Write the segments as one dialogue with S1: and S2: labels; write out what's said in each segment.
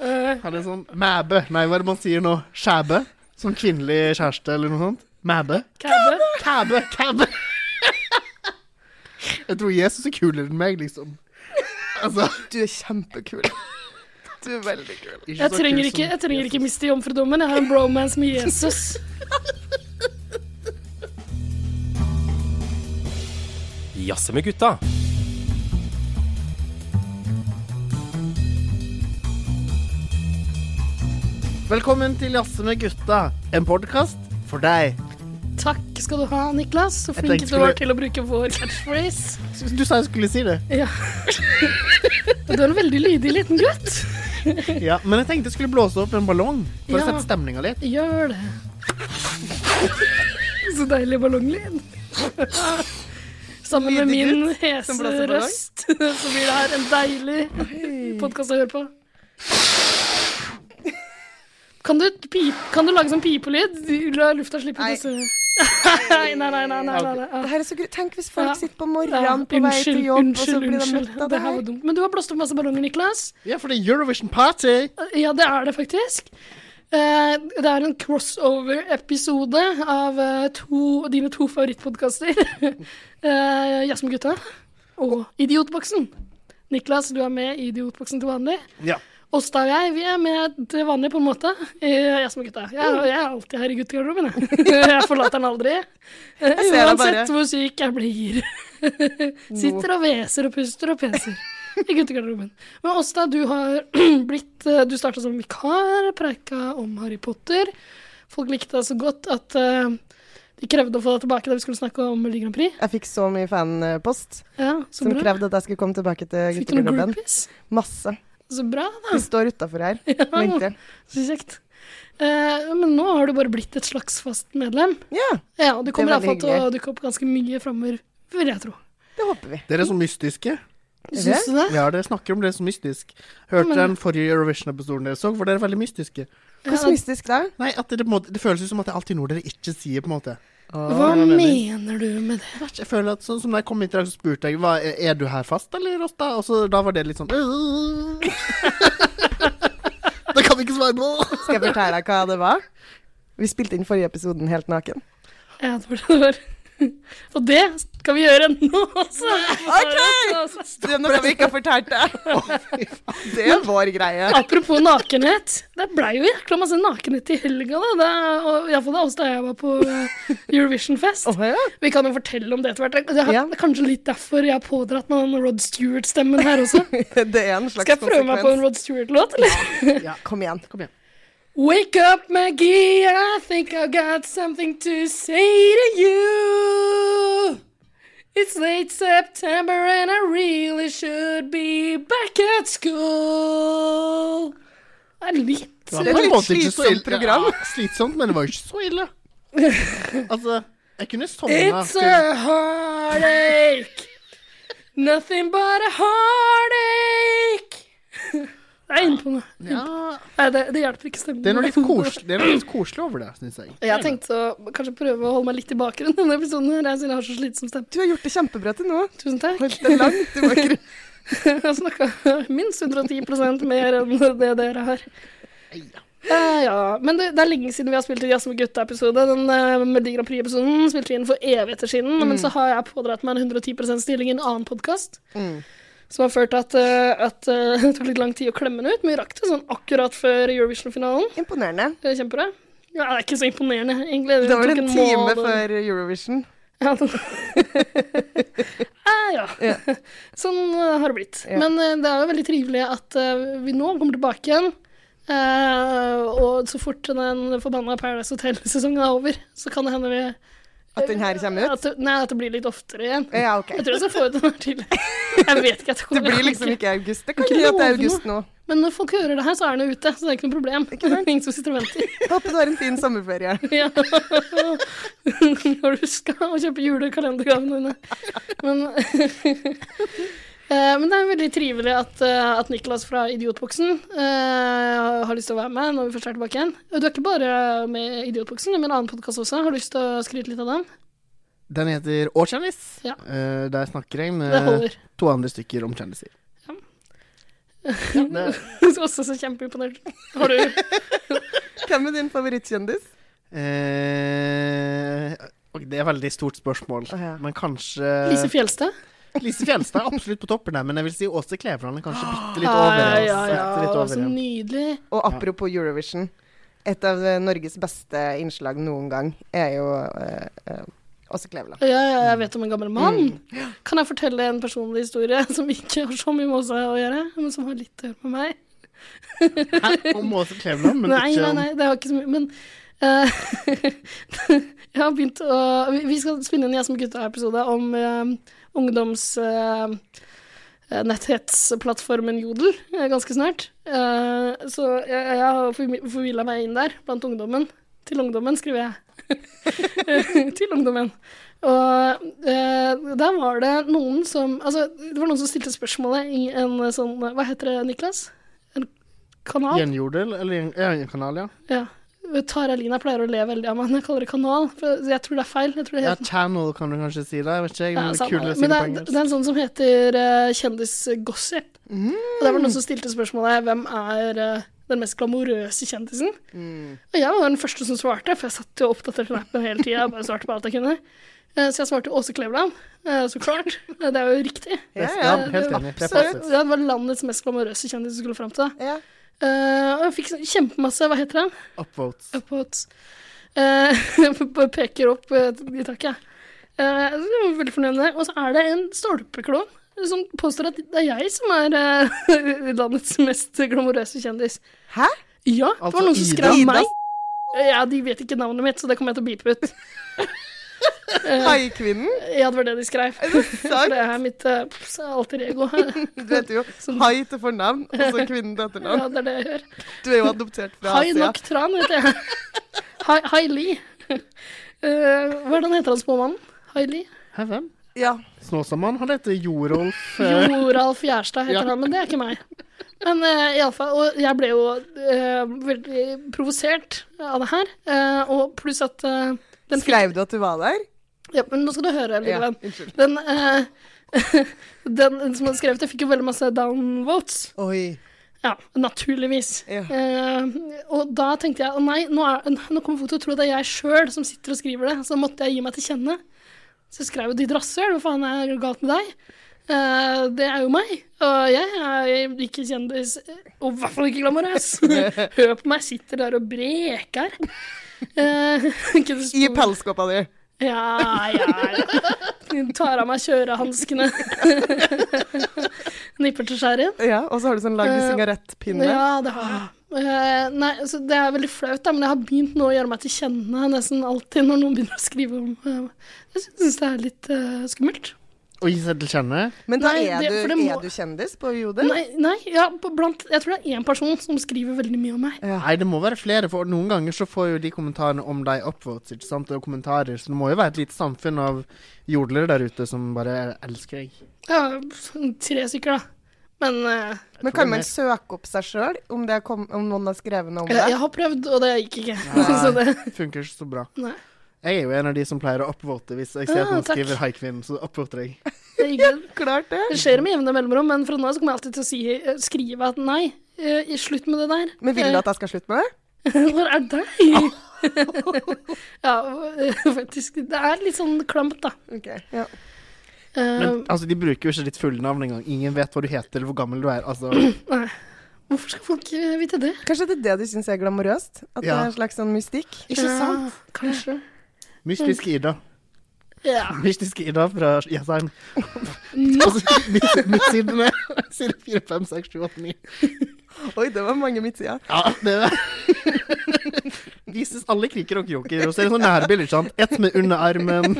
S1: Er det sånn mæbe? Nei, hva er det man sier nå? Skjæbe? Som kvinnelig kjæreste eller noe sånt? Mæbe? Kæbe? Kæbe, kæbe. Jeg tror Jesus er kulere enn meg, liksom. Altså,
S2: Du er kjempekul. Du er veldig kul.
S1: ikke
S3: Jeg
S1: så
S3: trenger
S1: kul
S3: ikke,
S1: som
S3: jeg trenger ikke
S1: Jesus.
S3: miste jomfrudommen. Jeg har en bromance med Jesus.
S4: Jazze med gutta.
S1: Velkommen til Jazze med gutta, en podkast for deg.
S3: Takk skal du ha, Niklas. Så
S1: Jeg
S3: flink
S1: tenkte
S3: du var
S1: skulle-
S3: til å bruke vår catchphrase.
S1: Du sa jeg skulle si det.
S3: Ja. Du er en veldig lydig liten gutt.
S1: Ja, Men jeg tenkte jeg skulle blåse opp en ballong for
S3: Ja.
S1: å sette stemninga litt.
S3: Gjør det. Så deilig ballonglyd. Sammen med
S2: Lydig
S3: min
S2: gutt
S3: hese
S2: som blåser ballong.
S3: røst, så blir det her en deilig podkast å høre på. Kan du, pip, kan du lage sånn pipelyd? La lufta slippe ut.
S2: Nei.
S3: og så- Nei, nei, nei. nei, nei, Ah. nei,
S2: Det
S3: nei.
S2: her er så gru- Tenk hvis folk
S3: Ja.
S2: sitter på
S3: Ja,
S2: morgenen på vei til
S3: unnskyld,
S2: jobb, og
S3: unnskyld.
S2: så blir de møtt
S3: unnskyld.
S2: av det
S3: Det her
S2: her.
S3: var dumt. Men du har blåst opp masse ballonger, Niklas.
S1: Ja, for det er Eurovision Party!
S3: Ja, det er det faktisk. Eh, Det er en crossover-episode av eh, to, dine to favorittpodkaster. Eh, Jazz med gutta og Idiotboksen. Niklas, du er med i Idiotboksen til vanlig.
S1: Ja.
S3: Åsta og jeg vi er med til vanlig, på en måte. i Jazz med gutta. Jeg, er- jeg er alltid her i guttegarderoben. Jeg. jeg forlater den aldri. Eh,
S2: ser deg bare.
S3: Uansett hvor syk jeg blir. Sitter og hveser og puster og peser i guttegarderoben. Men Åsta, du har blitt eh, Du starta som vikar, preika om Harry Potter. Folk likte deg så godt at eh, de krevde å få deg tilbake da vi skulle snakke om Melodi Grand Prix.
S2: Jeg fikk så mye fanpost
S3: Ja, så
S2: som
S3: bra.
S2: krevde at jeg skulle komme tilbake til
S3: Fikk du noen
S2: guttegarderoben.
S3: groupies?
S2: Masse.
S3: Så bra, da.
S2: De står utafor her
S3: Ja,
S2: og venter.
S3: så kjekt. Eh, men nå har du bare blitt et slags fast medlem.
S2: Ja,
S3: Ja, og du kommer
S2: veldig
S3: iallfall til å dukke opp ganske mye framover, vil jeg tro.
S2: det håper vi.
S1: Dere er så mystiske.
S2: Er
S3: Syns du det?
S1: Ja, dere snakker om det som mystisk. Hørte
S3: Men-
S1: den forrige Eurovision-episoden dere så, hvor dere er veldig mystiske.
S2: Hvordan mystisk da?
S1: Nei, at det, på en måte, det føles ut som at det er alltid noe dere ikke sier, på en måte.
S3: Hva mener du med det?
S1: Jeg føler at sånn som da jeg kom hit i dag, så spurte jeg hva, er du her fast, eller Rosta? Og så da var det litt sånn «Øh». Det kan vi ikke svare på!
S2: Skal jeg fortelle deg hva det var? Vi spilte inn forrige episoden helt naken.
S3: Ja, det var det det var. Og det skal vi gjøre nå også! Ok!
S2: Det er noe vi ikke har fortalt deg. Det er vår greie.
S3: Apropos nakenhet. Det blei jo jækla masse nakenhet i helga, da. Det, og Iallfall da oss da jeg var på eh, Eurovision-fest.
S2: Åh, ja.
S3: Vi kan jo fortelle om det etter hvert. Det er
S2: Ja.
S3: det er kanskje litt derfor jeg har pådratt meg den Rod Stewart-stemmen her også.
S2: Det er en slags
S3: Skal jeg prøve meg på en Rod Stewart-låt, eller?
S2: Kom igjen.
S3: Wake up, Maggie. I think I got something to say to you. It's late September and I really should be back at school. Det er litt
S1: Det var på en måte ikke så ille.
S2: slitsomt program.
S1: Ja, slitsomt, men det var jo ikke så ille. Altså, jeg kunne sovna.
S3: It's a heartache. Nothing but a heartache. Det er innpående.
S1: Ja,
S3: Nei, det, det hjelper ikke stemmen.
S1: det er noe litt koselig, det er noe litt koselig over det, syns jeg.
S3: Jeg tenkte å kanskje prøve å holde meg litt i bakgrunnen denne episoden, her, jeg siden jeg har så slitsom stemme.
S2: Du har gjort det kjempebra til nå.
S3: Tusen takk.
S2: Holdt det langt. Du var ikke
S3: Jeg har snakka minst 110 mer enn det dere har. Eh, ja, Men det, det er lenge siden vi har spilt i Jazz med gutta-episode. Den uh, Melodi Grand Prix-episoden spilte vi inn for evigheter siden.
S2: Mm.
S3: Men så har jeg pådratt meg en 110 stilling i en annen podkast.
S2: Mm.
S3: Som har ført til at, eh, at eh, det tok litt lang tid å klemme den ut. Men vi rakk det sånn akkurat før Eurovision-finalen.
S2: Imponerende.
S3: Det er Kjempebra. Ja, det er ikke så imponerende, egentlig.
S2: Det var vel
S3: tok
S2: en
S3: måned
S2: time
S3: å-
S2: før Eurovision.
S3: ja. eh, ja. Sånn eh, har det blitt.
S2: Ja.
S3: Men eh, det er jo veldig trivelig at eh, vi nå kommer tilbake igjen. Eh, og så fort den forbanna Paradise Hotel-sesongen er over, så kan det hende vi
S2: At den her kommer ut?
S3: At det, nei, at det blir litt oftere igjen.
S2: Ja, OK.
S3: Jeg tror jeg skal få ut den her til. Jeg vet ikke. Jeg tror
S2: Det blir
S3: jeg
S2: liksom
S3: ikke.
S2: ikke i august. Det
S3: Kan
S2: kan
S3: ikke
S2: hende at det er
S3: love
S2: august nå.
S3: Men når folk hører det her, så er den ute. Så det er ikke noe problem.
S2: Ikke sant?
S3: Ingen som sitter og venter.
S2: Håper du har en fin sommerferie.
S3: Ja. Når du skal og kjøpe julekalendergavene dine. Men, Eh, men det er veldig trivelig at, eh, at Niklas fra Idiotboksen eh, har lyst til å være med når vi først er tilbake igjen. Og Du er ikke bare med i Idiotboksen, men en annen podkast også. Har du lyst til å skryte litt av den?
S1: Den heter Å, kjendis.
S3: Ja.
S1: Eh, der snakker jeg
S3: Det
S1: med
S3: holder.
S1: to andre stykker om kjendiser. det-
S3: også så kjempeimponert. Har du
S2: Hvem er din favorittkjendis?
S1: Eh, og det er et veldig stort spørsmål,
S2: Å, ja.
S1: men kanskje
S3: Lise Fjelstad?
S1: Lise Fjelstad er absolutt på toppen der, men jeg vil si Åse Kleveland er kanskje bitte litt
S3: Ja,
S1: over.
S3: Ah, ja,
S1: igjen,
S3: ja, altså,
S1: bitte litt
S3: ja.
S1: over
S3: Så
S1: igjen.
S3: nydelig.
S2: Og apropos Eurovision. Et av eh, Norges beste innslag noen gang er jo eh, eh, Åse Kleveland.
S3: Ja, ja, jeg vet om en gammel mann. Kan jeg fortelle en personlig historie som ikke har så mye med oss å gjøre, men som har litt å gjøre med meg?
S1: Hæ? Om Åse Kleveland, men
S3: nei,
S1: ikke
S3: nei,
S1: om
S3: nei, det har ikke så mye, men eh, jeg har begynt å vi- Vi skal spille inn en Jeg som gutta-episode om eh, ungdoms... eh, eh, Netthetsplattformen Jodel eh, ganske snart. Eh, så jeg, jeg har forvilla meg inn der blant ungdommen. Til ungdommen, skriver jeg. til ungdommen. Og eh, der var det noen som Altså, det var noen som stilte spørsmålet i en sånn Hva heter det, Niklas? En kanal?
S1: Gjenjordel eller gjen- ja, Gjenkanal, ja.
S3: Ja. Tara Lina pleier å le veldig av meg når jeg kaller det kanal. For jeg tror det er feil. Jeg tror det
S1: Ja,
S3: heter
S1: Channel kan du kanskje si der, vet ikke jeg.
S3: ja,
S1: Men det er
S3: samme
S1: kulere å
S3: det.
S1: si det
S3: Men det
S1: på
S3: er,
S1: engelsk.
S3: det er en sånn som heter eh, kjendisgossip. Og der var det noen som stilte spørsmålet hvem er eh, den mest glamorøse kjendisen.
S1: Mm.
S3: Og jeg var den første som svarte, for jeg satt jo og oppdaterte mappen hele tida. Bare svarte på alt jeg kunne. Eh, Så jeg svarte Åse Kleveland, eh, så klart. Eh, Det er jo riktig.
S1: Ja,
S2: Ja, ja.
S1: helt enig. Det er
S3: Absolutt.
S1: passet.
S3: Ja, Det var landets mest glamorøse kjendis du skulle fram til. da.
S2: ja.
S3: Eh, Og jeg fikk sånn kjempemasse Hva heter han?
S1: Upvotes.
S3: Upvotes. Eh, bare peker opp eh, i taket. Eh, så jeg var veldig fornøyd med det. Og så er det en stolpeklovn som påstår at det er jeg som er eh, landets mest glamorøse kjendis.
S2: Hæ?
S3: Ja, det
S1: Altså,
S3: var noen som
S1: Ida?
S3: skrev
S2: Ida?
S3: meg. Eh, Ja, De vet ikke navnet mitt, så det kommer jeg til å beepe ut.
S2: Haikvinnen?
S3: Ja, det var det de skrev. Så
S2: Sant?
S3: Eh, det er mitt eh, alter ego.
S2: Du heter jo hai til fornavn, og så kvinnen til etternavn.
S3: Ja, det er det jeg gjør.
S2: Du er jo adoptert fra
S3: Hai
S2: Asia.
S3: nok tran, heter jeg. Hai, hai Li. Eh, hvordan heter han småmannen? Hai Li?
S1: Hæ, hvem?
S2: Ja.
S1: Snåsamann? Han heter Jorolf. eh,
S3: Jo, Ralf Gjerstad heter
S1: Ja.
S3: han, men det er ikke meg. Men eh, i alle fall, og jeg ble jo eh, veldig provosert av det her. eh, og pluss at eh, den fikk-
S2: Skrev du at du var der?
S3: Ja, men nå skal du høre, lille
S2: Ja,
S3: venn. Den, eh, den som hadde skrevet det, fikk jo veldig masse downvotes.
S2: Oi.
S3: Ja, naturligvis.
S2: Ja.
S3: Eh, og da tenkte jeg å nei, nå, er, nå kommer folk til å tro at det er jeg sjøl som sitter og skriver det. Så måtte jeg gi meg til kjenne. Så jeg skrev jo ditt rasshøl, hva faen er galt med deg? Eh, det er jo meg. Og jeg er ikke kjendis, og i hvert fall ikke glamorøs. Hør på meg, sitter der og breker. Eh, ikke det
S2: I
S3: store-
S2: pelskåpa di.
S3: ja, ja, ja. Hun Tar av meg kjørehanskene. Nipper til skjæret.
S2: Ja, og så har du sånn lang
S3: Eh,
S2: sigarettpinne.
S3: Ja, det har jeg. Eh, nei, så det er veldig flaut, da, men jeg har begynt nå å gjøre meg til kjenne nesten alltid når noen begynner å skrive om eh, Jeg syns det er litt eh, skummelt.
S1: Og gi seg til kjenne.
S2: Men da
S3: nei,
S2: er
S3: det- for
S2: du,
S3: det må-
S2: er du kjendis på Jodel?
S3: Nei, nei ja, på- blant, jeg tror det er én person som skriver veldig mye om meg.
S1: Nei, det må være flere, for noen ganger så får jo de kommentarene om de upvotes, ikke sant, og kommentarer, så det må jo være et lite samfunn av jordlere der ute som bare elsker deg.
S3: Ja, sånn tre stykker, da. Men eh,
S2: Men kan man søke opp seg sjøl om, det kom- om noen har skrevet noe om
S3: jeg,
S2: deg?
S3: jeg har prøvd, og det gikk ikke. så det,
S1: Nei, funker ikke så bra.
S3: nei,
S1: Jeg er jo en av de som pleier å upvote hvis jeg ser at
S3: Ah,
S1: noen
S3: takk.
S1: skriver 'Hei, kvinnen', så upvoter jeg.
S3: det gikk ikke.
S2: Klart det.
S3: Det skjer med jevne mellomrom, men fra nå av så kommer jeg alltid til å si, eh, skrive at nei, eh, i- slutt med det der.
S2: Men vil du at jeg skal slutte med det?
S3: Hvor er deg? ja, eh, faktisk. Det er litt sånn klamt, da.
S2: Ok, ja.
S3: Eh,
S1: Men altså, de bruker jo ikke ditt fulle navn engang. Ingen vet hva du heter eller hvor gammel du er. Altså,
S3: hvorfor skal folk eh, vite det?
S2: Kanskje det er det du syns er glamorøst? At det
S1: Ja.
S2: er en slags sånn mystikk?
S3: Ja, Kanskje.
S1: mystiske Ida.
S3: Ja.
S1: Mystiske Ida fra Jessheim.
S3: Nå,
S1: Altså, midt- midtsidene. Side 4, 5, 6, 7, 8, 9.
S2: Oi, det var mange midtsider.
S1: Ja, det er det. Vises alle kriker og kroker. Og så er det sånn nærbilder, ikke sant. Ett med underarmen.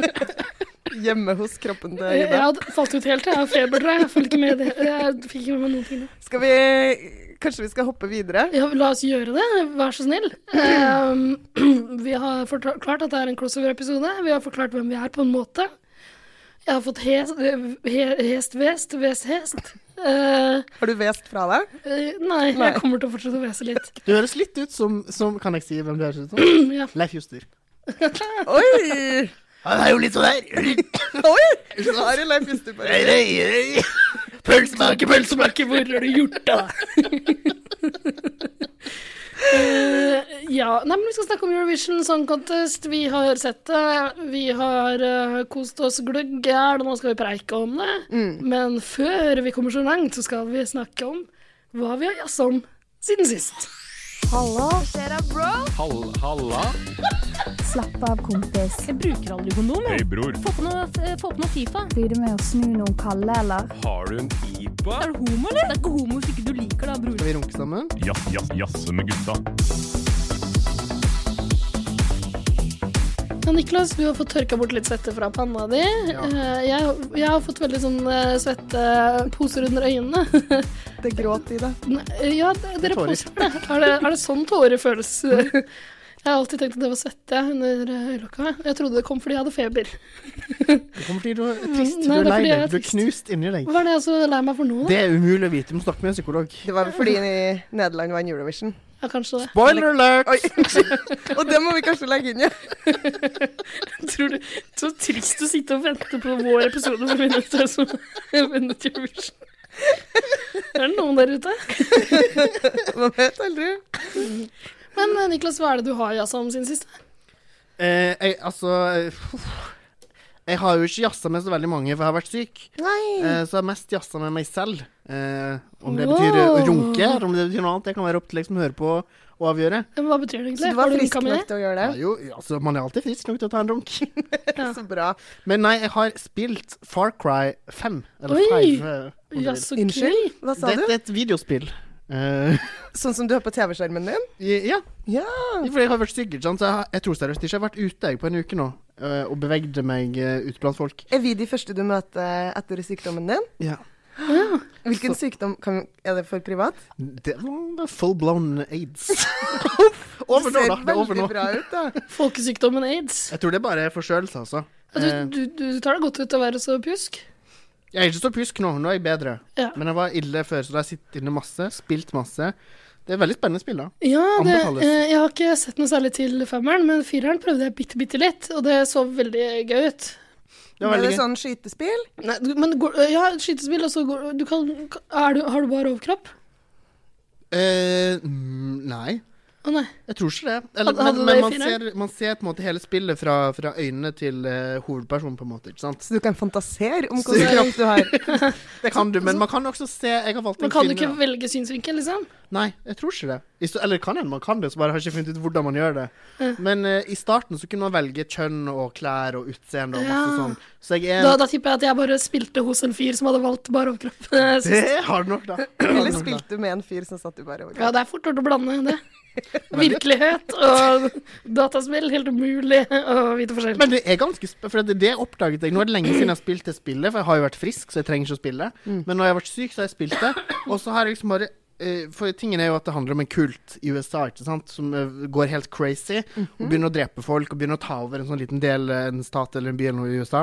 S2: Hjemme hos kroppen til
S3: Eh, Jeg
S2: Ida.
S3: hadde falt ut helt, jeg har feber, tror jeg. Jeg følger ikke med i det. Jeg fikk ikke med meg noen ting.
S2: Skal vi Kanskje vi skal hoppe videre?
S3: Ja, la oss gjøre det, vær så snill. Ehm, vi har forklart at det er en crossover-episode. Vi har forklart hvem vi er, på en måte. Jeg har fått hest, he, hest vest, vest hest. Eh,
S2: Har du vest fra deg?
S3: eh, nei,
S2: Nei.
S3: jeg kommer til å fortsette å hvese litt.
S1: Du høres litt ut som, som Kan jeg si hvem du høres ut som?
S3: Ja.
S1: Leif Juster.
S2: Oi!
S1: Han er jo litt sånn her.
S2: Oi! Du har en Leif Juster på deg.
S1: Pølsemaker, pølsemaker.
S3: Hvor har du gjort av deg? Eh, ja, nei, men Vi skal snakke om Eurovision Song Contest. Vi har sett det. Vi har eh, kost oss gløggjæl, og nå skal vi preike om det. Men før vi kommer så langt, så skal vi snakke om hva vi har jazza om siden sist.
S5: Hall, halla.
S6: Slapp av, kompis.
S7: Jeg bruker aldri kondom. jeg.
S4: Hei, bror.
S7: Få på noe, eh, få på noe Fifa.
S6: Blir du med å snu noen kalde, eller?
S4: Har du en pipa?
S7: Er du homo, eller? Det er ikke homo hvis ikke du liker det, bror.
S1: Skal vi runke sammen?
S4: Ja, ja, jasse med gutta.
S3: Ja, Niklas, du har fått tørka bort litt svette fra panna di. Eh, Jeg, jeg har fått veldig sånn eh, svetteposer under øynene.
S2: Det gråt Ida.
S3: Nei, eh, Ja, d- dere
S1: Tårer.
S3: poser det. Er det. Er det sånn tårer føles? Jeg har alltid tenkt at det var svette jeg, under eh, øyelokka. Jeg trodde det kom fordi jeg hadde feber.
S1: Det kommer fordi du er trist.
S3: Mm, Nei,
S1: Du er
S3: det er
S1: lei
S3: fordi jeg
S1: deg.
S3: er
S1: Du er
S3: trist.
S1: knust inni deg.
S3: Hva er det jeg så lei meg for nå?
S1: Det
S3: Da?
S1: er umulig å vite. Du må snakke med en psykolog.
S2: Det var vel fordi Nederland vant Eurovision.
S3: Ja, kanskje det.
S1: Boiler alert!
S2: Oi! Og det må vi kanskje legge inn, ja.
S3: Tror du, så trist å sitte og vente på vår episode for å vinne ut det som vinner til Eurovision. Er det noen der ute?
S2: Man vet aldri.
S3: Men eh, Niklas, hva er det du har jazza om siden sist?
S1: Eh, jeg, altså eh, uff. Jeg har jo ikke jazza med så veldig mange, for jeg har vært syk.
S2: Nei.
S1: Eh, så jeg har mest jazza med meg selv. Eh, om det
S3: Wow.
S1: betyr å runke, eller om det betyr noe annet, det kan være opp til deg som hører på, å avgjøre.
S3: Men Eh, Hva betyr det egentlig?
S2: Så du var
S3: Har
S2: frisk
S3: runka med
S2: nok til å gjøre
S1: Ja,
S2: det?
S1: jo, altså, man er alltid frisk nok til å ta en runk.
S3: Ja.
S2: Så bra.
S1: Men nei, jeg har spilt Far Cry 5. Eller
S3: Oi.
S1: 5. eh, om
S3: det?
S1: du
S3: Ja,
S1: vil.
S3: så
S2: Unnskyld?
S3: gøy.
S2: Hva sa
S1: Dette
S2: du?
S1: er et videospill. Eh,
S2: Sånn som du har på TV-skjermen din?
S1: ja,
S2: Ja.
S1: for jeg har vært syk, ikke sant? så jeg, har- jeg tror seriøst ikke jeg har vært ute jeg, på en uke nå eh, og bevegde meg eh, ute blant folk.
S2: Er vi de første du møter etter sykdommen din?
S1: Ja.
S2: Hvilken sykdom kan, er det for privat?
S1: Det var full blown aids.
S2: Det
S1: over nå,
S2: ser
S1: da. Det er over
S2: veldig
S1: nå.
S2: bra ut, da.
S3: Folkesykdommen aids.
S1: Jeg tror det er bare forkjølelse, altså.
S3: Du,
S1: Eh,
S3: du, du tar deg godt ut av å være så pjusk.
S1: Jeg er ikke så pjusk nå, nå er jeg bedre.
S3: Ja.
S1: Men jeg var ille før, så da har jeg sittet inne masse, spilt masse. Det er veldig spennende spill, da.
S3: Ja, det,
S1: Anbefales.
S3: eh, jeg har ikke sett noe særlig til femmeren, men fireren prøvde jeg bitte, bitte litt, og det så veldig gøy ut.
S1: Det var
S2: er
S1: veldig
S2: det
S1: gøy.
S2: sånn skytespill?
S3: Nei, du- men går, ja, skytespill, og så går du kan, er du, Har du bare overkropp?
S1: Eh, mm, nei,
S3: Å nei.
S1: jeg tror ikke det. Eller,
S3: Hadde- hadde
S1: men
S3: det
S1: men man,
S3: finere?
S1: ser, man ser på en måte hele spillet fra, fra øynene til eh, hovedpersonen, på en måte. ikke sant?
S2: Så du kan fantasere om hvilken kropp du har?
S1: Det kan du, men man kan også se Jeg har valgt
S3: Men
S1: en
S3: kan du
S1: kvinne.
S3: ikke
S1: da.
S3: velge synsvinkel, liksom?
S1: Nei, jeg tror ikke det. I st- eller kan hende man kan det, så bare har jeg ikke funnet ut hvordan man gjør det. Men eh, i starten så kunne man velge kjønn og klær og utseende og masse
S3: Ja.
S1: sånn. Så jeg er
S3: Da, da tipper jeg at jeg bare spilte hos en fyr som hadde valgt bare overkropp.
S1: Det har du nok, da.
S2: Eller spilte du med en fyr som satt du
S3: Ja,
S2: bare over?
S3: det er fort gjort å blande det. Virkelighet og dataspill. Helt umulig å vite forskjell.
S1: Men det er ganske sp for det, det oppdaget jeg. Nå er det lenge siden jeg har spilt det spillet, for jeg har jo vært frisk, så jeg trenger ikke å spille. Men når jeg har vært syk, så har jeg spilt det. Og så har jeg liksom bare eh, For tingen er jo at det handler om en kult i USA ikke sant? som eh, går helt crazy og begynner å drepe folk og begynner å ta over en sånn liten del, eh, en stat eller en by eller noe i USA.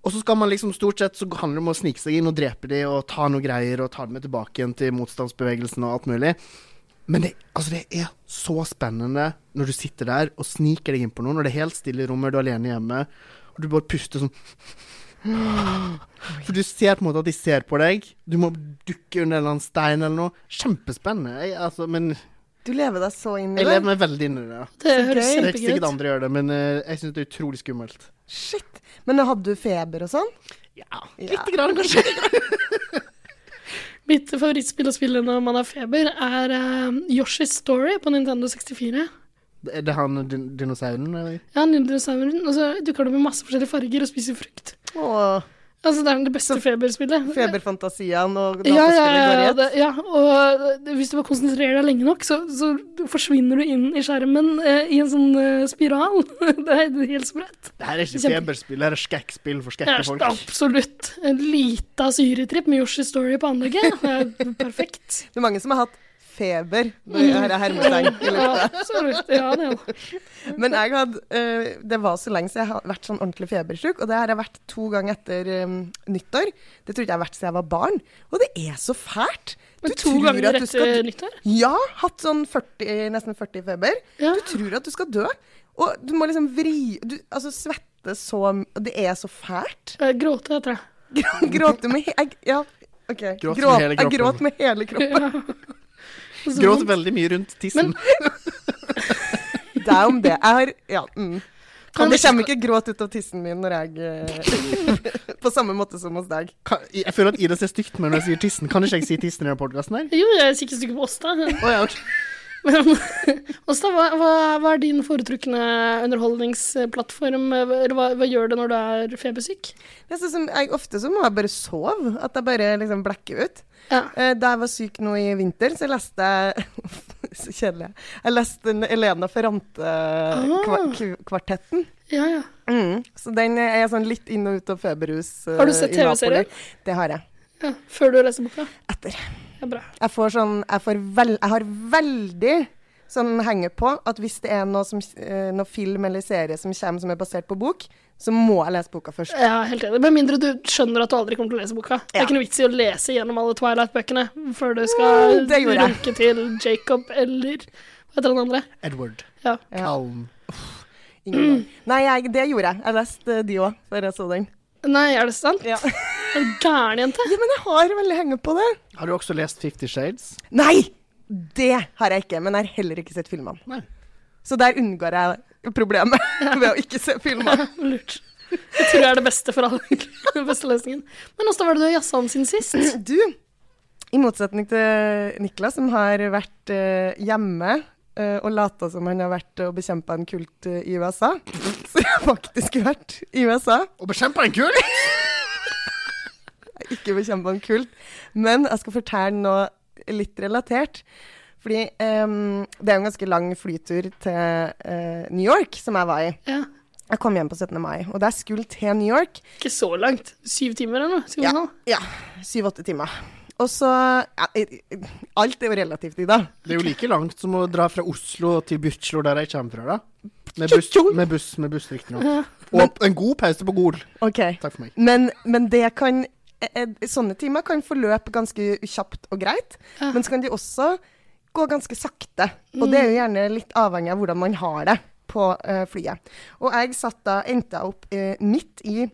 S1: Og så skal man liksom stort sett så handler det om å snike seg inn og drepe de og ta noe greier og ta dem med tilbake igjen til motstandsbevegelsen og alt mulig. Men det, altså det er så spennende når du sitter der og sniker deg inn på noen, og det er helt stille i rommet, du er alene hjemme, og du bare puster sånn For du ser på en måte at de ser på deg. Du må dukke under en eller annen stein eller noe. Kjempespennende. Jeg, altså, men
S2: Du lever deg så inn i
S1: jeg
S2: det.
S1: lever meg veldig inn i det.
S3: Det
S2: Så
S3: høres
S2: gøy.
S1: Det er ikke
S3: kjempegøy
S1: sikkert
S3: ut.
S1: andre gjør det, men eh, jeg syns det er utrolig skummelt.
S2: Shit. Men hadde du feber og sånn?
S1: Ja,
S2: Ja.
S1: lite grann, kanskje.
S3: Mitt favorittspill å spille når man har feber, er eh, Yoshi's Story på Nintendo 64.
S1: Er det han din dinosauren? eller?
S3: Ja, Nindosauren. Og så dukker det opp med masse forskjellige farger og spiser frukt.
S2: Åh.
S3: Altså, det er det beste feberspillet.
S2: Feberfantasiaen og
S3: Ja, ja,
S2: dataspillet går i
S3: ja,
S2: ett.
S3: det, ja, og eh, hvis du bare konsentrerer deg lenge nok, så, så forsvinner du inn i skjermen eh, i en sånn eh, spiral. det er helt sprøtt.
S1: Det her er ikke
S3: Kjempe-
S1: feberspill, det her er skrekkspill for
S3: Det
S1: skrekke
S3: er
S1: folk.
S3: absolutt en lita syretripp med Yoshi Story på anlegget. Det er perfekt.
S2: Det er mange som har hatt feber. Det her er hermetegn. i
S3: Ja,
S2: lufta.
S3: absolutt. Ja, det, er det.
S2: Men jeg hadde, eh, det var så lenge siden jeg har vært sånn ordentlig febersjuk, og det har jeg vært to ganger etter eh, nyttår. Det trodde jeg har vært siden jeg var barn. Og det er så fælt!
S3: Men to ganger etter nyttår?
S2: Ja, hatt sånn 40, nesten 40 feber.
S3: Ja.
S2: Du tror at du skal dø, og du må liksom vri du, Altså svette så m- og Det er så fælt.
S3: Jeg gråter, jeg tror jeg.
S2: Gråte med he... Jeg, ja, OK.
S1: Gråt med
S2: Gråt-
S1: hele
S2: jeg
S1: kroppen.
S2: gråt med hele kroppen.
S3: Og så
S1: Gråt
S3: vondt.
S1: veldig mye rundt tissen.
S2: Det er om det. Jeg har Ja. Mm.
S3: Kan
S2: det
S3: vi-
S2: kommer ikke gråt ut av tissen min når jeg eh, På samme måte som hos deg.
S1: Kan- Jeg føler at Ida ser stygt på meg når jeg sier tissen. Kan ikke jeg si tissen i denne podkasten her?
S3: Jo, jeg er sikkert stykke på Åsta.
S1: Å ja, ok.
S3: Men Åsta, hva, hva, hva er din foretrukne underholdningsplattform? Eller Hva, hva gjør det når du er febersyk?
S2: Jeg synes som, jeg, ofte så må jeg bare sove. At jeg bare liksom blekker ut.
S3: Ja.
S2: Eh, da jeg var syk nå i vinter, så leste jeg Så kjedelig. Jeg leste en Elena eh, Ferrante-kvartetten.
S3: Ja, ja.
S2: Mm. Så den er sånn litt inn og ut av feberhus. eh,
S3: Har du sett
S2: i Napoli.
S3: TV-serien?
S2: Det har jeg.
S3: ja. Før du leser boka?
S2: Etter.
S3: Ja, bra.
S2: Jeg får sånn Jeg, får vel, jeg har veldig sånn henger på at hvis det er noe, som, eh, noe film eller serie som kommer som er basert på bok, så må jeg lese boka først.
S3: Ja, helt enig. Med mindre du skjønner at du aldri kommer til å lese boka. Det
S2: Ja.
S3: er ikke noe vits i å lese gjennom alle Twilight-bøkene før du skal
S2: Mm, det gjorde jeg.
S3: runke til Jacob eller hva heter han andre?
S1: Edward.
S3: Ja.
S1: Kalm.
S2: Ingen gang. Nei, jeg, det gjorde jeg. Jeg leste de òg før jeg så den.
S3: Nei, er det sant?
S2: Ja.
S3: Er du gæren, jente?
S2: ja, men jeg har veldig henger på det.
S1: Har du også lest Fifty Shades?
S2: Nei! Det har jeg ikke, men jeg har heller ikke sett filmene.
S1: Nei.
S2: Så der unngår jeg problemet ved å ikke se filmer.
S3: Lurt. Jeg tror det er det beste for alle. Den beste løsningen. Men åssen var det du har jazza om siden sist?
S2: Du, i motsetning til Niklas, som har vært eh, hjemme eh, og lata som han har vært og bekjempa en kult eh, i USA, så jeg har faktisk vært i USA.
S1: Å bekjempe en kul!
S2: ikke bekjempa en kult. Men jeg skal fortelle noe litt relatert. Fordi ehm, det er jo en ganske lang flytur til eh, New York som jeg var i.
S3: Ja.
S2: Jeg kom hjem på 17. mai, og da jeg skulle til New York
S3: Ikke så langt. Syv timer eller noe? Syv og en
S2: Ja.
S3: halv?
S2: ja, syv-åtte timer. Og så ja, i- i- Alt er jo relativt i dag.
S1: Det er jo like langt som å dra fra Oslo til Byrkjelo, der jeg kommer fra, da. Med buss, med buss, med buss riktignok. Og en god pause på Gol.
S2: Ok.
S1: Takk for meg.
S2: Men, men det kan eh, eh, Sånne timer kan forløpe ganske kjapt og greit, men så kan de også gå ganske sakte. Og det er jo gjerne litt avhengig av hvordan man har det på eh, flyet. Og jeg satt da, endte jeg opp eh, midt i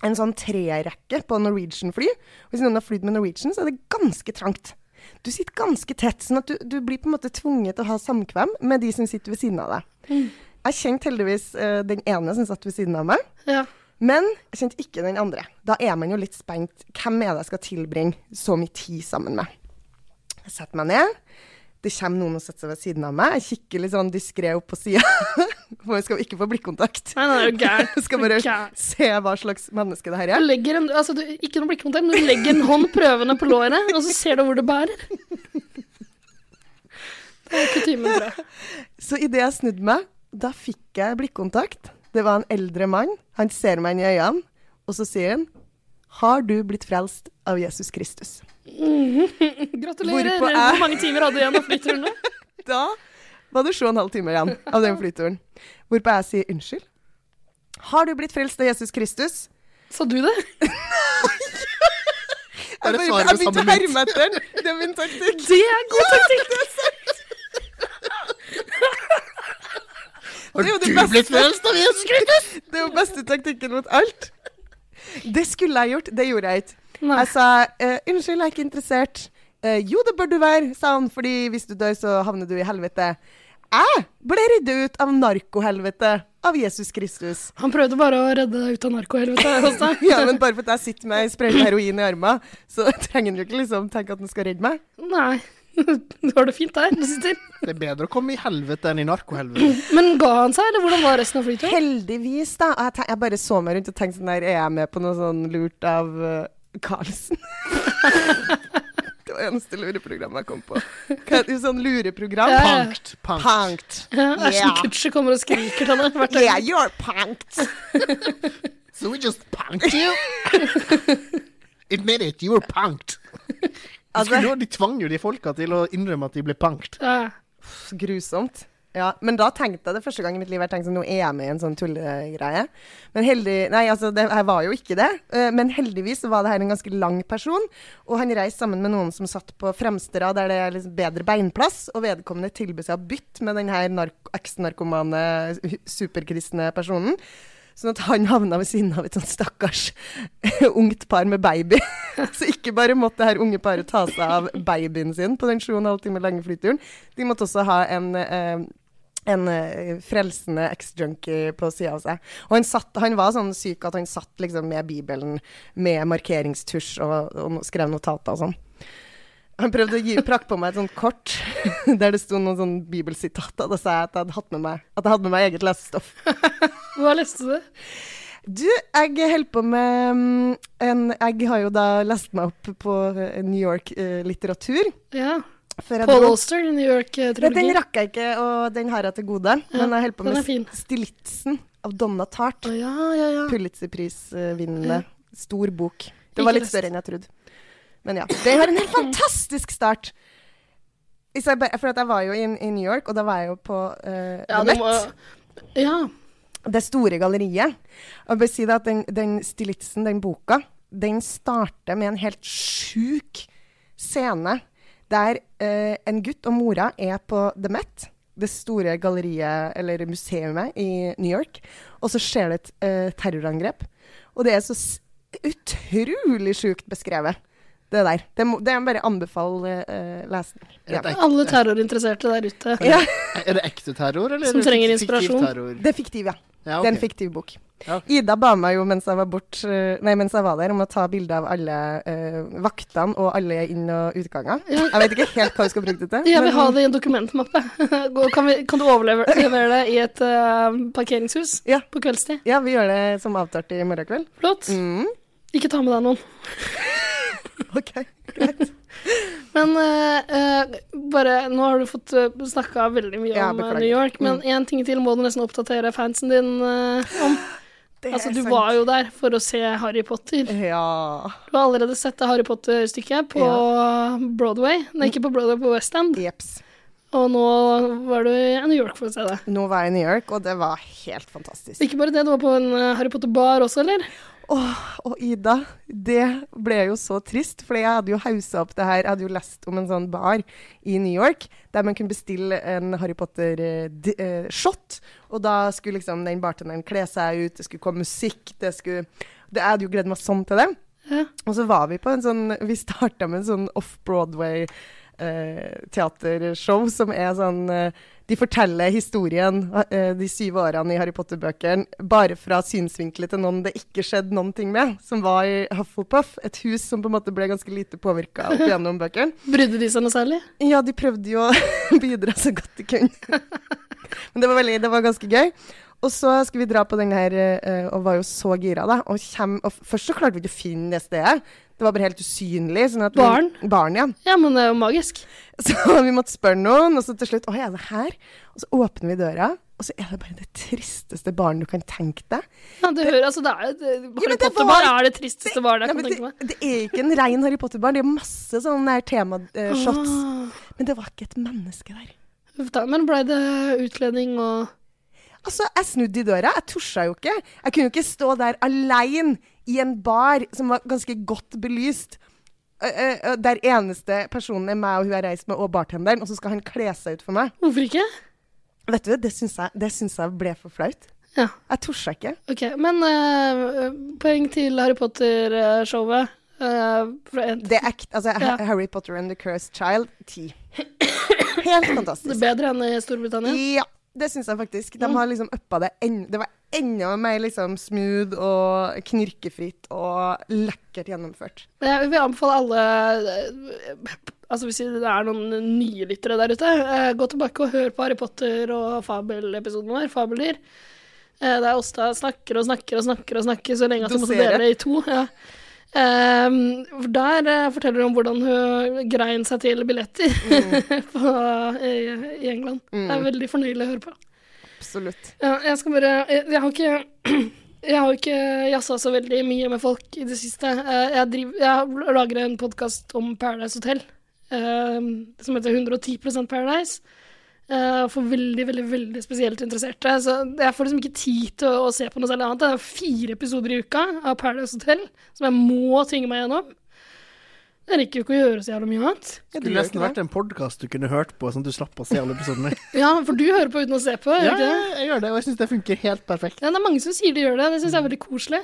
S2: en sånn trerekke på Norwegian-fly. Og Hvis noen har flydd med Norwegian, så er det ganske trangt. Du sitter ganske tett, sånn at du, du blir på en måte tvunget til å ha samkvem med de som sitter ved siden av deg. Jeg kjente heldigvis eh, den ene som satt ved siden av meg.
S3: Ja.
S2: Men jeg kjente ikke den andre. Da er man jo litt spent. Hvem er det jeg skal tilbringe så mye tid sammen med? Jeg setter meg ned. Det kommer noen og setter seg ved siden av meg. Jeg kikker litt sånn diskré opp på sida. For jeg skal jo ikke få blikkontakt.
S3: Nei, nei, det er jo gærent.
S2: Jeg skal bare
S3: Gærent.
S2: se hva slags menneske det her
S3: Du
S2: er.
S3: legger en, altså du, ikke noe blikkontakt, men du legger en hånd prøvende på låret, og så ser du hvor det bærer. Det er kutymen, tror jeg.
S2: Så idet jeg snudde meg, da fikk jeg blikkontakt. Det var en eldre mann. Han ser meg inn i øynene, og så sier han Har du blitt frelst av Jesus Kristus?
S3: Gratulerer.
S2: Hvorpå er-
S3: Hvor mange timer hadde du igjen av flyturen nå?
S2: Da var det sju og en halv time igjen av den flyturen. Hvorpå jeg sier unnskyld. Har du blitt frelst av Jesus Kristus?
S3: Sa du det?
S2: Jeg,
S1: Bare svarer
S2: bare, jeg
S1: med
S2: begynte å
S1: samme mynt.
S2: herme etter den. Det er min taktikk.
S3: Det er god taktikk!
S2: Det er jo det beste.
S1: blitt frelst av Jesus Kristus?
S2: Det er jo beste taktikken mot alt. Det skulle jeg gjort. Det gjorde jeg ikke.
S3: Nei.
S2: Jeg sa eh, unnskyld, jeg er ikke interessert. Eh, jo, det bør du være, sa han, fordi hvis du dør, så havner du i helvete. Jeg ble ryddet ut av narkohelvete av Jesus Kristus.
S3: Han prøvde bare å redde deg ut av narkohelvetet. Åsta.
S2: Ja, men bare for at jeg sitter med ei sprøyte heroin i armen, så trenger han jo ikke liksom tenke at han skal redde meg.
S3: Nei. Du har det fint der du sitter.
S1: Det er bedre å komme i helvete enn i narkohelvete.
S3: Men ga han seg, eller hvordan var resten av flyturen?
S2: Heldigvis, da. Og jeg, te- jeg bare så meg rundt og tenkte sånn der, er jeg med på noe sånn lurt av eh, Carlsen? det var eneste lureprogrammet jeg kom på. Hva, heter det, sånn lureprogram?
S3: Ja.
S1: Punked. Punked.
S2: Punked.
S3: Ja, Ashton
S2: Ja.
S3: Kutcher kommer og skriker til henne hvert
S2: Yeah,
S3: øyeblikk.
S2: you're punked.
S1: So we just punked you. Admit it, you were punked.
S2: Altså,
S1: Skulle jo- de tvang jo de folka til å innrømme at de ble punked.
S3: Ja.
S2: pff, grusomt. Ja, men da tenkte jeg det første gang i mitt liv jeg tenkte sånn, nå er jeg med i en sånn tullegreie. Men heldig, nei, altså, det, jeg var jo ikke det. Eh, Men heldigvis var det her en ganske lang person, og han reiste sammen med noen som satt på fremste rad der det er liksom bedre beinplass, og vedkommende tilbød seg å bytte med den her nark eksnarkomane, hu- superkristne personen. Sånn at han havna ved siden av et sånt stakkars eh, ungt par med baby. Så ikke bare måtte det her unge paret ta seg av babyen sin på den 7,5 timer lange flyturen, de måtte også ha en eh, en eh, frelsende ex-junkie på sida av seg. Og han, satt, han var sånn syk at han satt liksom med Bibelen med markeringstusj og, og skrev notater og sånn. Han prøvde å gi, prakke på meg et sånt kort der det sto noen sånn bibelsitater. Da sa jeg at jeg hadde hatt med meg, at jeg hadde med meg eget lesestoff.
S3: Hva leste du?
S2: Du, jeg holder på med mm, en Jeg har jo da lest meg opp på eh, New York-litteratur.
S3: Ja.
S2: før jeg
S3: Paul
S2: dro.
S3: Auster, New eh,
S2: Nei, den
S3: York-trilogien.
S2: rakk jeg ikke, og den har jeg til gode.
S3: Ja,
S2: men jeg holder på
S3: den er fin.
S2: med Stilitzen av Donna Tart.
S3: Å ja, ja, ja.
S2: Pulitzerprisvinnende.
S3: Ja.
S2: Stor bok.
S3: Ikke
S2: Det var litt
S3: lest.
S2: større enn jeg trodde. Men ja. Det har en helt fantastisk start. Hvis jeg bare- For at jeg var jo i, i New York, og da var jeg jo på eh,
S3: Ja,
S2: The
S3: du
S2: Met,
S3: må... ja.
S2: det store galleriet. Og jeg bare si det at den, den Stilitzen, den boka, den starter med en helt sjuk scene der eh, en gutt og mora er på The Met, det store galleriet eller museumet i New York, og så skjer det et eh, terrorangrep. Og det er så s utrolig sjukt beskrevet, det der. Det, må, det er bare anbefale eh, lesning. Ja.
S3: Alle terrorinteresserte der ute.
S2: Ja,
S1: Er det ekte terror, eller? er
S3: Som
S1: det
S3: trenger
S1: fiktiv
S3: inspirasjon.
S1: terror?
S2: det er fiktiv, ja.
S1: Ja, Ah,
S2: Det er
S1: ok.
S2: en fiktiv bok.
S1: Ja, ok.
S2: Ida ba meg jo mens jeg var, bort, eh, nei, mens jeg var der, om å ta bilde av alle eh, vaktene og alle inn- og utganger. Jeg vet ikke helt hva vi skal bruke det til.
S3: Jeg vil
S2: men-
S3: ha det i en dokumentmappe. Gå- Kan, vi, kan du overleve levere det i et eh, parkeringshus
S2: Ja.
S3: på kveldstid?
S2: Ja, vi gjør det som avtalt i morgen kveld.
S3: Flott.
S2: Mm.
S3: Ikke ta med deg noen.
S2: Ok, greit.
S3: Men eh, eh, bare, nå har du fått uh, snakka veldig mye
S2: Ja,
S3: om eh,
S2: beklager. Mm.
S3: New York, men én ting til må du nesten oppdatere fansen din eh, om.
S2: Det
S3: Altså,
S2: er
S3: du
S2: sant.
S3: var jo der for å se Harry Potter.
S2: Ja.
S3: Du har allerede sett det Harry Potter-stykket på Broadway. Nei, ikke på Broadway, på West End.
S2: Jeps.
S3: Og nå var du i New York for å se det.
S2: Nå var jeg i New York, og det var helt fantastisk.
S3: Ikke bare det, du var på en eh, Harry Potter-bar også, eller?
S2: Og Ida, det ble jo så trist, for jeg hadde jo hausa opp det her. Jeg hadde jo lest om en sånn bar i New York der man kunne bestille en Harry eh, Potter-shot. Og da skulle liksom den bartenderen kle seg ut, det skulle komme musikk, det skulle det, Jeg hadde jo gledet meg sånn til det.
S3: Ja.
S2: Og så var vi på en sånn Vi starta med en sånn off-Broadway eh, teatershow som er sånn eh, De forteller historien, eh, de syv årene i Harry Potter-bøkene, bare fra synsvinkelet til noen det ikke skjedde noen ting med, som var i Hufflepuff. Et hus som på en måte ble ganske lite påvirka opp gjennom bøkene.
S3: Brydde de seg noe særlig?
S2: Ja, de prøvde jo å bidra så godt de kunne. Men det var, veldig, det var ganske gøy. Og så skulle vi dra på den her, eh, og var jo så gira, da. Og, kjem, og f- først så klarte vi ikke å finne det stedet. Det var bare helt usynlig. Sånn at vi-
S3: Barn?
S2: Barn, ja.
S3: Ja, men det er jo magisk.
S2: Så vi måtte spørre noen, og så til slutt Å, er det her? Og så åpner vi døra, og så er det bare det tristeste barnet du kan tenke deg.
S3: Ja, det hører, altså, det er, det, Harry
S2: men det
S3: Potter-bar
S2: var-
S3: er det tristeste bar jeg
S2: Nei,
S3: kan
S2: men
S3: tenke meg.
S2: det, det er ikke en rein Harry Potter-barn. Det er masse sånne tema-shots.
S3: Ah.
S2: Men det var ikke et menneske der.
S3: Uff da, Men blei det utkledning og
S2: Altså, jeg snudde i døra. Jeg torsa jo ikke. Jeg kunne jo ikke stå der aleine i en bar som var ganske godt belyst. Ø- ø- ø, Der eneste personen er meg og hun jeg reiser med, og bartenderen, og så skal han kle seg ut for meg.
S3: Hvorfor ikke?
S2: Vet du, Det syns jeg, det syns jeg ble for flaut.
S3: Ja,
S2: Jeg torsa ikke.
S3: OK. Men eh, poeng til Harry Potter-showet. eh, fra en-
S2: Det er ekte. Altså,
S3: Ja.
S2: Ha- Harry Potter and the Cursed Child, ti. Helt
S3: det er
S2: fantastisk.
S3: bedre enn i Storbritannia.
S2: Ja, det syns jeg faktisk. De har liksom uppa det en, Det var enda mer liksom smooth og knirkefritt og lekkert gjennomført.
S3: Men Jeg vil anbefale alle eh, Altså Hvis det er noen nye lyttere der ute, eh, gå tilbake og hør på Harry Potter og fabelepisoden vår, Fabeldyr. Eh, der Åsta snakker og snakker og snakker og snakker så lenge at hun måtte
S2: Dosere.
S3: dele i to. Ja. Ehm, for der eh, forteller hun om hvordan hun grein seg til billetter på, i, i England. Det er veldig fornøyelig å høre på.
S2: Absolutt.
S3: Ja, jeg skal bare Jeg, jeg har ikke jeg har ikke jazza så veldig mye med folk i det siste. Eh, Jeg, driver, jeg lager en podkast om Paradise Hotel eh, som heter 110 Paradise. eh, For veldig veldig, veldig spesielt interesserte. Så Jeg får liksom ikke tid til å, å se på noe særlig annet. Det er fire episoder i uka av Paradise Hotel som jeg må tvinge meg gjennom. Jeg rekker jo ikke å gjøre så jævla mye annet.
S2: Ja, du
S1: Skulle
S2: gjør ikke
S1: nesten vært en podkast du kunne hørt på, sånn at du slapp å se alle episodene.
S3: Ja, for du hører på uten å se på? gjør
S1: ja,
S3: du ikke det?
S1: ja, jeg gjør det, og jeg syns det funker helt perfekt.
S3: Ja, det er mange som sier de gjør det. Det syns jeg er veldig koselig.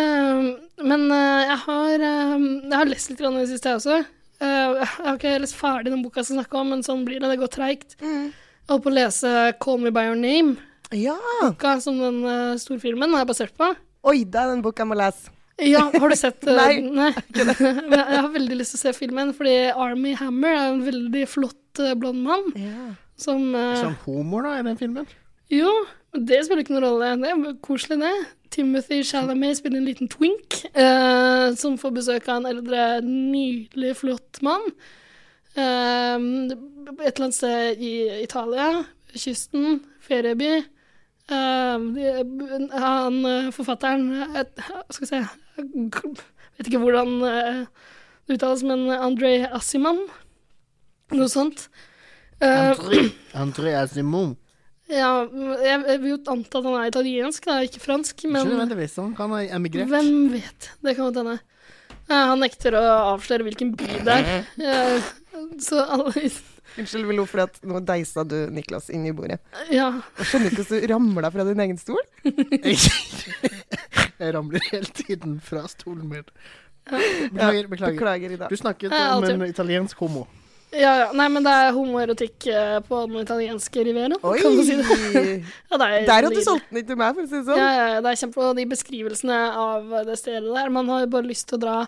S3: Ehm, men eh, jeg, har, ehm, jeg har lest litt grann i det siste, jeg også. Eh, jeg har ikke lest ferdig den boka jeg skal snakke om, men sånn blir det. Det går treigt. Jeg holdt på å lese 'Call Me By Your Name',
S2: Ja!
S3: boka som den eh, storfilmen er basert på.
S2: Oi, det er den boka jeg må lese.
S3: Ja, har du sett eh,
S2: Nei,
S3: nei. Men jeg har veldig lyst til å se filmen, fordi Army Hammer er en veldig flott eh, blond mann som eh,
S1: Ikke han homo, da, i den filmen?
S3: Jo, men det spiller ikke noen rolle. Det er koselig, det. Timothy Chalamet spiller en liten twink eh, som får besøk av en eldre, nydelig, flott mann. Eh, et eller annet sted i Italia, kysten, ferieby. Eh, de- han eh, forfatteren et, Skal vi se Vet ikke hvordan eh, det uttales, men André Assiman. Noe sånt. Eh,
S1: André- André Simon.
S3: ja, jeg, jeg vil jo anta at han er italiensk, da, ikke fransk.
S1: Ikke
S3: Men
S1: nødvendigvis, sånn. han kan ha emigrert.
S3: hvem vet? Det kan godt hende. Eh, Han nekter å avsløre hvilken by det er. Eh, Så alle
S2: Unnskyld, Vilo, for at nå deisa du Niklas inn i bordet.
S3: Ja.
S2: Jeg skjønner ikke hvordan du ramla fra din egen stol.
S1: Jeg ramler hele tiden fra stolen min. Beklager, beklager. altså-
S2: Beklager, Ida.
S1: Du snakket
S3: Ja,
S1: om
S3: alltid.
S1: en italiensk homo.
S3: ja, ja. Nei, men det er homoerotikk eh, på den italienske rivieraen.
S2: Oi!
S3: Kan du si det? Ja, det er,
S2: Der hadde du solgt den ikke til meg, for å si det sånn.
S3: Ja, ja, ja, det er kjempe... Og de beskrivelsene av det stedet der Man har jo bare lyst til å dra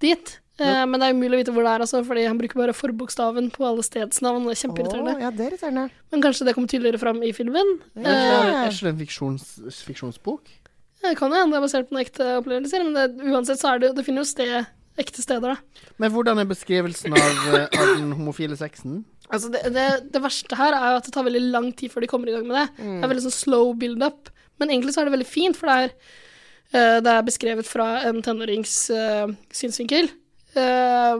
S3: dit. Eh, Men det er umulig å vite hvor det er, altså, fordi han bruker bare forbokstaven på alle stedsnavn. Det er kjempeirriterende.
S2: Å, ja, det er irriterende.
S3: Men kanskje det kommer tydeligere fram i filmen.
S1: Er ikke
S3: Eh,
S1: det- er ikke det en fiksjons, fiksjonsbok?
S3: det kan jo hende det er basert på noen ekte opplevelser, men det, uansett så er det, det finner jo sted, ekte steder, da.
S1: Men hvordan er beskrivelsen av, eh, av den homofile sexen?
S3: Altså det, det, det verste her er jo at det tar veldig lang tid før de kommer i gang med det. Det er veldig sånn slow build-up. Men egentlig så er det veldig fint, for det er, eh, det er beskrevet fra en tenårings eh, synsvinkel. Eh,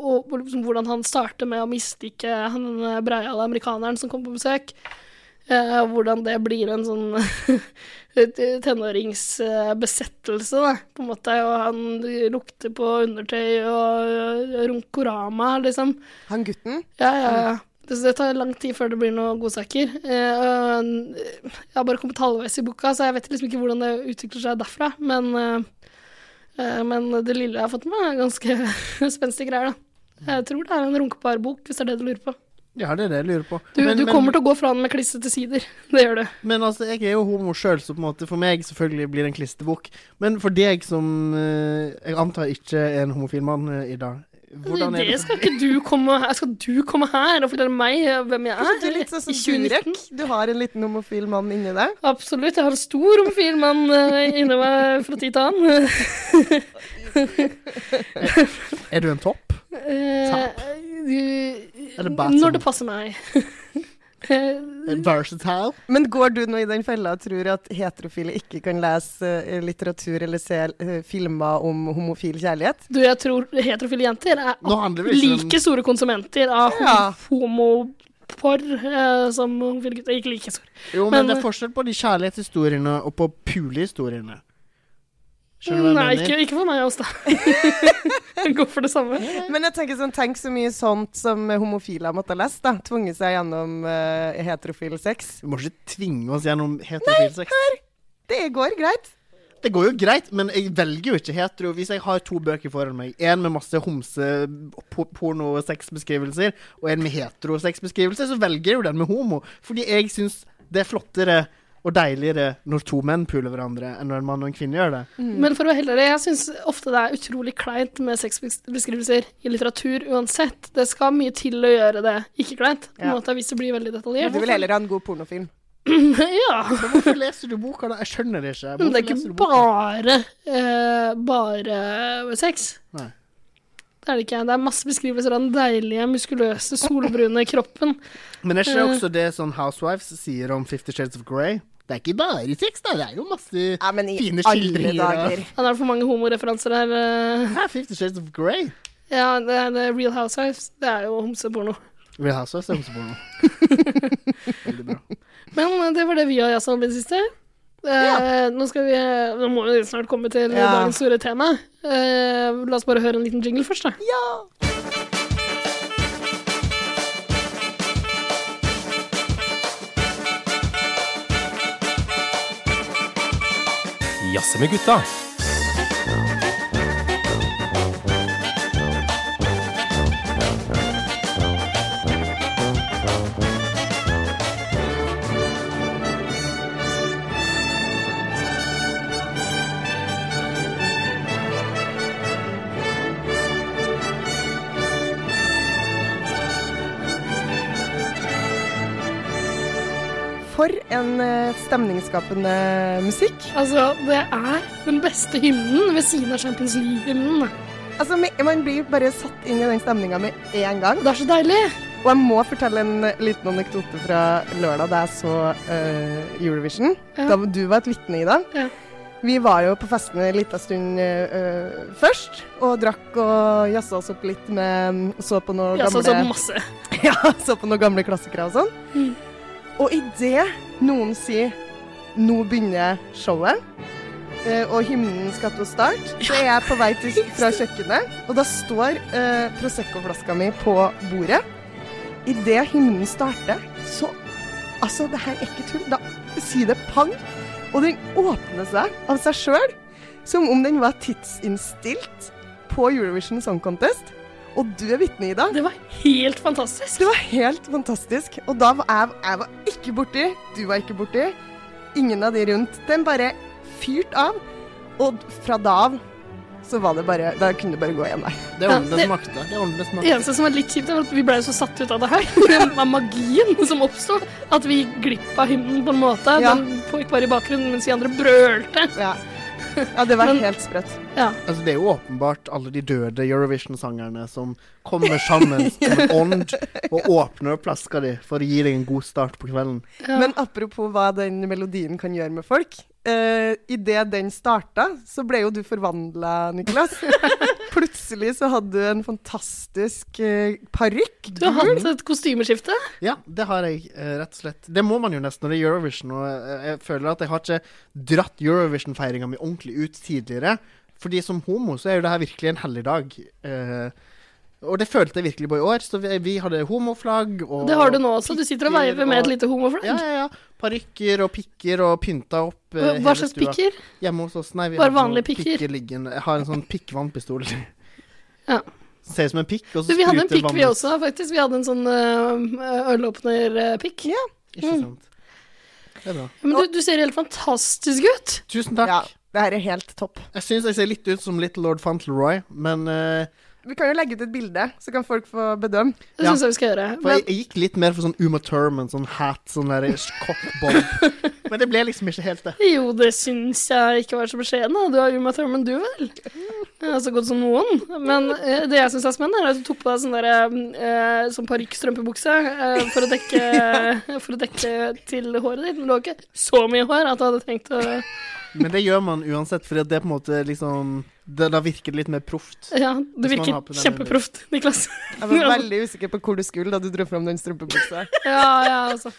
S3: og hvor- liksom, hvordan han starter med å mislike han eh, breiale amerikaneren som kommer på besøk. Eh, hvordan det blir en sånn tenåringsbesettelse, eh, da, på en måte. Og han lukter på undertøy og eh, runkorama, liksom.
S2: Han gutten
S3: Ja, ja, ja. Eh, Det, det tar lang tid før det blir noen godsaker. Eh, og, eh, jeg har bare kommet halvveis i boka, så jeg vet liksom ikke hvordan det utvikler seg derfra. Men, eh, eh, men det lille jeg har fått med, er ganske spenstige greier, da. Jeg tror det er en runkepar bok, hvis det er det du lurer på.
S1: Ja, det er det jeg lurer på.
S3: Du, du kommer til å gå fra den med klissete sider. Det gjør du.
S1: Men altså, jeg er jo homo sjøl, så på en måte for meg selvfølgelig blir det en klistrebok. Men for deg som eh, jeg antar ikke er en homofil mann, eh, Ida. Hvordan er
S3: Altså, Det
S1: det?
S3: skal ikke du komme her. Skal du komme her og fortelle meg eh, hvem jeg er?
S2: Du er litt sånn
S3: I
S2: som
S3: 2019?
S2: Durek. Du har en liten homofil mann inni deg.
S3: Absolutt. Jeg har en stor homofil mann eh, inni meg fra tid til annen.
S1: Er du en topp?
S3: Eh,
S1: Eller
S3: du,
S1: bare
S3: når det
S1: sånn-
S3: passer meg. Eh,
S1: Eh, Versatile?
S2: Men går du nå i den fella og tror at heterofile ikke kan lese eh, litteratur eller se eh, filmer om homofil kjærlighet?
S3: du, jeg tror heterofile jenter
S1: Nå
S3: er
S1: liksom handler det ikke om
S3: like store konsumenter av
S2: Ja.
S3: homopor eh, som homofile gutter. Ikke like store.
S1: Jo, men,
S3: Men-
S1: det er forskjell på de kjærlighetshistoriene og på pulehistoriene. Skjønner du hva
S3: Nei,
S1: jeg
S3: ikke,
S1: mener?
S3: ikke for meg også, da. Jeg går for det samme.
S2: Men jeg tenker sånn, tenk så mye sånt som homofile har måttet lese, da. Tvunget seg gjennom eh, heterofil sex.
S1: Vi må ikke tvinge oss gjennom heterofil sex.
S2: Det går greit.
S1: Det går jo greit, men jeg velger jo ikke hetero. Hvis jeg har to bøker foran meg, en med masse homse-porno-sexbeskrivelser og en med hetero-sexbeskrivelser, så velger jeg jo den med homo. Fordi jeg syns det er flottere og deiligere når to menn puler hverandre, enn når en mann og en kvinne gjør det.
S3: Men for å være helt ærlig, jeg syns ofte det er utrolig kleint med sexbeskrivelser i litteratur uansett. Det skal mye til å gjøre det ikke kleint, på en
S2: Ja.
S3: måte, hvis det blir veldig
S2: Du
S3: detaljert.
S2: vil heller ha en god pornofilm.
S3: ja.
S1: Men hvorfor leser du boka, da? Jeg skjønner det ikke.
S3: Men det
S1: Hvorfor
S3: er ikke
S1: leser du boka?
S3: bare, eh, bare eh, sex.
S1: Nei.
S3: Det er det ikke. Det er masse beskrivelser av den deilige, muskuløse, solbrune kroppen.
S1: Men er ikke det også det sånn Housewives sier om Fifty Shades of Grey? Det er ikke bare sex, da. Det er jo masse
S2: Ja, men i
S1: Fine
S2: alle
S1: skildringer, ja.
S2: dager.
S3: Ja, det er for mange homoreferanser her. eh.
S1: Hæ, Fifty Shades of Grey?
S3: Ja, det er det er Real Housewives. Det er jo homseporno.
S1: Real Housewives er homseporno. Veldig bra.
S3: Men eh, det var det vi har jazza om i det siste. Eh, nå, skal vi, eh, nå må vi snart komme til
S2: Ja.
S3: dagens store tema. Eh, la oss bare høre en liten jingle først, da.
S2: Ja!
S4: Jazze med gutta.
S2: For en eh, stemningsskapende musikk.
S3: Altså, det er den beste hymnen ved siden av Champions League-hymnen.
S2: Altså, me- Man blir bare satt inn i den stemninga med en gang.
S3: Det er så deilig!
S2: Og jeg må fortelle en liten anekdote fra lørdag da jeg så eh, Eurovision.
S3: Ja.
S2: Da du var et vitne, Ida.
S3: Ja.
S2: Vi var jo på festene en liten stund eh, eh, først, og drakk og jazza oss opp litt med mm, Så på noe
S3: Ja, sånn som
S2: gamle
S3: masse.
S2: ja, så på noen gamle klassikere og sånn.
S3: Mm.
S2: Og idet noen sier 'nå begynner showet', eh, og hymnen skal til å starte, så er jeg på vei til, fra kjøkkenet, og da står eh, Prosecco-flaska mi på bordet. Idet hymnen starter, så Altså, det her er ikke tull. Da sier det pang, og den åpner seg av seg sjøl, som om den var tidsinnstilt på Eurovision Song Contest. Og du er vitne, Ida.
S3: Det var helt fantastisk.
S2: Det var helt fantastisk. Og da var jeg, jeg var ikke borti, du var ikke borti. Ingen av de rundt. Den bare fyrt av. Og fra da av så var det bare Da kunne du bare gå igjen, nei.
S1: Det er åndenes
S3: det-
S1: makt, da. Det er åndenes
S3: Det
S1: makt.
S3: eneste som var litt kjipt, er at vi ble jo så satt ut av det her. Det var magien som oppsto. At vi gikk glipp av hymnen på en måte.
S2: Ja.
S3: Den pågikk bare i bakgrunnen mens de andre brølte.
S2: Ja. ja, det var
S3: Men-
S2: helt sprøtt.
S3: Ja.
S1: Altså, det er jo åpenbart alle de døde Eurovision-sangerne som kommer sammen som en ånd og åpner opp flaska di for å gi deg en god start på kvelden.
S3: Ja.
S2: Men apropos hva den melodien kan gjøre med folk. Eh, Idet den starta, så ble jo du forvandla, Niklas. Plutselig så hadde du en fantastisk eh, parykk.
S3: Du har hatt et kostymeskifte.
S1: Ja, det har jeg eh, rett og slett. Det må man jo nesten når det er Eurovision. Og eh, jeg føler at jeg har ikke dratt Eurovision-feiringa mi ordentlig ut tidligere. Fordi som homo så er jo det her virkelig en hellig dag. Eh, og det følte jeg virkelig på i år. Så vi, vi hadde homoflagg og
S3: Det har du nå også. Du sitter og veiver med et lite homoflagg.
S1: Ja, ja, ja. Parykker og pikker og pynta opp. eh,
S3: Hva-
S1: hele
S3: Hva slags
S1: stua.
S3: pikker?
S1: Hjemme hos oss. Nei, vi
S3: Bare
S1: har ikke noen
S3: vanlige pikker?
S1: liggende. Jeg har en sånn pikkvannpistol.
S3: Ja.
S1: Ser ut som en pikk, og så
S3: Du, vi hadde en pikk vi
S1: vannet.
S3: også, faktisk. Vi hadde en sånn øh, ølåpner-pikk.
S1: Ikke
S3: Mm.
S1: sant. Det er bra.
S3: Men du, du ser helt fantastisk ut.
S1: Tusen takk.
S2: Ja, det her er helt topp.
S1: Jeg syns jeg ser litt ut som Little Lord Fauntleroy, men eh,
S2: Vi kan jo legge ut et bilde, så kan folk få bedømme.
S3: Det
S1: Ja.
S3: syns jeg vi skal gjøre.
S1: For jeg,
S3: Men
S1: jeg gikk litt mer for sånn Uma Thurman, sånn hat, sånn der koppbob. men det ble liksom ikke helt det.
S3: jo, det syns jeg ikke var så beskjeden. da. Du har Uma Thurman, du vel? Ja, så godt som noen. Men eh, det jeg syns er spennende, er at du tok på deg sånn derre eh, sånn parykkstrømpebukse eh, for, å dekke- for å dekke til håret ditt. Men du har ikke så mye hår at du hadde trengt å
S1: Men det gjør man uansett, fordi at det på en måte liksom det, Da virker det litt mer proft.
S3: Ja, det
S1: Hvis man
S3: virker
S1: har på den
S3: kjempeproft, Niklas.
S2: Jeg var veldig usikker på hvor du skulle da du dro fram den strømpebuksa.
S3: Ja, ja, altså.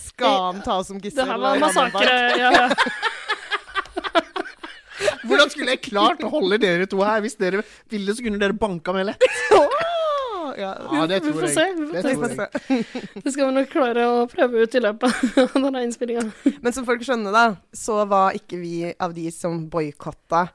S2: Skal han ta oss som gissel?
S3: Det her var
S2: og han bare-
S3: massakre. Ja, ja.
S1: Hvordan skulle jeg klart å holde dere to her? Hvis dere ville, så kunne dere banka meg lett.
S2: Åh! Ja.
S1: Ja, det
S3: Vi får
S1: tror jeg.
S3: se, vi får
S1: Det
S2: Vi
S1: tror
S2: får
S1: jeg.
S2: se.
S3: Det skal vi nok klare å prøve ut i løpet av denne innspillinga.
S2: Men som folk skjønner, da, så var ikke vi av de som boikotta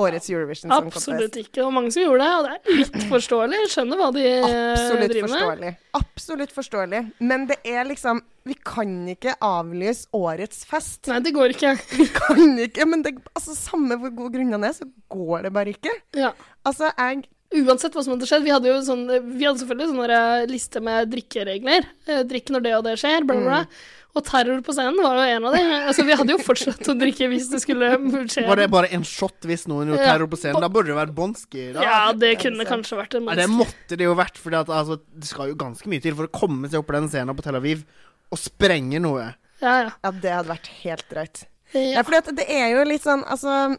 S2: årets Eurovision Song
S3: Absolutt
S2: Contest.
S3: ikke. Det var mange som gjorde det, og det er litt forståelig. Jeg skjønner hva de eh,
S2: Absolutt
S3: driver med.
S2: forståelig. Absolutt forståelig. Men det er liksom Vi kan ikke avlyse årets fest.
S3: Nei, det går ikke.
S2: Vi kan ikke Men det, altså, samme hvor gode grunnene er, så går det bare ikke.
S3: Ja.
S2: Altså, jeg
S3: Uansett hva som hadde skjedd, vi hadde jo sånn, vi hadde selvfølgelig sånn der, eh, liste med drikkeregler. Eh, Drikk når det og det skjer, bla, bla. bla. Og terror på scenen var jo en av de. Altså, vi hadde jo fortsatt å drikke hvis det skulle skje.
S1: Var det bare en shot hvis noen gjorde
S3: Ja.
S1: terror på scenen? Da burde det vært Bonski. Da.
S3: Ja, det kunne kanskje vært en
S1: Nei, det måtte det jo vært, for altså, det skal jo ganske mye til for å komme seg opp på den scenen på Tel Aviv og sprenge noe.
S3: Ja, ja.
S2: Ja, det hadde vært helt drøyt. Ja,
S3: ja.
S2: fordi at det er jo litt sånn, altså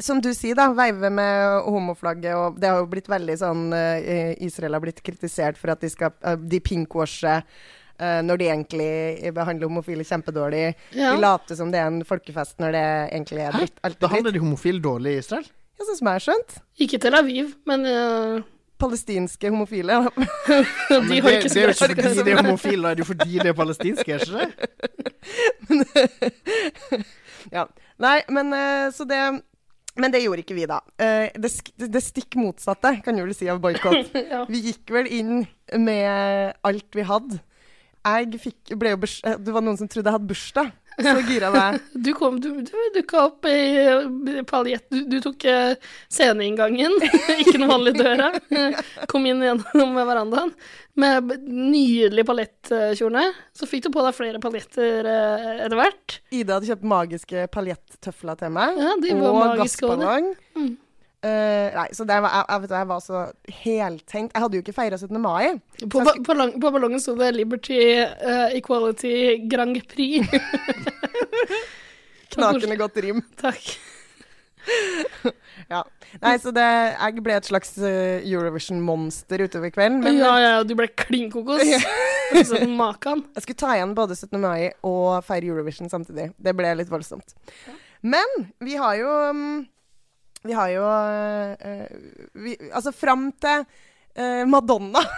S2: Som du sier, da. Veive med homoflagget, og det har jo blitt veldig sånn eh, Israel har blitt kritisert for at de skal eh, De pinkwasher eh, når de egentlig behandler homofile kjempedårlig.
S3: Ja.
S2: De later som det er en folkefest når det egentlig er
S1: Hæ?
S2: dritt. Alt er dritt.
S1: Behandler de homofile dårlig i Israel?
S2: Jeg synes jeg har skjønt.
S3: Ikke Tel Aviv, men eh,
S2: Palestinske homofile.
S3: de har
S1: det,
S3: ikke
S1: det er jo
S3: så
S1: ikke fordi de
S3: greit.
S1: er homofile, da er det jo fordi de er palestinske, er ikke det?
S2: ja. Nei, men eh, så det Men det gjorde ikke vi, da. Eh, Det, sk- det stikk motsatte, kan du vel si, av boikott.
S3: Ja.
S2: Vi gikk vel inn med alt vi hadde. Jeg fikk, ble jo burs, eh, det var noen som trodde jeg hadde bursdag, så gira jeg meg.
S3: Du kom, du, du dukka opp i eh, paljett. Du, du tok eh, sceneinngangen, ikke noe vanlig døra. eh, Kom inn gjennom verandaen med b- nydelig paljettkjole. Så fikk du på deg flere paljetter eh, etter hvert.
S2: Ida hadde kjøpt magiske paljettøfler til meg,
S3: Ja, de var
S2: og
S3: magiske også, de.
S2: gassballong.
S3: Mm.
S2: Eh, nei, så det var, jeg, jeg, vet, du, jeg var så heltenkt. Jeg hadde jo ikke feira 17. mai.
S3: På, ba- på, lang, på ballongen sto det 'Liberty eh, Equality Grand Prix'.
S2: Knakende godt rim.
S3: Takk.
S2: Ja. Nei, så det, jeg ble et slags eh, Eurovision-monster utover kvelden. Men
S3: ja, ja, ja, du ble klin kokos. Altså, Makan.
S2: Jeg skulle ta igjen både 17. mai og feire Eurovision samtidig. Det ble litt voldsomt. Men vi har jo mm, Vi har jo eh, vi, Altså fram til eh, Madonna,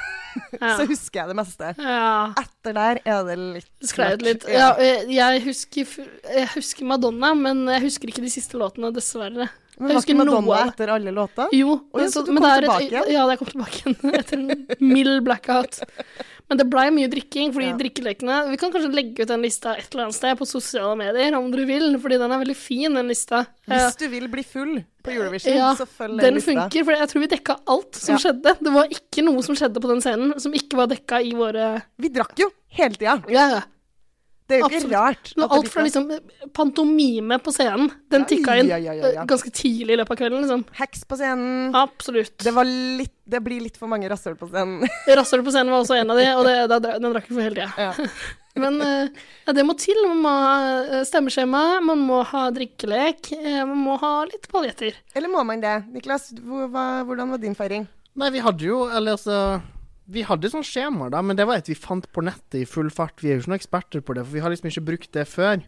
S3: Ja.
S2: så husker jeg det meste.
S3: ja.
S2: Etter der er det litt
S3: Det Sklei ut litt.
S2: mørkt.
S3: Ja, jeg, jeg, husker, f- jeg husker Madonna, men jeg husker ikke de siste låtene, dessverre. jeg
S2: Men var
S3: husker
S2: ikke
S3: noe
S2: Madonna
S3: av det.
S2: etter alle låta?
S3: Jo,
S2: ja,
S3: men
S2: så
S3: så-
S2: du
S3: men
S2: kom
S3: det er et-
S2: tilbake igjen?
S3: Ja, jeg kom tilbake igjen etter en mild blackout. Men det blei mye drikking, fordi
S2: Ja.
S3: drikkelekene Vi kan kanskje legge ut den lista et eller annet sted på sosiale medier, om dere vil, fordi den er veldig fin, den lista. Eh,
S2: Hvis du vil bli full på Eurovision,
S3: ja,
S2: så følg den,
S3: Den
S2: lista.
S3: funker, for jeg tror vi dekka alt som
S2: Ja.
S3: skjedde. Det var ikke noe som skjedde på den scenen som ikke var dekka i våre
S2: Vi drakk jo hele tida.
S3: Ja, ja.
S2: Det er jo ikke
S3: Absolutt.
S2: rart.
S3: Men
S2: at det
S3: alt fra
S2: blir sånn.
S3: liksom pantomime på scenen, den
S2: Ja,
S3: tikka inn
S2: ja, ja, ja, ja.
S3: eh, ganske tidlig i løpet av kvelden, liksom.
S2: sånn Heks på scenen.
S3: Ah. Absolutt.
S2: Det, var litt, det blir litt for mange rasshøl på scenen.
S3: Rasshøl på scenen var også en av de, og det, da dra- den drakk vi for hele tida.
S2: ja.
S3: Men eh, ja, det må til. Man må ha eh, stemmeskjema, man må ha drikkelek, eh, man må ha litt paljetter.
S2: Eller må man det? Niklas, hvor, hva, hvordan var din feiring?
S1: Nei, vi hadde jo, eller altså Vi hadde sånn skjema da, men det var et vi fant på nettet i full fart. Vi er jo ikke noen eksperter på det, for vi har liksom ikke brukt det før.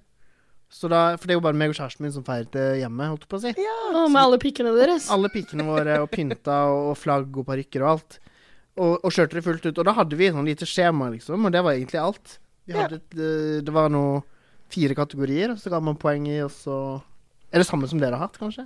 S1: Så da, for det er jo bare meg og kjæresten min som feirte hjemme, holdt jeg på å si.
S3: Og med alle pikkene deres.
S1: Alle pikene våre og pynta og flagg og parykker og alt. Og, og kjørte det fullt ut. Og da hadde vi sånn lite skjema, liksom, og det var egentlig alt. Vi hadde et, eh, det var noe fire kategorier, og så ga man poeng i, og så Er det samme som dere har hatt, kanskje?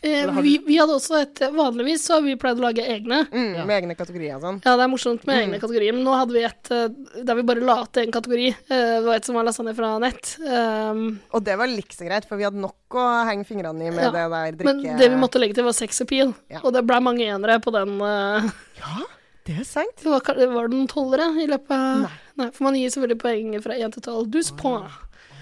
S3: Eh,
S1: Eller har
S3: vi, vi hadde også et eh, Vanligvis så har vi pleid å lage egne.
S2: Mm, Med egne kategorier og sånn.
S3: Ja, det er morsomt med egne kategorier, men nå hadde vi et eh, der vi bare la til en kategori. Eh, Det var et som var lasagne fra nett. Um,
S2: Og det var like så greit, for vi hadde nok å henge fingrene i med
S3: Ja,
S2: det der drikke...
S3: Men det vi måtte legge til, var sex appeal.
S2: Ja.
S3: Og det ble mange enere på den. eh,
S2: Det er sant.
S3: det var, ka- var det noen tolvere i løpet av Nei. For man gir selvfølgelig poeng fra én til tolv. Dus på.
S2: Ah.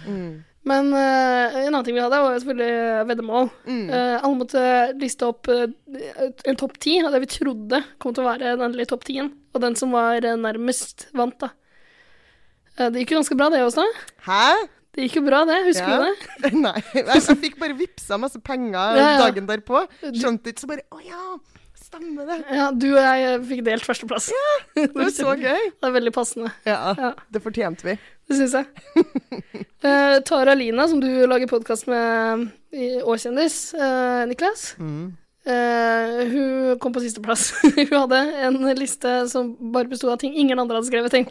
S2: Mm.
S3: Men eh, en annen ting vi hadde, var jo selvfølgelig veddemål.
S2: Mm.
S3: Eh, alle måtte liste opp eh, en topp ti av det vi trodde kom til å være den endelige topp tien. Og den som var eh, nærmest, vant, da. Eh, det gikk jo ganske bra, det også. da.
S2: Hæ?
S3: Det gikk jo bra, det. Husker
S2: Ja.
S3: du det?
S2: Nei. Altså, Jeg, jeg fikk bare vippsa masse penger
S3: Ja, ja.
S2: dagen derpå. Skjønte ikke, så bare Å ja, stemmer det.
S3: Ja, du og jeg eh, fikk delt førsteplass.
S2: Det var så gøy.
S3: Det er veldig passende.
S2: Ja,
S3: Ja.
S2: det fortjente vi.
S3: Det syns jeg. Eh,
S2: Mm.
S3: Tara Lina, som du lager podkast med i Årkjendis, eh, Niklas. Eh, hun kom på sisteplass. hun hadde en liste som bare besto av ting ingen andre hadde skrevet ting.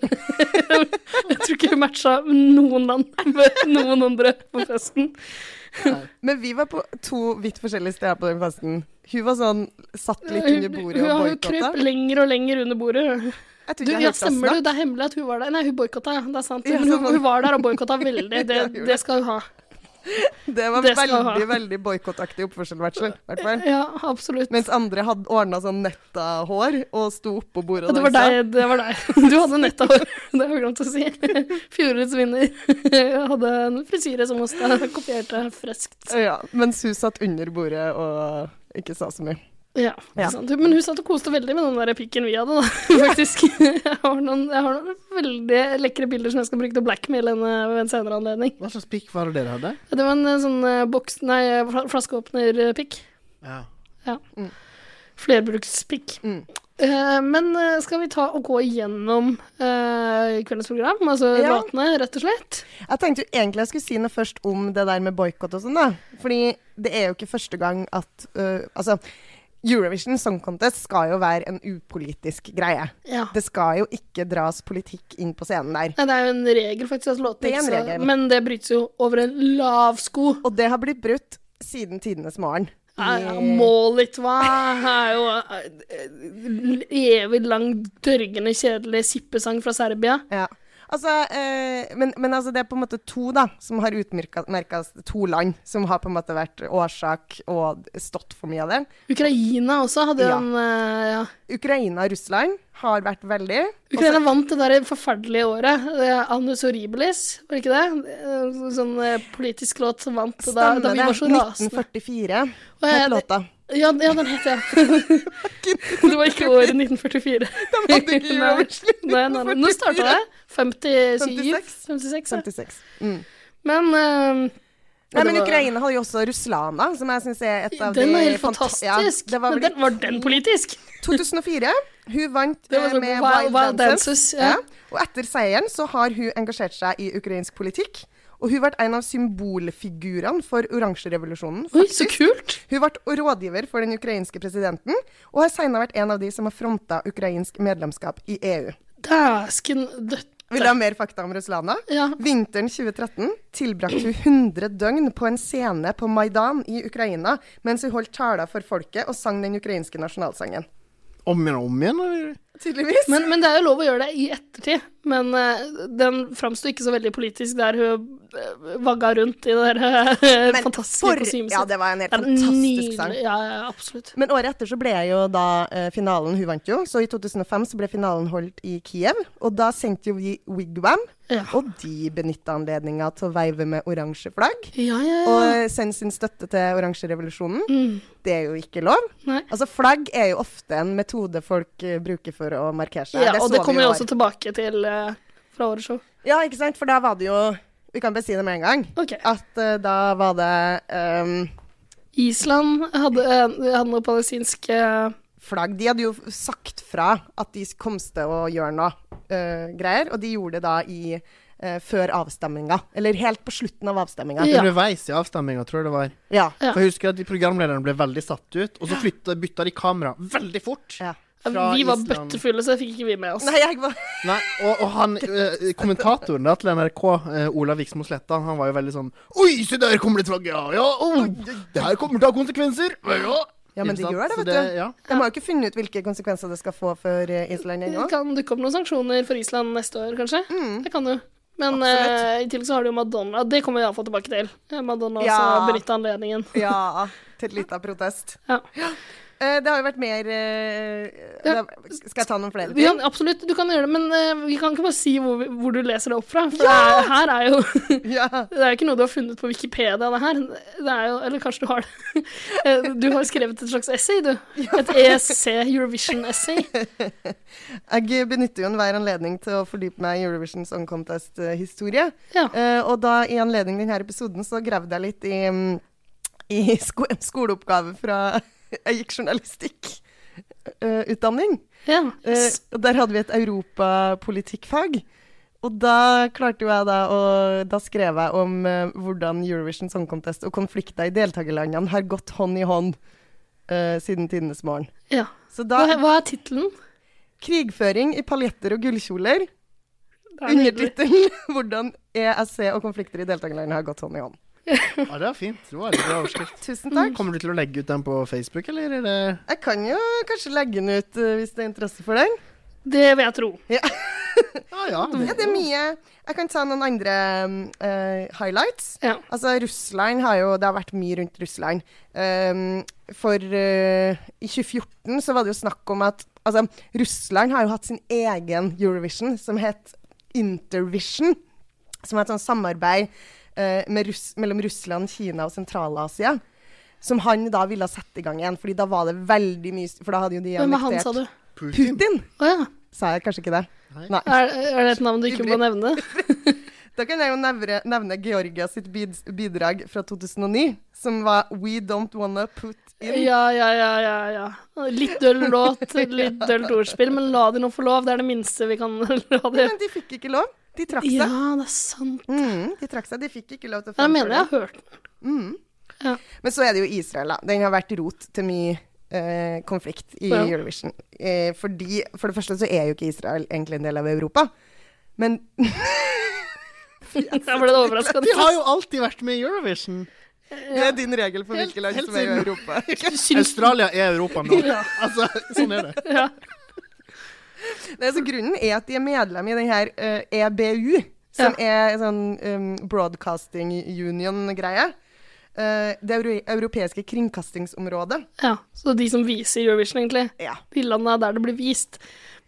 S3: jeg tror ikke hun matcha noen land med noen andre på festen.
S2: Men vi var på to vidt forskjellige steder på den festen. Hun var sånn satt litt under bordet
S3: hun,
S2: og
S3: hun, hun
S2: boikotta.
S3: krøp lenger og lenger under bordet.
S2: Jeg tror
S3: Du,
S2: ikke jeg
S3: ja,
S2: hørte oss
S3: stemmer det.
S2: snakke.
S3: Det er hemmelig at hun var der. Nei, hun boikotta, ja. Det er sant.
S2: Ja,
S3: Men hun,
S2: sånn.
S3: hun var der og boikotta veldig. Det,
S2: Ja, hun gjorde
S3: det skal hun ha.
S2: Det var
S3: Det skal hun ha.
S2: veldig, veldig boikottaktig oppførsel, i hvert fall- hvert fall.
S3: Ja, absolutt.
S2: Mens andre hadde ordna sånn nettahår og sto oppå bordet
S3: Ja,
S2: og
S3: det var deg. Det var deg. Du hadde nett av hår. Det har jeg glemt å si. Fjorårets vinner. Jeg hadde en frisyre som også kopierte freskt.
S2: Ja, mens hun satt under bordet og ikke sa så mye.
S3: Ja,
S2: Ja.
S3: ikke sant. Men hun satt og koste veldig med den der pikken vi hadde, da. Faktisk. Jeg har noen, jeg har noen veldig lekre bilder som jeg skal bruke til å blackmail henne ved en senere anledning.
S1: Hva slags pikk var det dere hadde?
S3: Det var en eh, sånn eh, boks... Nei, fla- flaskeåpnerpikk.
S1: Ja.
S3: Flerbrukspikk.
S2: Mm.
S3: Eh, men eh, skal vi ta og gå igjennom eh, kveldens program, altså
S2: Ja.
S3: ratene, rett og slett?
S2: Jeg tenkte jo egentlig jeg skulle si noe først om det der med boikott og sånn, da. Fordi det er jo ikke første gang at øh, Altså, Eurovision Song Contest skal jo være en upolitisk greie.
S3: Ja.
S2: Det skal jo ikke dras politikk inn på scenen der.
S3: Nei, det er jo en regel, faktisk. At låtene
S2: Det er en
S3: ikke skal-
S2: regel.
S3: Men det brytes jo over en lav sko.
S2: Og det har blitt brutt siden tidenes morgen.
S3: Ja, ja, Målet hva er jo eh, evig lang, dørgende kjedelig sippesang fra Serbia.
S2: Ja. Altså, eh, men, men altså, det er på en måte to da, som har utmerka to land, som har på en måte vært årsak og stått for mye av det.
S3: Ukraina også hadde
S2: Ja.
S3: en eh, ja.
S2: Ukraina og Russland har vært veldig
S3: Ukraina vant det der forferdelige året. eh, Annus horribilis, var det ikke det? Eh, Sånn eh, politisk låt som vant da, da vi var så rasende.
S2: 1944
S3: Å, ja,
S2: het
S3: det-
S2: låta.
S3: Ja, ja den het jeg. det var ikke året 1944.
S2: De hadde ikke Eurovision i
S3: Nei, nei, nei. Nå starta det. 57?
S2: 56.
S3: 56 ja.
S2: 1956. Mm.
S3: Men eh,
S2: Nei,
S3: det
S2: men
S3: var-
S2: Ukraina hadde jo også Ruslana, som jeg syns er et av
S3: Den
S2: de
S3: er helt
S2: fanta-
S3: fantastisk.
S2: Ja, det var
S3: men
S2: vel i
S3: den, var den politisk?
S2: 2004. Hun vant
S3: Det var
S2: eh,
S3: sånn
S2: med
S3: Wild-
S2: Wild,
S3: Wild
S2: Dances.
S3: Dances, ja.
S2: ja. Og etter seieren så har hun engasjert seg i ukrainsk politikk. Og hun ble en av symbolfigurene for oransjerevolusjonen.
S3: Oi, så kult!
S2: Hun ble rådgiver for den ukrainske presidenten, og har senere vært en av de som har fronta ukrainsk medlemskap i EU.
S3: Dæsken
S2: Vil du
S3: døtte.
S2: ha mer fakta om Ruslana?
S3: Ja.
S2: Vinteren 2013 tilbrakte hun 100 døgn på en scene på Maidan i Ukraina mens hun holdt taler for folket og sang den ukrainske nasjonalsangen.
S1: Om igjen og om igjen? Eller?
S2: Tydeligvis.
S3: Men, men det er jo lov å gjøre det i ettertid. Men eh, den framsto ikke så veldig politisk der hun eh, vagga rundt i det der eh,
S2: Men
S3: fantastiske
S2: for-
S3: kostymet
S2: Ja, det var en helt
S3: Det er en
S2: fantastisk sang.
S3: nydelig- Ja, ja, absolutt.
S2: Men året etter så ble jo da eh, finalen Hun vant jo, så i 2005 så ble finalen holdt i Kiev. Og da sendte jo vi Wigwam,
S3: Ja.
S2: og de benytta anledninga til å veive med oransje flagg.
S3: Ja, ja, ja. Mm.
S2: Og eh, sende sin støtte til oransjerevolusjonen. Det er jo ikke lov.
S3: Nei.
S2: Altså Flagg er jo ofte en metode folk eh, bruker for å markere seg.
S3: ja, og
S2: så
S3: det
S2: vi
S3: kommer
S2: i
S3: jo
S2: år.
S3: også tilbake til eh, fra årets show.
S2: Ja, ikke sant? For da var det jo Vi kan bare si det med en gang.
S3: Ok.
S2: At eh, da var det ehm,
S3: Island hadde, eh, hadde noe palestinsk eh,
S2: flagg. De hadde jo sagt fra at de kom til å gjøre noe eh, greier, og de gjorde det da i eh, før avstemminga. Eller helt på slutten av avstemminga.
S3: Ja.
S1: Underveis i avstemminga, tror jeg det var.
S2: Ja.
S3: Ja.
S1: For jeg husker at de programlederne ble veldig satt ut, og så flytta, bytta de kamera veldig fort.
S2: Ja.
S1: Fra
S3: Vi var
S1: Island.
S3: bøttefulle, så det fikk ikke vi med oss.
S2: Nei, jeg var
S1: Nei, og, og han, eh, kommentatoren da, til NRK, eh, Olav Viksmo Sletta, han var jo veldig sånn Oi, se der kommer det et flagg! Ja, ja! Oh, det her kommer til å ha konsekvenser! Ja, ja.
S2: Ja, men det
S1: Ikke sant?
S2: gjør det,
S1: Så
S2: vet du.
S1: Ja.
S2: De har jo ikke funnet ut hvilke konsekvenser det skal få for eh, Island ennå.
S3: Det kan dukke opp noen sanksjoner for Island neste år, kanskje. Det kan jo. Men
S2: Absolutt.
S3: eh, i tillegg så har du jo Madonna. Det kommer vi iallfall tilbake til. Eh, Madonna ja.
S2: Ja.
S3: også benytta anledningen.
S2: Ja, til et lite protest.
S3: Ja.
S2: Eh, det har jo vært mer eh, det har- Skal jeg ta noen flere
S3: Vi
S2: ting?
S3: kan, absolutt, du kan gjøre det, men eh, vi kan ikke bare si hvor, vi, hvor du leser det opp fra. For det er, her er jo
S2: Ja.
S3: Det er jo ikke noe du har funnet på Wikipedia, det her. Det er jo, eller kanskje du har det. Eh, Du har skrevet et slags essay, du. Et E ESC Eurovision-essay.
S2: Jeg benytter jo enhver anledning til å fordype meg i Eurovision Song eh, Contest-historie.
S3: Ja.
S2: Eh, og da, i anledning denne episoden, så gravde jeg litt i, mm, i sko en skoleoppgave fra Jeg gikk journalistikkutdanning.
S3: Ja.
S2: Eh,
S3: S-
S2: og der hadde vi et europapolitikkfag. Og da klarte jo jeg da å Da skrev jeg om eh, hvordan Eurovision Song Contest og konflikter i deltakerlandene har gått hånd i hånd. eh, siden tidenes morgen.
S3: Ja.
S2: Så
S3: Hva,
S2: da
S3: hva er tittelen?
S2: Krigføring i paljetter og gullkjoler.
S3: Det er nydelig.
S2: Undertittelen 'Hvordan ESC og konflikter i deltakerlandene har gått hånd i hånd'.
S1: Ja, det var fint. Det var en bra overskrift.
S2: Tusen takk.
S1: Kommer du til å legge ut den på Facebook, eller er det
S2: Jeg kan jo kanskje legge den ut eh, hvis det er interesse for den.
S3: Det vil jeg tro.
S1: Ja, ja.
S2: Ja, det er mye. Jeg kan ta noen andre mm, eh, highlights.
S3: Ja.
S2: Altså, Russland har jo Det har vært mye rundt Russland. Ehm, for eh, i 2014 så var det jo snakk om at Altså, Russland har jo hatt sin egen Eurovision som het Intervision. Som er et sånt samarbeid eh, med Russ mellom Russland, Kina og Sentral-Asia. Som han da ville sette i gang igjen, Fordi da var det veldig mye For da hadde jo de
S3: Hvem er han, sa du?
S1: Putin.
S2: Putin!
S3: Å ja.
S2: Sa jeg kanskje ikke det?
S3: Er, er det et navn du ikke må nevne?
S2: Da kan jeg jo nevne, nevne Georgia sitt bid- bidrag fra 2009, som var We Don't Wanna Put In.
S3: Ja, ja, ja, ja. ja. Litt døll låt, litt dølt ordspill, men la de nå få lov. Det er det minste vi kan la de
S2: Men de fikk ikke lov. De trakk
S3: Ja,
S2: seg.
S3: det er sant.
S2: Mm, de trakk seg. De fikk ikke lov til å
S3: Jeg
S2: fremføre
S3: mener jeg har hørt den.
S2: Men så er det jo Israel, da. Den har vært rot til mye eh, konflikt i
S3: Ja.
S2: Eurovision. Eh, fordi, for det første så er jo ikke Israel egentlig en del av Europa. Men
S3: Jeg ble overraska.
S1: De har jo alltid vært med i Eurovision.
S2: det er din regel for
S1: Helt-
S2: hvilke land
S1: helt
S2: som er i
S1: siden-
S2: Europa.
S1: Australia er Europa nå. Altså, sånn er det.
S3: Ja.
S2: Nei, så grunnen er at de er medlem i den her eh, EBU, som er en sånn em, broadcasting union-greie. Eh, det euro- europeiske kringkastingsområdet.
S3: ja. Så de som viser Eurovision, egentlig.
S2: Ja.
S3: De landene der det blir vist.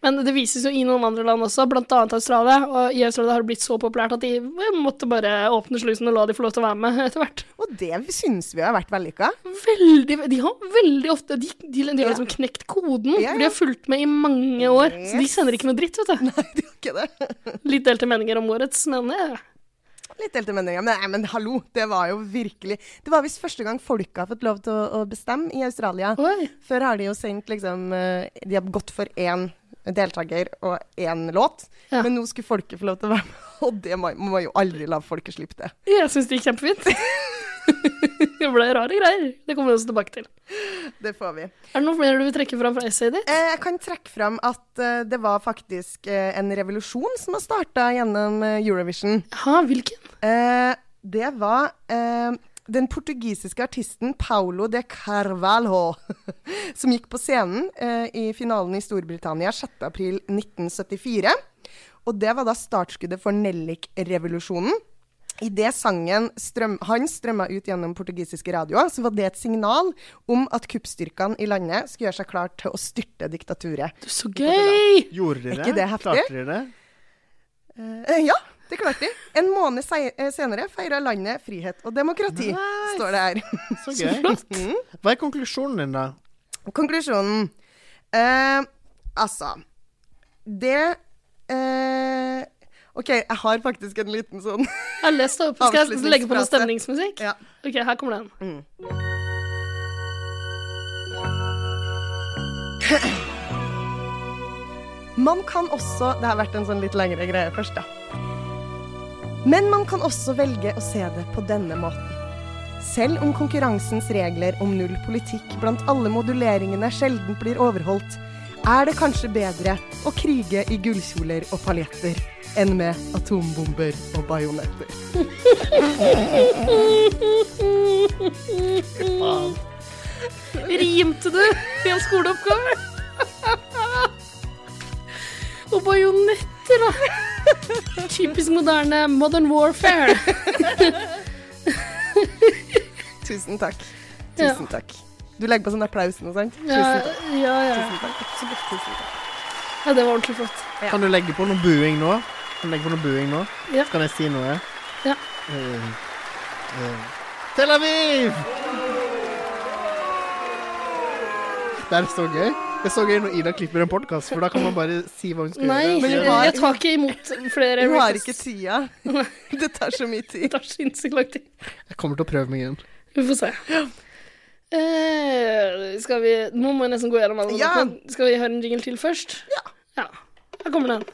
S3: Men det vises jo i noen andre land også, blant annet Australia. Og i Australia har det blitt så populært at de eh, måtte bare åpne slusen og la de få lov til å være med etter hvert.
S2: Og det syns vi har vært vellykka.
S3: Veldig, De har veldig ofte De, de, de har liksom knekt koden.
S2: Ja, ja.
S3: for De har fulgt med i mange år. Så de
S2: Yes.
S3: sender ikke noe dritt, vet du.
S2: Det er ikke det.
S3: Litt delte meninger om årets, men eh,
S2: Litt delte meninger. Men, nei, men hallo, det var jo virkelig Det var visst første gang folket har fått lov til å, å bestemme i Australia.
S3: Oi.
S2: Før har de jo sendt liksom eh, De har gått for én deltaker og én låt.
S3: Ja.
S2: Men nå skulle folket få lov til å være med, og det må, må jo aldri la folket slippe det.
S3: jeg syns det gikk kjempefint. det ble rare greier. Det kommer vi også tilbake til.
S2: Det får vi.
S3: Er det noe mer du vil trekke fram fra essayet ditt?
S2: Eh, Jeg kan trekke fram at eh, det var faktisk eh, en revolusjon som har starta gjennom eh, Eurovision.
S3: Ja, hvilken?
S2: Eh, Det var eh, den portugisiske artisten Paulo de Carvalho som gikk på scenen eh, i finalen i Storbritannia 6.4.1974. Og det var da startskuddet for nellikrevolusjonen. Idet sangen strøm, han strømma ut gjennom portugisiske radioer, så var det et signal om at kuppstyrkene i landet skulle gjøre seg klar til å styrte diktaturet.
S3: Du, så gøy!
S1: Gjorde de det?
S2: Er ikke det heftig?
S1: Klarte de det?
S2: Eh, ja, det klarte de. En måned sei- eh, senere feira landet frihet og demokrati, står det her.
S1: Så gøy. Hva er konklusjonen din, da?
S2: Konklusjonen eh, Altså Det eh, OK, jeg har faktisk en liten sånn
S3: Jeg har lest det opp. Skal jeg legge på noe stemningsmusikk?
S2: Ja.
S3: Ok, her kommer den.
S2: Man kan også Det har vært en sånn litt lengre greie først, da. Men man kan også velge å se det på denne måten. Selv om konkurransens regler om null politikk blant alle moduleringene sjelden blir overholdt, er det kanskje bedre å krige i gullkjoler og paljetter enn med atombomber og bajonetter.
S3: Rimte du i en skoleoppgave? Og bajonetter, da. Typisk moderne modern warfare.
S2: Tusen takk.
S3: Ja.
S2: Tusen takk. Du legger på sånn applaus nå, sant?
S3: Ja,
S2: Tusen takk.
S3: ja, ja.
S2: Tusen takk. Absolutt. Tusen takk.
S3: ja, det var ordentlig flott.
S1: Kan du legge på noe buing nå? Kan du legge på noe buing nå?
S3: Ja.
S1: Kan jeg si noe?
S3: Ja.
S1: Eh, eh, Tel Aviv! Det er så gøy. Det er så gøy når Ida klipper en podkast, for da kan man bare si hva hun skal
S3: Nei,
S1: gjøre.
S2: Men
S3: jeg
S2: du har-
S3: jeg tar ikke imot flere
S2: Du har ikke
S3: requests.
S2: tida. Det tar så mye tid.
S3: Det tar sinnssykt lang tid.
S1: Jeg kommer til å prøve meg igjen.
S3: Vi får se. Eh, skal vi Nå må jeg nesten gå gjennom alle.
S2: Ja.
S3: låtene. Skal vi høre en jingle til først? Ja. Her kommer den.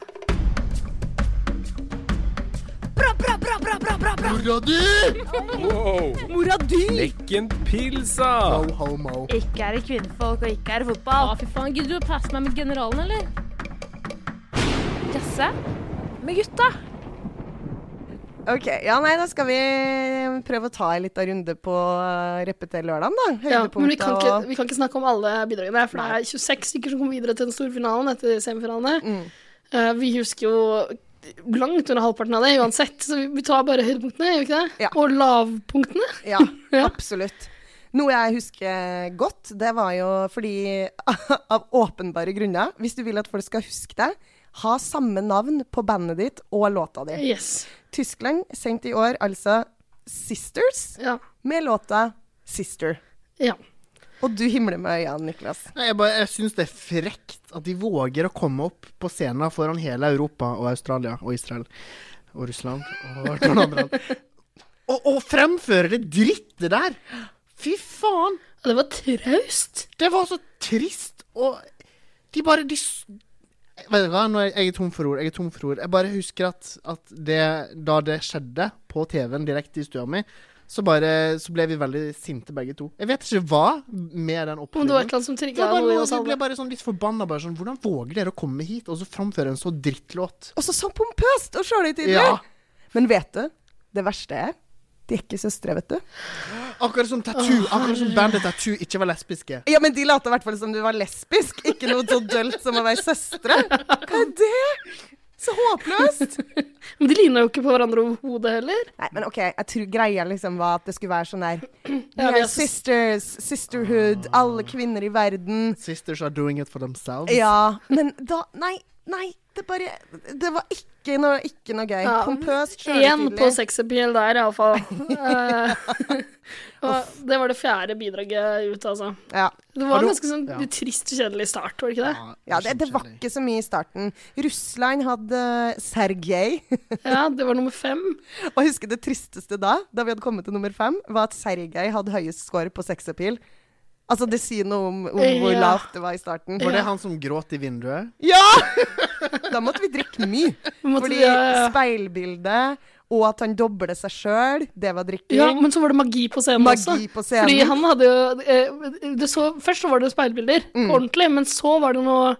S7: Bra,
S8: bra, bra, bra, bra, bra, bra.
S1: Mora di!
S4: Wow.
S8: Mora di!
S4: Lekken pilsa!
S1: No homo.
S9: Ikke er det kvinnfolk, og ikke er det
S7: Å,
S9: fotball.
S7: fy faen. Gidder du å passe meg med generalen, eller?
S9: Jazze med gutta.
S2: Ok, ja nei, Da skal vi prøve å ta en liten runde på eh, Reppe til lørdagen, da.
S3: Ja, men vi kan,
S2: Høydepunkter
S3: ikke,
S2: og
S3: vi kan ikke snakke om alle bidragene, for det er 26 stykker som kommer videre til den store finalen etter semifinalene.
S1: Mm.
S3: Eh, vi husker jo langt under halvparten av det uansett, så vi- vi tar bare høydepunktene, gjør vi ikke det?
S2: Ja.
S3: Og lavpunktene.
S2: Ja, absolutt. Noe jeg husker godt, det var jo fordi Av åpenbare grunner, hvis du vil at folk skal huske deg, ha samme navn på bandet ditt og låta di.
S3: Yes.
S2: Tyskland sendte i år altså Sisters
S3: Ja.
S2: med låta Sister.
S3: ja.
S2: Og du himler med øynene, Niklas.
S1: Nei, Jeg, bare- jeg syns det er frekt at de våger å komme opp på scenen foran hele Europa og Australia og Israel og Russland og noen andre. Og, og fremføre det drittet der! Fy faen!
S3: Og det var traust.
S1: Det var så trist, og de bare de, s- Vet du hva, nå er jeg- jeg er tom for ord. Jeg er tom for ord. Jeg bare husker at, at det, da det skjedde på TV-en direkte i stua mi, så, bare, så ble vi veldig sinte begge to. Jeg vet ikke hva med den
S3: Om det var et
S1: oppfølgingen.
S3: eller annet som trigget
S1: Det var bare
S3: noe i
S1: noe,
S3: oss
S1: jeg ble
S3: alle.
S1: bare sånn litt forbanna. Bare sånn, hvordan våger dere å komme hit og så framføre en så drittlåt?
S2: Og så så pompøst og sjølhøytidelig!
S1: Ja,
S2: Men vet du, det verste er de er ikke søstre, vet du.
S1: akkurat som Tattoo. Akkurat som bandet Tattoo ikke var lesbiske.
S2: Ja, men de lata i hvert fall som du var lesbisk, ikke noe så dølt som å være søstre. Hva er det? Så håpløst!
S3: Men de lignet jo ikke på hverandre overhodet heller.
S2: Nei, men OK, jeg tror greia liksom var at det skulle være sånn der We
S3: vi er
S2: are
S3: så-
S2: sisters, sisterhood, alle kvinner i verden.
S1: Sisters are doing it for themselves.
S2: Ja, men da Nei, nei, det bare Det var ikke noe, ikke noe gøy.
S3: Ja,
S2: Pompøst,
S3: Én på
S2: sjølhøytidelig.
S3: sexappeal der, iallfall. Eh, og det var det fjerde bidraget ut, altså.
S2: Ja.
S3: Det
S1: Har
S3: var
S1: du-
S3: en ganske sånn
S1: Ja.
S3: trist og kjedelig start, var det ikke det?
S2: Ja, det, det var ikke så mye i starten. Russland hadde eh, Sergej.
S3: Ja, det var nummer fem.
S2: Og jeg husker det tristeste da, da vi hadde kommet til nummer fem, var at Sergej hadde høyest score på sexappeal. Altså, det sier noe om, om hvor
S3: Ja.
S2: lavt det var i starten.
S1: Var det han som gråt i vinduet?
S2: Ja! Da måtte vi drikke mye.
S3: måtte
S2: Fordi
S3: vi- ja, ja.
S2: speilbildet og at han dobler seg sjøl, det var drikking.
S3: Ja, men så var det magi på scenen også.
S2: Magi på scenen.
S3: Fordi han hadde jo eh, det så, Først så var det speilbilder,
S2: Mm.
S3: på ordentlig, men så var det noe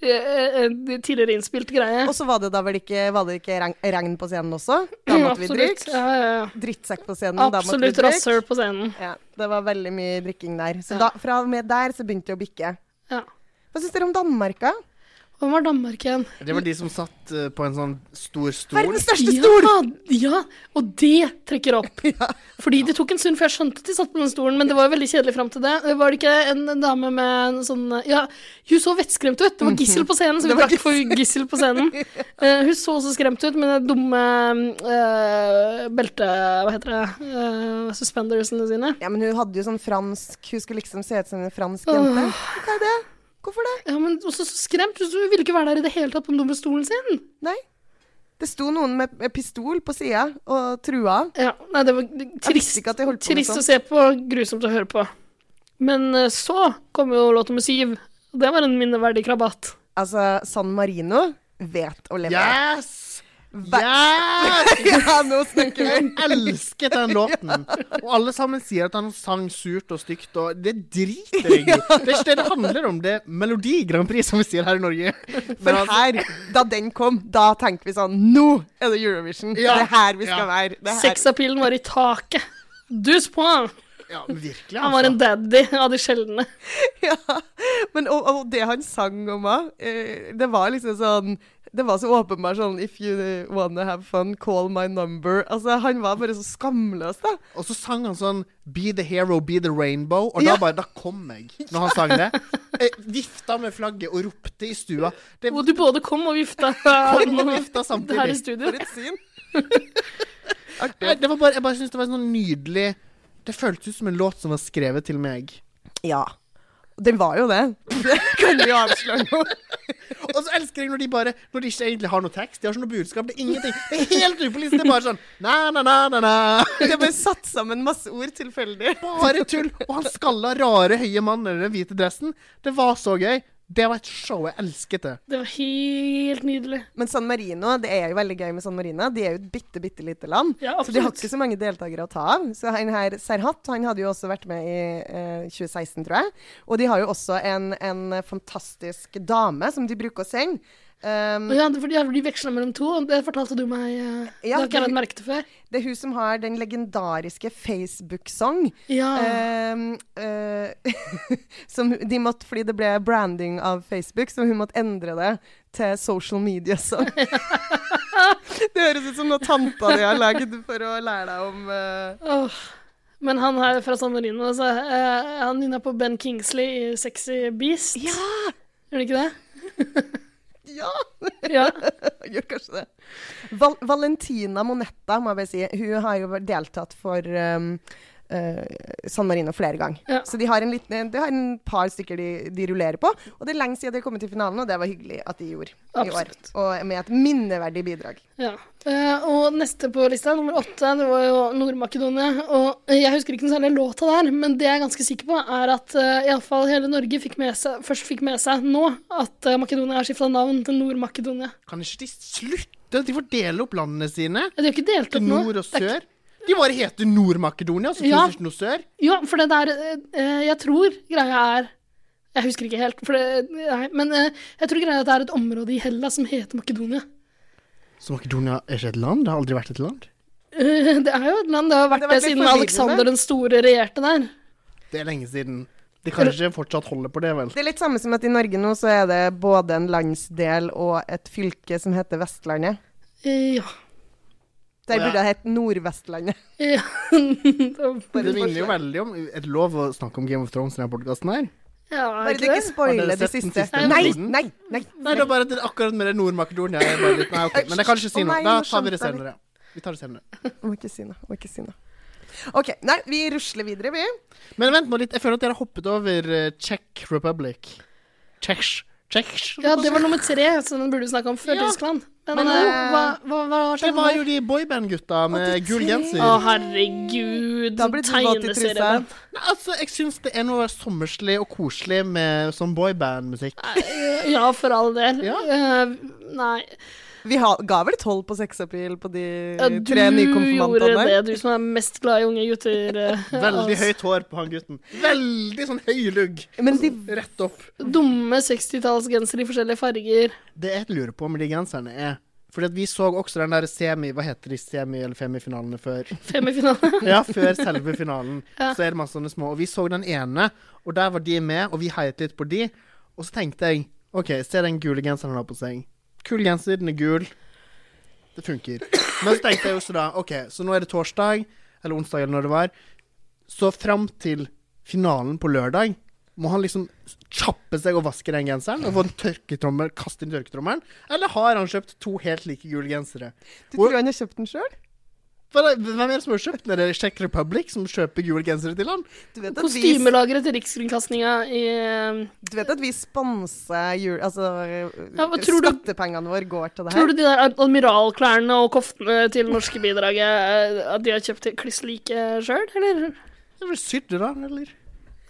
S3: eh, eh, tidligere innspilt greie.
S2: Og så var det da vel ikke, var det ikke regn, regn på scenen også? Da måtte vi
S3: Absolutt.
S2: drikke.
S3: Ja, ja, ja.
S2: Drittsekk på scenen,
S3: Absolutt
S2: da måtte vi
S3: rasshøl
S2: drikke.
S3: på scenen.
S2: Ja, det var veldig mye drikking der. Så da, fra og med der så begynte det å bikke.
S3: Ja.
S2: Hva syns dere om Danmark, da?
S3: Hvem var Danmark igjen?
S1: Det var de som satt eh, på en sånn stor stol.
S2: Verdens største stol!
S3: Ja, ja, og det trekker opp. Fordi det tok en stund før jeg skjønte at de satt på den stolen, men det var jo veldig kjedelig fram til det. Eh, Var det ikke en dame med en sånn Ja, hun så vettskremt ut. Det var gissel på scenen, så vi drakk for gissel på scenen. Eh, hun så så skremt ut med det dumme eh, belte... Hva heter det? Eh, suspendersene sine.
S2: Ja, men hun hadde jo sånn fransk Hun skulle liksom se ut som en fransk jente. Hva er det? Hvorfor det?
S3: Ja, men også så skremt. Hun ville ikke være der i det hele tatt på den dumme stolen sin.
S2: Nei. Det sto noen med, med pistol på sida og trua.
S3: Ja, nei, det var trist,
S2: ikke at jeg holdt på med
S3: trist å
S2: sånt.
S3: se på, grusomt å høre på. Men eh, så kom jo låt nummer syv. og Det var en minneverdig krabat.
S2: Altså, San Marino vet å leve.
S1: Yes!
S2: Hver-
S1: Yes!
S2: ja, nå snakker vi!
S1: Jeg elsket den låten. Og alle sammen sier at han sang surt og stygt, og det driter jeg i. Det er ikke det det handler om. Det er Melodi Grand Prix, som vi sier her i Norge. Men
S2: For
S1: altså,
S2: her, da den kom, da tenkte vi sånn Nå er det Eurovision!
S1: Ja.
S2: Det er her vi skal
S1: Ja.
S2: være. Det er her.
S3: Sexappealen var i taket. Dus på! han.
S1: ja, men virkelig,
S3: Han var
S1: altså.
S3: en daddy av de sjeldne.
S2: Ja. Men, og, og det han sang om òg, eh, det var liksom sånn Det var så åpenbart sånn If you wanna have fun, call my number. Altså, han var bare så skamløs, da.
S1: Og så sang han sånn Be the hero, be the rainbow. Og
S2: Ja.
S1: da bare Da kom jeg, når han sang det. Eh, vifta med flagget og ropte i stua. Det
S3: Hvor du både kom og vifta.
S1: kom og vifta
S3: Her i
S1: samtidig.
S3: studio.
S2: For et syn.
S1: Nei, Det var bare, jeg bare syns det var sånn nydelig Det føltes ut som en låt som var skrevet til meg.
S2: Ja. Den var jo det. Det kan vi jo avsløre nå.
S1: Og så elsker jeg når de bare Når de ikke egentlig har noe tekst, de har ikke noe budskap, det er ingenting. Det er helt upolitisk. Det er bare sånn na-na-na-na.
S2: Det er bare satt sammen masse ord tilfeldig.
S1: Bare tull. Og han skalla, rare, høye mannen i den hvite dressen. Det var så gøy. Det var et show jeg elsket. det.
S3: Det var helt nydelig.
S2: Men San Marino, det er jo veldig gøy med San Marino. De er jo et bitte, bitte lite land.
S3: Ja,
S2: så de har
S3: absolutt.
S2: ikke så mange deltakere å ta av. Så han her, Serhat, han hadde jo også vært med i eh, 2016, tror jeg. Og de har jo også en, en fantastisk dame som de bruker å sende. Um,
S3: Ja, for de, de veksla mellom to, og det fortalte du meg. eh, det
S2: Ja,
S3: har ikke jeg
S2: det-
S3: lagt merke til før.
S2: Det er hun som har den legendariske Facebook-song.
S3: Ja.
S2: Ehm, eh, som hun- de måtte, fordi det ble branding av Facebook, så hun måtte endre det til social media song. det høres ut som noe tanta di har lagd for å lære deg om eh,
S3: Åh. Men han her fra San Marino, altså, eh, han nynna på Ben Kingsley i Sexy Beast. Ja! Gjør han ikke det?
S2: Ja!
S3: Ja.
S2: Gjør kanskje det. Val Valentina Monetta, må jeg bare si. Hun har jo deltatt for ehm, eh, San Marino flere ganger.
S3: Ja.
S2: Så de har en liten, de har en par stykker de, de rullerer på. Og det er lenge siden de har kommet til finalen, og det var hyggelig at de gjorde
S3: Absolutt.
S2: i år. Og med et minneverdig bidrag.
S3: ja. Eh, og neste på lista, nummer åtte, det var jo Nord-Makedonia. Og eh, jeg husker ikke den særlige låta der, men det jeg er ganske sikker på, er at eh, i alle fall hele Norge fikk med seg, først fikk med seg nå at eh, Makedonia har skifta navn til Nord-Makedonia. Eh,
S1: Kan ikke de slutte? De fordele opp landene sine
S3: Ja, De har ikke delt
S1: til
S3: opp nå.
S1: nord og
S3: Det er ikke-
S1: sør. De bare heter Nord-Makedonia, så
S3: Ja.
S1: finnes det ikke noe sør.
S3: Ja, for det der eh, Jeg tror greia er Jeg husker ikke helt, for det, nei, men eh, jeg tror greia er at det er et område i Hellas som heter Makedonia.
S1: Så Makedonia er ikke et land? Det har aldri vært et land?
S3: Eh, det er jo et land. Det har vært
S2: Det
S3: det,
S2: har vært litt
S3: siden
S2: forvirrende.
S3: Alexander den store regjerte der.
S1: Det er lenge siden. De kan ikke fortsatt holde på det, vel?
S2: Det er litt samme som at i Norge nå så er det både en landsdel og et fylke som heter Vestlandet.
S3: Eh, ja.
S1: Å,
S2: Der
S1: ja.
S2: burde det hett Nordvestlandet.
S3: Ja.
S2: Bare
S1: Det
S2: et
S1: minner jo
S2: forslag.
S1: veldig om Et lov å snakke om Game of Thrones i denne podkasten her.
S3: ja, er
S2: Bare du
S3: ikke
S2: ikke
S3: det?
S1: Har
S2: spoiler
S1: dere
S2: det
S1: sett den
S2: siste.
S1: siste
S2: Nei,
S1: episoden?
S2: nei, nei.
S1: Nei, det er bare at det- akkurat med det Nord-Makedonia jeg er bare litt, Nei, ok, men jeg kan ikke si
S2: Å,
S1: noe.
S2: nei,
S1: Da
S2: nå
S1: tar vi det
S2: skjønte jeg
S1: senere. Vi tar det senere.
S2: Må ikke si noe. Må ikke si noe. OK. Nei, vi rusler videre, vi.
S1: Men vent nå litt, jeg føler at dere har hoppet over eh, Czech Republic. Czech Czech
S3: Ja, det var nummer tre, så den burde vi snakke om før Tyskland. Men,
S2: Men,
S3: eh,
S2: eh,
S3: hva, hva, hva var
S1: Det
S3: det?
S1: var jo de boyband-gutta med gul genser.
S3: Å, herregud.
S2: Da blir du våt i trusa.
S3: Tegneserieband.
S1: Nei, altså, jeg syns det er noe sommerslig og koselig med sånn boyband-musikk.
S3: Eh, Ja, for all del.
S1: Ja.
S3: Eh, nei.
S2: Vi ha, ga vel tolv på sexappeal på de
S3: Ja,
S2: Eh, tre nykonfirmantene?
S3: Du gjorde det, du som er mest glad i unge gutter. eh,
S1: Veldig
S3: altså.
S1: høyt hår på han gutten. Veldig sånn høy lugg.
S2: Men de,
S1: Rett opp.
S3: altså, Dumme 60-tallsgensere i forskjellige farger.
S1: Det jeg lurer på med de genserne, er fordi at vi så også den der semi Hva heter de semi- eller femifinalene før?
S3: Femifinale.
S1: Ja, før selve finalen. Så er det masse sånne små. Og vi så den ene, og der var de med, og vi heiet litt på de. Og så tenkte jeg OK, se den gule genseren han har på seg. Kul genser, den er gul. Det funker. Men så tenkte jeg også da OK, så nå er det torsdag, eller onsdag, eller når det var. Så fram til finalen på lørdag må han liksom kjappe seg og vaske den genseren og få en tørketrommel, kaste inn tørketrommelen? Eller har han kjøpt to helt like gule gensere?
S2: du tror han har kjøpt den sjøl?
S1: Hva er det- Hvem er det som har kjøpt den? Er det Czech Republic som kjøper gule gensere til han?
S2: Du vet at vi,
S3: Kostymelageret til Rikskringkastinga i eh,
S2: du vet at vi sponser jul... Altså,
S3: Ja, hva tror du-
S2: skattepengene våre går til det her.
S3: Tror du de der admiralklærne og koftene til norske bidraget eh, At de har kjøpt det kliss like sjøl, eller?
S1: Det er vel sydd, da, eller?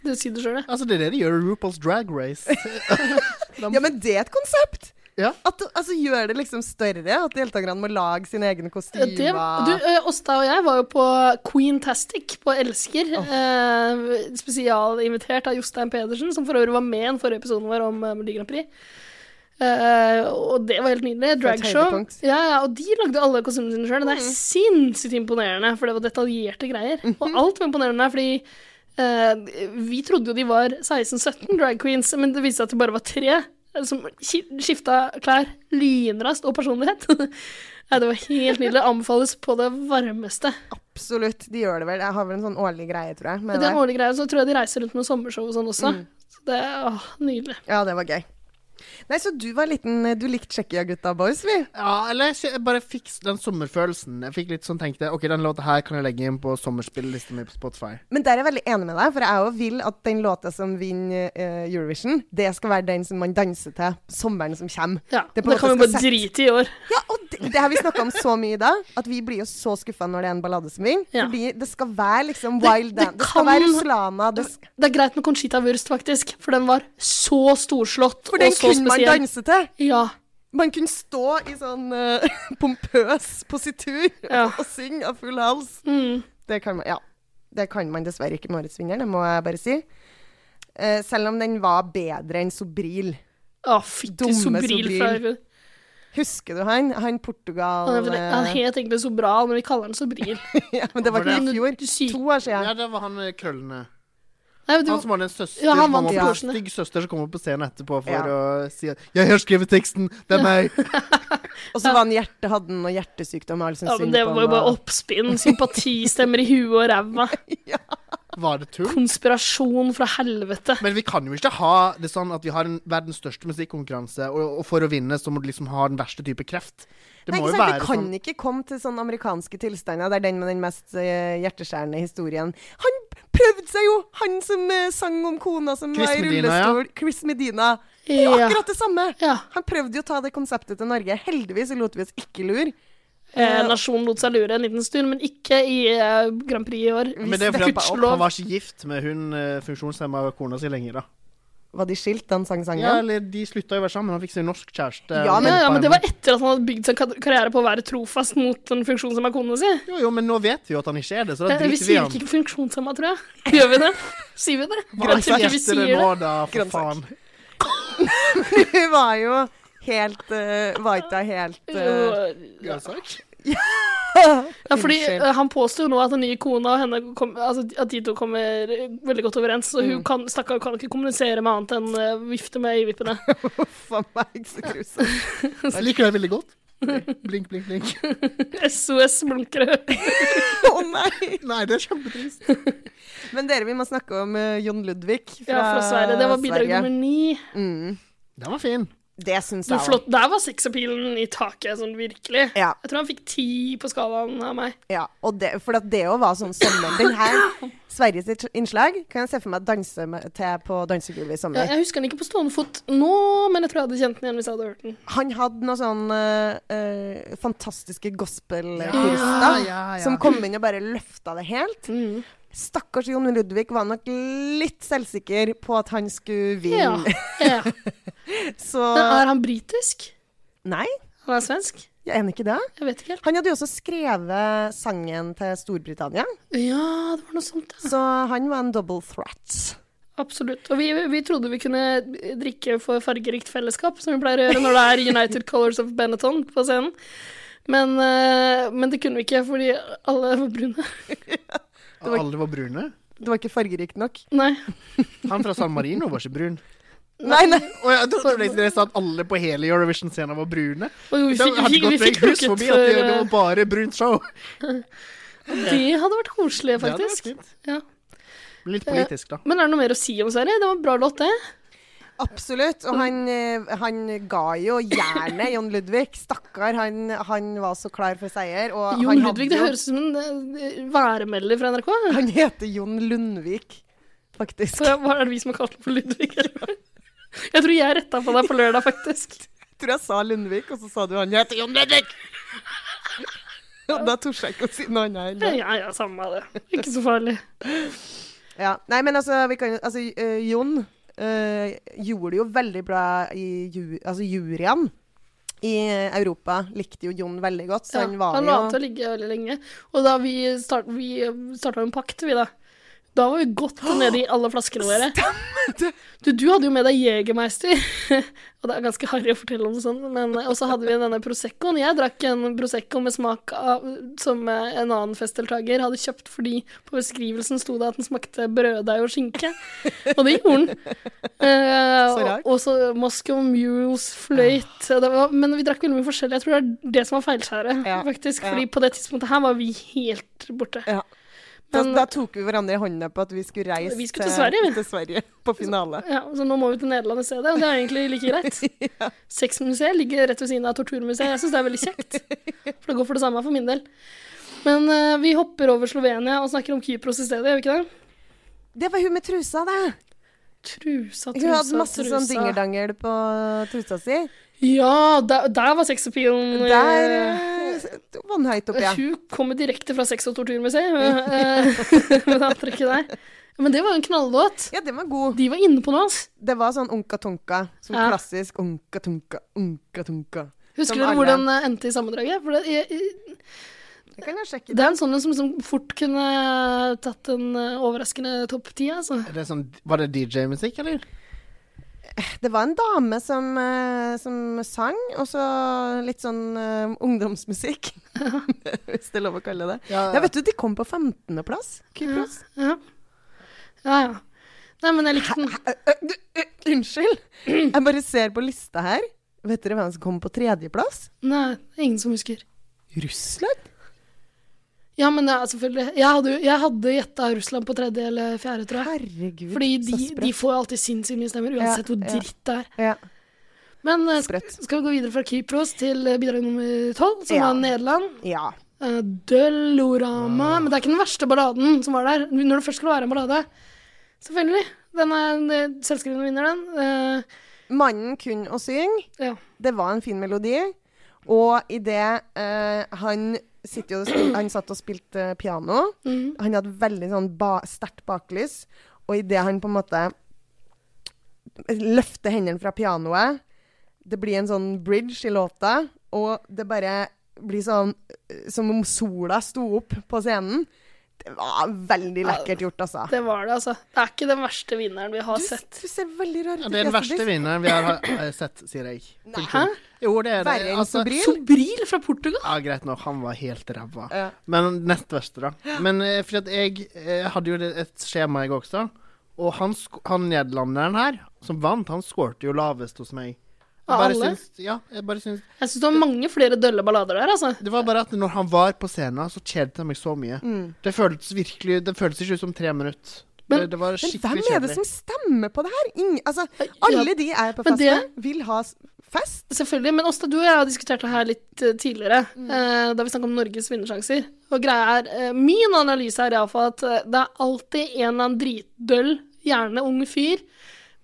S3: Du sier det sjøl, det.
S1: Altså, det er det de gjør i RuPaul's Drag Race.
S2: Ja, men det er et konsept!
S1: Ja.
S2: At, altså, gjør det liksom større, at deltakerne må lage sine egne
S3: Ja,
S2: kostymer.
S3: det du, eh, Åsta og jeg var jo på Queentastic på Elsker. Eh, spesialinvitert av Jostein Pedersen, som for øvrig var med i den forrige episoden vår om eh, Melodi Grand Prix. Eh, og det var helt nydelig.
S2: For et
S3: Dragshow.
S2: høydepunkt. Mm.
S3: Ja, ja, og de lagde alle kostymene sine sjøl. Det er sinnssykt imponerende, for det var detaljerte greier.
S2: Mhm.
S3: Og alt var imponerende, fordi eh, vi trodde jo de var 16-17 drag queens, men det viste seg at de bare var tre. eh, Som skifta klær lynraskt og personlighet. Nei, det var helt nydelig. Anbefales på det varmeste.
S2: Absolutt, de gjør det vel. Jeg har vel en sånn årlig greie, tror jeg. med
S3: Det er
S2: det. Mm.
S3: en årlig greie, så tror jeg de reiser rundt med sommershow og sånn også. Så det er åh, nydelig.
S2: Ja, det var gøy. Nei, så du var liten Du likte Tsjekkia-gutta boys, vi?
S1: Ja, eller jeg sy- jeg bare fikk s- den sommerfølelsen. Jeg fikk litt sånn tenkte Ok, den låta her kan jeg legge inn på sommerspillelista mi på Spotify.
S2: Men der er jeg veldig enig med deg, for jeg òg vil at den låta som vinner eh, Eurovision, det skal være den som man danser til sommeren som kommer.
S3: Ja,
S2: Det er på en
S3: det kan
S2: måte
S3: vi bare
S2: skal sette-
S3: drite i i år.
S2: Ja, og det, det har vi snakka om så mye i dag, at vi blir jo så skuffa når det er en ballade som vinner.
S3: Ja.
S2: Fordi det skal være liksom
S3: Det-
S2: wild
S3: det
S2: dance. Det skal
S3: kan-
S2: være Ruslana. Det, sk-
S3: Det er greit med Conchita Wurst, faktisk, for den var så storslått
S2: for den
S3: og så
S2: kunne man
S3: spesiell.
S2: danse til.
S3: Ja.
S2: Man kunne stå i sånn eh, pompøs positur
S3: Ja.
S2: og synge av full hals.
S3: Mm.
S2: Det kan man, ja. Det kan man dessverre ikke med årets vinner, det må jeg bare si. Eh, selv om den var bedre enn Sobril.
S3: Å, fytti
S2: Dumme
S3: Sobril fra
S2: Sobril. Husker du han? Han Portugal
S3: Han, er- han
S2: eh,
S3: het egentlig Sobral, men vi kaller han Sobril.
S2: ja, Men det var ikke
S1: Var
S2: i fjor.
S3: Du sier-
S2: To år siden.
S1: Ja, det var han med krøllene.
S3: Nei, men
S1: Han
S3: du,
S1: som hadde en søster
S3: Ja, han
S1: som
S3: vant
S1: var
S3: til
S1: på-
S3: Porsene.
S1: stygg søster som kommer på scenen etterpå for
S2: Ja.
S1: å si at 'Jeg har skrevet teksten! Det er meg!'
S2: Og så var han hjerte, hadde han noe hjertesykdom. og alle som
S3: ja, men
S2: synger
S3: det
S2: på
S3: var jo
S2: han,
S3: bare
S2: og-
S3: oppspinn. Sympatistemmer i huet og ræva.
S1: Var det tull?
S3: Konspirasjon fra helvete.
S1: Men vi kan jo ikke ha det sånn at vi har en verdens største musikkonkurranse, og, og for å vinne så må du liksom ha den verste type kreft. Det
S2: Nei,
S1: må jo
S2: ikke sant?
S1: være
S2: Vi kan
S1: sånn
S2: ikke komme til sånne amerikanske tilstander. Det er den med den mest eh, hjerteskjærende historien. Han prøvde seg jo! Han som eh, sang om kona som
S1: Chris
S2: var i
S1: Medina, ja.
S2: rullestol. Chris Medina. Det er jo
S3: Ja.
S2: akkurat det samme!
S3: ja.
S2: Han prøvde jo å ta det konseptet til Norge. Heldigvis lot vi oss ikke lure.
S3: Eh, nasjonen lot seg lure en liten stund, men ikke i eh, Grand Prix i år.
S1: Men det er fordi at
S3: Gudskjelov.
S1: han var ikke gift med hun eh, funksjonshemma kona si lenger, da.
S2: Var de skilt, den sangsangen?
S1: Ja, eller de slutta jo å være sammen. Han fikk seg norsk kjæreste.
S2: Ja,
S1: og
S3: Ja, ja,
S1: hjelpa
S3: men
S1: henne.
S3: det var etter at han hadde bygd sin kar- karriere på å være trofast mot den funksjonshemma kona si.
S1: Jo, jo, men nå vet vi jo at han ikke er det, så da
S3: Eh, Vi
S1: driter vi i
S3: sier
S1: han.
S3: ikke funksjonshemma, tror jeg. Gjør vi det? Sier vi det? Jeg tror ikke vi
S1: Grønnsaker
S3: sier
S1: det nå,
S3: det.
S1: da, for faen.
S2: Grønnsak. Hun var jo helt eh, Var ikke hun helt eh,
S3: Jo,
S1: Grønnsak?
S3: Ja, fordi
S2: Unnskyld.
S3: eh, Han påstår jo nå at den nye kona og henne kom, altså, at de to kommer eh, veldig godt overens. Så hun kan, stakkar kan ikke kommunisere med annet enn eh, vifte med øyevippene.
S2: Faen meg, så grusomt.
S1: Jeg liker det veldig godt. Blink, blink, blink.
S3: SOS blunkere.
S2: Å nei!
S1: Nei, det er kjempetrist.
S2: Men dere, vi må snakke om eh, Jon Ludvig fra,
S3: Ja, fra Sverige. Det var bidrag
S2: Sverige.
S3: nummer ni.
S2: Mm.
S1: Den var fin.
S2: Det syns
S3: Så
S2: jeg òg.
S3: flott. Der var sexappealen i taket, sånn virkelig.
S2: Ja,
S3: Jeg tror han fikk ti på skalaen av meg.
S2: ja. Og det, for at det òg var sånn sommer. Den her, Sveriges sitt innslag, kan jeg se for meg danse med, til på dansegulvet i
S3: Ja,
S2: sommer.
S3: jeg husker han ikke på stående fot nå, men jeg tror jeg hadde kjent den igjen hvis jeg hadde hørt den.
S2: Han hadde noen sånn eh, eh, fantastiske gospelkorister
S1: ja, ja.
S2: som kom inn og bare løfta det helt. Stakkars Jon Ludvig var nok litt selvsikker på at han skulle
S3: Ja.
S2: vinne.
S3: ja.
S2: Så
S3: Men er han britisk?
S2: Nei,
S3: Han er svensk?
S2: jeg er enig ikke det.
S3: Jeg vet ikke helt.
S2: Han hadde jo også skrevet sangen til Storbritannia,
S3: Ja, det var noe sånt, ja.
S2: så han var en double threat.
S3: Absolutt. Og vi, vi trodde vi kunne drikke for fargerikt fellesskap, som vi pleier å gjøre når det er United Colors of Benetton på scenen. Men, eh, men det kunne vi ikke, fordi alle var brune.
S2: var-
S1: Alle var brune.
S2: Det var ikke fargerikt nok.
S3: Nei.
S1: Han fra San Marino var ikke brun.
S2: Nei, nei.
S1: Og jeg trodde dere- dere sa at alle på hele Eurovision-scenen var brune.
S3: Og jo, vi
S1: Det
S3: fikk,
S1: hadde
S3: vi,
S1: gått
S3: vi fikk
S1: meg hus
S3: trukket
S1: forbi at det,
S3: for
S1: det var
S3: eh,
S1: bare brunt show.
S3: Det hadde vært koselig,
S1: Det hadde vært
S3: faktisk.
S1: fint.
S3: Ja.
S1: Litt politisk, da.
S3: Men er det noe mer å si om Sverige? Det var en bra låt, det.
S2: Absolutt. Og han, eh, han ga jo jernet, Jon Ludvig. Stakkar, han, han var så klar for seier. Og
S3: Jon
S2: han hadde
S3: Ludvig, det
S2: jo-
S3: høres ut som en eh, værmelder fra NRK.
S2: Han heter Jon Lundvik, faktisk.
S3: Så hva er det vi som har kalt den for Ludvig? eller? Jeg tror jeg retta på deg på lørdag, faktisk.
S2: Jeg tror jeg sa Lundvik, og så sa du han heter Jon Ludvig! Og da torde jeg ikke å si noe annet. enn det.
S3: Ja, ja, samme av det. Ikke så farlig.
S2: Ja. Nei, men altså, vi kan, jo- altså eh, Jon eh, gjorde det jo veldig bra i ju, altså, juryen i Europa. Likte jo Jon veldig godt, så
S3: Ja,
S2: han var
S3: han la
S2: jo
S3: an til å ligge veldig lenge. Og da vi, start, vi starta en pakt, vi da. Da var vi godt nede i alle flaskene våre. Du, du hadde jo med deg Jegermeister. og det er ganske harry å fortelle om sånn, men Og så hadde vi denne Proseccoen. Jeg drakk en Prosecco med smak av som eh, en annen festdeltaker hadde kjøpt fordi på beskrivelsen sto det at den smakte brøddeig og skinke. Og det gjorde den. Eh,
S2: Så rart.
S3: og, og så Moscow Mules, fløyt det var, Men vi drakk veldig mye forskjellig. Jeg tror det er det som var feilskjæret,
S2: Ja,
S3: faktisk.
S2: ja.
S3: Fordi på det tidspunktet her var vi helt borte.
S2: Ja. Da,
S3: Men-
S2: da tok vi hverandre i hånda på at vi skulle reise
S3: Vi skulle til Sverige, vi.
S2: til Sverige på finale.
S3: Ja, så nå må vi til Nederland i stedet, og det er egentlig like greit. Sexmuseet ligger rett ved siden av Torturmuseet. Jeg syns det er veldig kjekt, for det går for det samme for min del. Men eh, vi hopper over Slovenia og snakker om Kypros i stedet, gjør vi ikke det?
S2: Det var hun med trusa, det.
S3: Trusa,
S2: Hun hadde
S3: trusa,
S2: masse sånn
S3: trusa.
S2: dingerdangel på trusa si.
S3: Ja, der, der var sexappealen. eh,
S2: Der eh, vannhøyt opp, ja.
S3: Hun kommer direkte fra Sex- og torturmuseet eh, med det antrekket der. Men det var jo en knalllåt.
S2: Ja, den var god.
S3: De var inne på noe, ass.
S2: Det var sånn onka-tonka. Sånn
S3: Ja.
S2: klassisk onka-tonka, onka-tonka.
S3: Husker
S2: Som
S3: dere
S2: alle.
S3: hvordan det endte i sammendraget? For det, er-
S2: Det kan jeg sjekke.
S3: det er en sånn en som, som fort kunne tatt en eh, overraskende topp ti, altså.
S1: Er det sånn, var det DJ-musikk, eller?
S2: Det var en dame som, eh, som sang, og så litt sånn eh, ungdomsmusikk. Hvis det er lov å kalle det.
S1: Ja,
S2: Ja, vet du, de kom på 15.-plass, Kypros.
S3: Ja. ja, ja. Nei, men jeg likte den.
S2: Æ, ø, du, ø, Unnskyld! Jeg bare ser på lista her. Vet dere hvem som kom på tredjeplass?
S3: Nei, det er ingen som husker.
S2: Russland?
S3: Ja, men ja, selvfølgelig. Jeg hadde, jo- jeg hadde gjetta Russland på tredje eller fjerde, tror jeg.
S2: Herregud,
S3: Fordi de,
S2: så sprøtt.
S3: de får jo alltid sinnssykt mye stemmer,
S2: Ja,
S3: uansett hvor
S2: ja.
S3: dritt det er.
S2: ja.
S3: Men eh,
S2: Sprøtt.
S3: sk- skal vi gå videre fra Kypros til eh, bidrag nummer tolv, som
S2: Ja.
S3: var Nederland.
S2: ja.
S3: Eh, Dølorama. Men det er ikke den verste balladen som var der. Når det først skulle være en ballade. Selvfølgelig. Den er eh, selvskreven vinner, den. Eh,
S2: Mannen kunne å synge.
S3: ja.
S2: Det var en fin melodi. Og idet eh, han sitter jo og spil- Han satt og spilte eh, piano.
S3: Mhm.
S2: Han hadde veldig sånn ba sterkt baklys. Og idet han på en måte løfter hendene fra pianoet Det blir en sånn bridge i låta, og det bare blir sånn eh, Som om sola sto opp på scenen. Det var veldig lekkert gjort, altså.
S3: Det var det, altså. Det er ikke den verste vinneren vi har
S2: Du,
S3: sett.
S2: du ser veldig rar ut.
S1: Ja, det er den verste
S2: Jesper.
S1: vinneren vi har eh, sett, sier jeg. Punktum.
S3: Hæ?
S1: Jo, det er det.
S2: Verre enn
S1: Altså,
S2: Sobril?
S3: Sobril fra Portugal?
S1: ja, greit nok, han var helt ræva.
S2: Ja.
S1: Men nest verste, da. Men eh, fordi at jeg eh, hadde jo det- et skjema, jeg også. Og han, sk- han nederlenderen her, som vant, han skårte jo lavest hos meg. Jeg
S3: Av
S1: bare
S3: alle?
S1: syns- ja, jeg bare syns
S3: Jeg syns det var mange flere dølle ballader der, altså.
S1: Det var bare at når han var på scenen, så kjedet jeg meg så mye. Det føltes virkelig Det føltes ikke ut som tre minutter.
S3: Men-
S1: det, det var
S2: Mm. Men
S1: skikkelig
S2: hvem er det
S1: kjedelig.
S2: som stemmer på det her? Ingen, altså, alle de er på
S3: men
S2: fest
S3: det-
S2: nå, vil ha s- fest.
S3: Selvfølgelig. Men Åsta, du og jeg har diskutert det her litt eh, tidligere, eh, da vi snakket om Norges vinnersjanser. Og greia er, eh, Min analyse er iallfall at eh, det er alltid en eller annen dritdøll, gjerne ung fyr,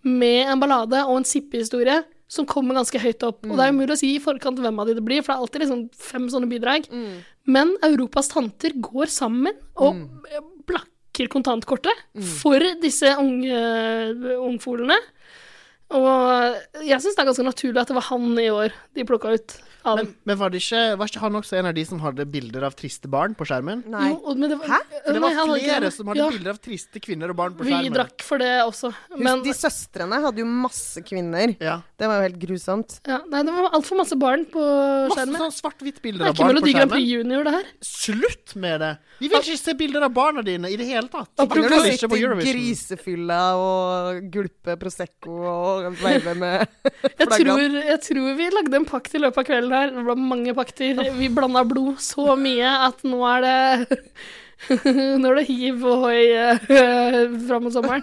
S3: med en ballade og en sippehistorie som kommer ganske høyt opp. Og det er umulig å si i forkant hvem av de det blir, for det er alltid liksom fem sånne bidrag. Men Europas tanter går sammen og eh, blakker kontantkortet for disse unge, eh, ungfolene. Og jeg syns det er ganske naturlig at det var han i år de plukka ut. Av
S1: Men, men var, det ikke, var ikke han også en av de som hadde bilder av triste barn på skjermen?
S2: Nei.
S3: Jo, og- men det var,
S2: Hæ?
S1: For det
S3: Nei,
S1: var
S3: han hadde ikke
S1: flere
S3: det.
S1: som hadde
S3: Ja,
S1: bilder av triste kvinner og barn på
S3: Vi
S1: skjermen.
S3: drakk for det også.
S2: Husk,
S3: Men
S2: de søstrene hadde jo masse kvinner.
S1: Ja.
S2: Det var jo helt grusomt.
S3: ja, nei, det var altfor masse barn på
S1: Masse
S3: skjermen.
S1: sånn svart-hvitt
S3: Det
S1: bilder
S3: er
S1: av
S3: ikke
S1: barn på
S3: Melodi Grand Prix
S1: skjermen.
S3: Junior, det her.
S1: Slutt med det! Vi vil ikke se bilder av barna dine i det hele tatt.
S3: Apropos-
S2: Når
S1: Angrer
S2: du
S1: du ikke
S2: sitter
S1: på
S2: i
S1: Eurovision?
S2: grisefylla og gulper Prosecco og veiver med
S3: Jeg
S2: flaggene.
S3: tror, jeg tror vi lagde en pakt i løpet av kvelden her. Det ble mange pakter. Vi blanda blod så mye at nå er det Nå er det hiv og hoi eh, fram mot sommeren.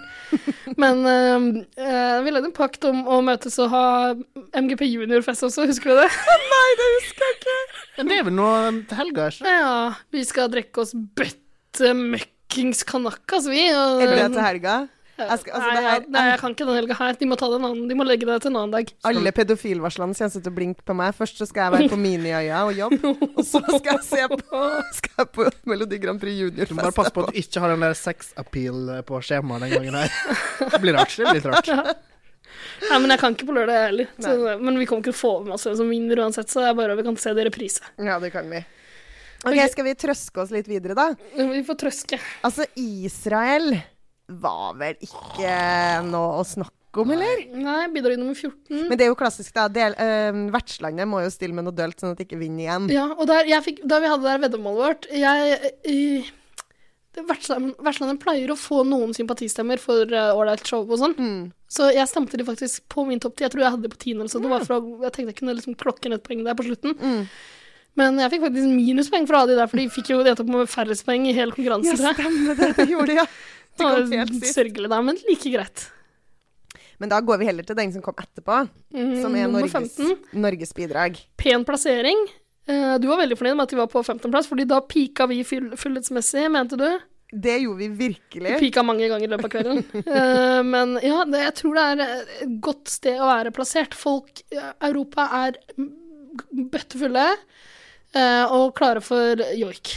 S3: Men eh, eh, vi lagde en pakt om å møtes og ha MGP juniorfest også, husker du det? Nei, det husker jeg ikke.
S1: Men det er vel nå um, til helga, ikke sant?
S3: Ja, vi skal drikke oss bøtte møkkings kanakas, vi. og-
S2: Er det til helga? Jeg skal, altså,
S3: nei,
S2: det her,
S3: nei, jeg kan ikke den helga her. De må, ta det en annen, de må legge det til en annen dag.
S2: alle pedofilvarslene kommer til å blinke på meg. Først så skal jeg være på Miniøya og jobbe, og så skal jeg se på, skal jeg på Melodi Grand
S1: Du
S2: Prix
S1: må bare
S2: Junior-fest.
S1: passe på at du ikke har den der sex-appeal eh, på skjemaet den gangen her. Det blir rart. Det blir litt rart.
S3: Nei, men jeg kan ikke på lørdag jeg heller. Så, men vi kommer ikke til å få med oss hvem som vinner uansett, så det er bare vi kan se det i reprise.
S2: Ja, det kan vi. Ok, Skal vi trøske oss litt videre, da?
S3: Vi får trøske.
S2: Altså, Israel var vel ikke noe å snakke om, eller?
S3: Nei, bidrag nummer 14.
S2: Men det er jo klassisk, da. Del, eh, vertslandet må jo stille med noe dølt, sånn at de ikke vinner igjen.
S3: Ja, og der, jeg fikk, da vi hadde det der veddemålet vårt jeg, eh, i- det- Vertsland- Vertslandet pleier å få noen sympatistemmer for eh, ålreit show og sånn.
S2: Mm.
S3: Så jeg stemte de
S2: Mm.
S3: faktisk på min topp ti. Jeg tror jeg hadde de på tiende eller sånn. Det var for å- Jeg tenkte jeg kunne liksom klokke inn et poeng der på slutten. Men jeg fikk faktisk minuspoeng fra de der, for de fikk jo endte opp med færrest poeng i hele konkurransen.
S2: Ja,
S3: tror jeg.
S2: stemmer det. Det gjorde jeg.
S3: Det
S2: Det kom
S3: var
S2: helt sist.
S3: Sørgelig, da, men like greit.
S2: Men da går vi heller til den som kom etterpå,
S3: Mm,
S2: som er
S3: nummer
S2: Norges,
S3: 15.
S2: Norges bidrag.
S3: Pen plassering. Eh, Du var veldig fornøyd med at vi var på 15.-plass, fordi da pika vi full- fullhetsmessig, mente du?
S2: Det gjorde vi
S3: Vi
S2: virkelig.
S3: pika mange ganger i løpet av kvelden. Eh, men ja, det, jeg tror det er et godt sted å være plassert. Folk eh, Europa er m- bøttefulle eh, og klare for joik.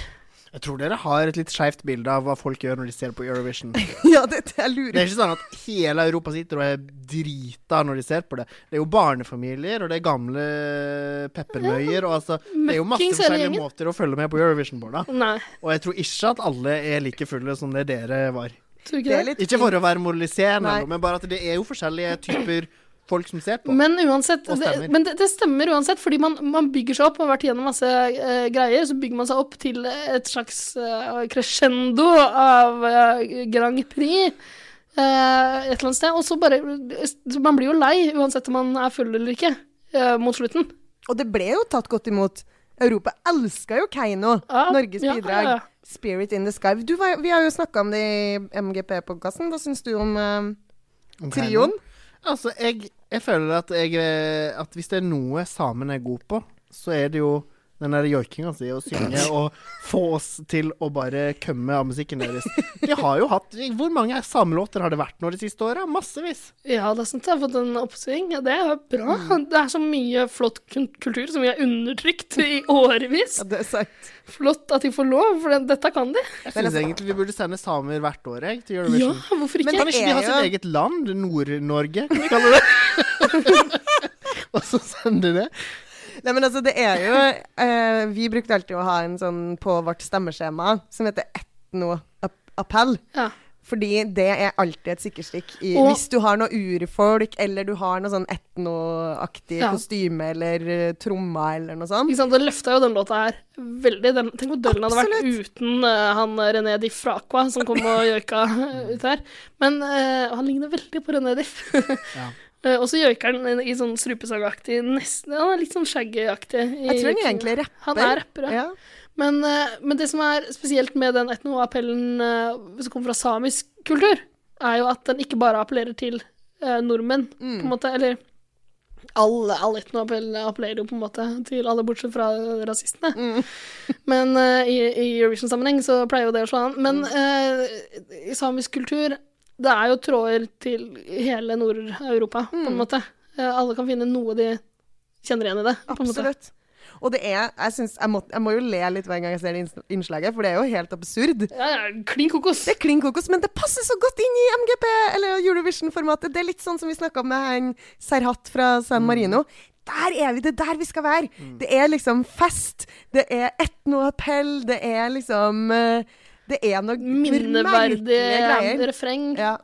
S1: Jeg tror dere har et litt skeivt bilde av hva folk gjør når de ser på Eurovision. Det
S2: Ja, det, det jeg lurer
S1: er ikke sånn at hele Europa sitter og er drita når de ser på det. Det er jo barnefamilier, og det er gamle peppermøyer, og altså Det er jo masse
S3: Møkkings hele
S1: forskjellige
S3: gjengen.
S1: måter å følge med på Eurovision på, da.
S3: Nei,
S1: Og jeg tror ikke at alle er like fulle som det dere var.
S3: tror
S2: Det
S3: ikke
S2: er
S3: det.
S2: litt
S1: Ikke for å være moraliserende,
S2: Nei.
S1: eller noe, men bare at det er jo forskjellige typer folk som ser på.
S3: Men uansett,
S1: Og
S3: det,
S1: stemmer.
S3: men det, det stemmer uansett, fordi man, man bygger seg opp. Man har vært gjennom masse eh, greier, så bygger man seg opp til et slags eh, crescendo av eh, Grand Prix. eh, et eller annet sted. Og så bare så Man blir jo lei, uansett om man er full eller ikke, eh, mot slutten.
S2: Og det ble jo tatt godt imot. Europa elska jo Keiino,
S3: Ja,
S2: Norges
S3: ja,
S2: bidrag.
S3: ja, ja.
S2: Spirit in the sky. Du var, vi har jo snakka om det i MGP-podkasten. Hva syns du om eh,
S1: Om
S2: trioen?
S1: Altså, jeg, jeg føler at, jeg, eh, at hvis det er noe samene er gode på, så er det jo den der joikinga si, å synge og få oss til å bare kømme av musikken deres. De har jo hatt Hvor mange samelåter har det vært nå de siste åra? Massevis.
S3: Ja, det er sant. Jeg har fått en oppsving. Ja, Det er bra. Det er så mye flott kun- kultur som vi har undertrykt i årevis.
S2: Ja, det er sant.
S3: Flott at de får lov, for det- dette kan de.
S1: Jeg syns egentlig vi burde sende samer hvert år jeg, til Eurovision.
S3: Ja, hvorfor ikke?
S2: Men
S1: Kan ikke
S2: er
S1: de ha sitt
S2: jo-
S1: eget land? Nord-Norge, kan vi kalle det. og så sende det.
S2: Nei, men altså, det er jo eh, Vi brukte alltid å ha en sånn på vårt stemmeskjema som heter etnoappell.
S3: Ja.
S2: Fordi det er alltid et sikkerstikk i,
S3: Og-
S2: hvis du har noe urfolk, eller du har noe sånn etnoaktig
S3: Ja.
S2: kostyme eller eh, trommer eller noe sånt.
S3: Ikke sant? Det løfta jo den låta her veldig. Den, tenk hvor døll den hadde vært uten eh, han René Diff fra Aqua som kom og joika eh, ut her. Men eh, han ligner veldig på René Diff. ja. Og så joiker han i sånn strupesagaktig nesten Han er litt sånn shaggy-aktig. i-
S2: Jeg tror han egentlig rapper.
S3: Han er rapper, ja.
S2: Ja.
S3: Men, eh, men det som er spesielt med den etnoappellen eh, som kommer fra samisk kultur, er jo at den ikke bare appellerer til eh, nordmenn,
S2: Mm.
S3: på en måte. Eller alle, all etnoappell appellerer jo på en måte til alle, bortsett fra rasistene.
S2: Mm.
S3: Men eh, i, i Eurovision-sammenheng så pleier jo det å slå an. Men
S2: Mm.
S3: eh, i samisk kultur det er jo tråder til hele Nord-Europa, på
S2: Mm.
S3: en måte. Eh, alle kan finne noe de kjenner igjen i det. på en måte.
S2: Absolutt. Og det er Jeg, syns- jeg, må, jeg må jo le litt hver gang jeg ser det inns- innslaget, for det er jo helt absurd.
S3: Ja, ja, klin kokos.
S2: Det er klin kokos, men det passer så godt inn i MGP, eller Eurovision-formatet. Det er litt sånn som vi snakka om med han Serhat fra
S3: Mm.
S2: San Marino. Der er vi! Det er der vi skal være! Det er liksom fest, det er etnoappell, det er liksom eh, Det er noe
S3: minneverdig
S2: greier.
S3: refreng.
S2: Ja.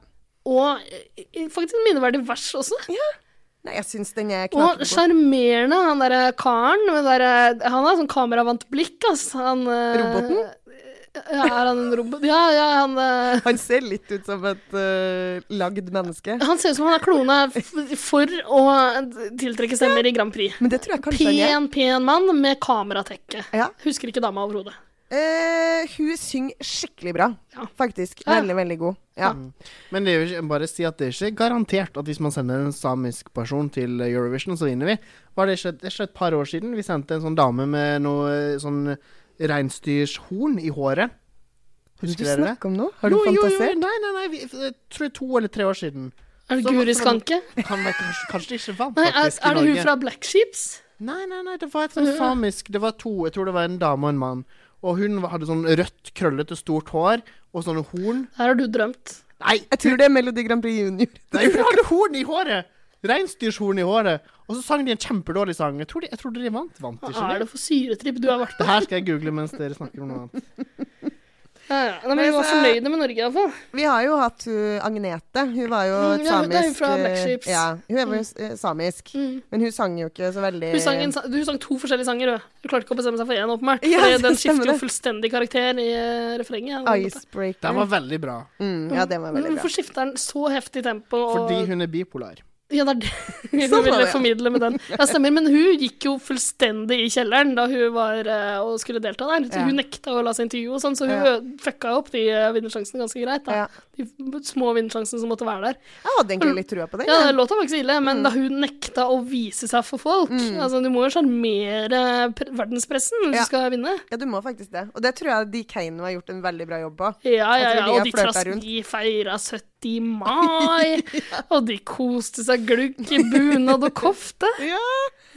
S3: Og eh, eh, faktisk en minneverdig vers også.
S2: Nei, jeg syns den er
S3: Og
S2: knakende god.
S3: sjarmerende, han derre karen. med derre- han har sånn kameravant blikk, ass. Han, eh,
S2: Roboten?
S3: Ja, er han en robot? Ja, ja, han eh,
S2: Han ser litt ut som et eh, lagd menneske.
S3: Han ser ut som han er klona f- for å tiltrekke stemmer i Grand Prix.
S2: Men det tror jeg kanskje han
S3: Pen,
S2: er.
S3: pen mann med kameratekke.
S2: Ja.
S3: Husker ikke dama overhodet.
S2: Eh, hun synger skikkelig bra,
S3: Ja.
S2: faktisk.
S3: Ja.
S2: Veldig, veldig god. Ja.
S1: Men det er jo ikke, bare si at det er ikke garantert at hvis man sender en samisk person til Eurovision, så vinner vi. Var det, ikke, det er ikke et par år siden vi sendte en sånn dame med noe sånn reinsdyrshorn i håret.
S2: Du
S1: Husker dere det?
S2: snakker om noe? Har du fantasert?
S1: Nei, nei, nei. Vi, jeg tror det er to eller tre år siden. Så-
S3: Er det Guri
S1: så-
S3: Skanke?
S1: Kan være, kanskje, kanskje de ikke vant,
S3: Nei, er,
S1: faktisk, i
S3: er det hun
S1: Norge.
S3: fra Black Sheeps?
S1: Nei, nei, nei, det var et sånn samisk Det var to, jeg tror det var en dame og en mann. Og hun hadde sånn rødt, krøllete, stort hår og sånne horn.
S3: Her har du drømt.
S1: Nei,
S2: Jeg tror det er Melodi Grand Prix Junior.
S1: Nei, hun hadde horn i håret! Reinsdyrshorn i håret. Og så sang de en kjempedårlig sang. Jeg tror de, jeg tror de vant. Vant
S3: Hva
S1: ikke de?
S3: er det for syretripp du har vært på?
S1: Det her skal jeg google mens dere snakker om noe annet.
S3: Ja, ja. Nei, men vi var
S2: så-
S3: fornøyde med Norge, iallfall.
S2: Vi har jo hatt hun Agnete. Hun var jo
S3: Mm, ja,
S2: et
S3: hun-
S2: samisk
S3: det er hun fra Black
S2: eh,
S3: Sheeps.
S2: Ja, hun er jo eh, samisk. Men hun sang jo ikke så veldig
S3: Hun, sang en sa- hun sang to forskjellige sanger. Hun. hun klarte ikke å bestemme seg for én, åpenbart.
S2: Eh, Ja,
S3: for den
S2: stemmer
S3: skifter jo
S2: det.
S3: fullstendig karakter i eh, refrenget. på en måte.
S2: Icebreaker.
S1: Den var veldig bra.
S2: mm, ja, det var veldig bra.
S3: Hvorfor skifter den så heftig tempo? Og...
S1: Fordi hun er bipolar.
S3: Ja, det er det hun
S2: Sånn var
S3: ville
S2: det, ja.
S3: formidle med den. Ja, stemmer. Men hun gikk jo fullstendig i kjelleren da hun var eh, og skulle delta der. Så
S2: Ja.
S3: Hun nekta å la seg intervjue og sånn, så hun
S2: Ja.
S3: fucka opp de eh, vinnersjansene ganske greit. da.
S2: Ja.
S3: De små vinnersjansene som måtte være der.
S2: Jeg hadde egentlig litt trua på den.
S3: Mm. Ja,
S2: jeg.
S3: låta var ikke så ille,
S2: Mm.
S3: men da hun nekta å vise seg for folk Altså, du må jo sjarmere pre- verdenspressen hvis
S2: Ja.
S3: du skal vinne.
S2: Ja, du må faktisk det. Og det tror jeg de Kane har gjort en veldig bra jobb på.
S3: Ja, ja,
S2: Jeg tror
S3: ja.
S2: de har
S3: Og de
S2: flørta
S3: trass,
S2: rundt.
S3: de feira 70. mai, og de koste seg glugg i bunad og kofte.
S2: Ja,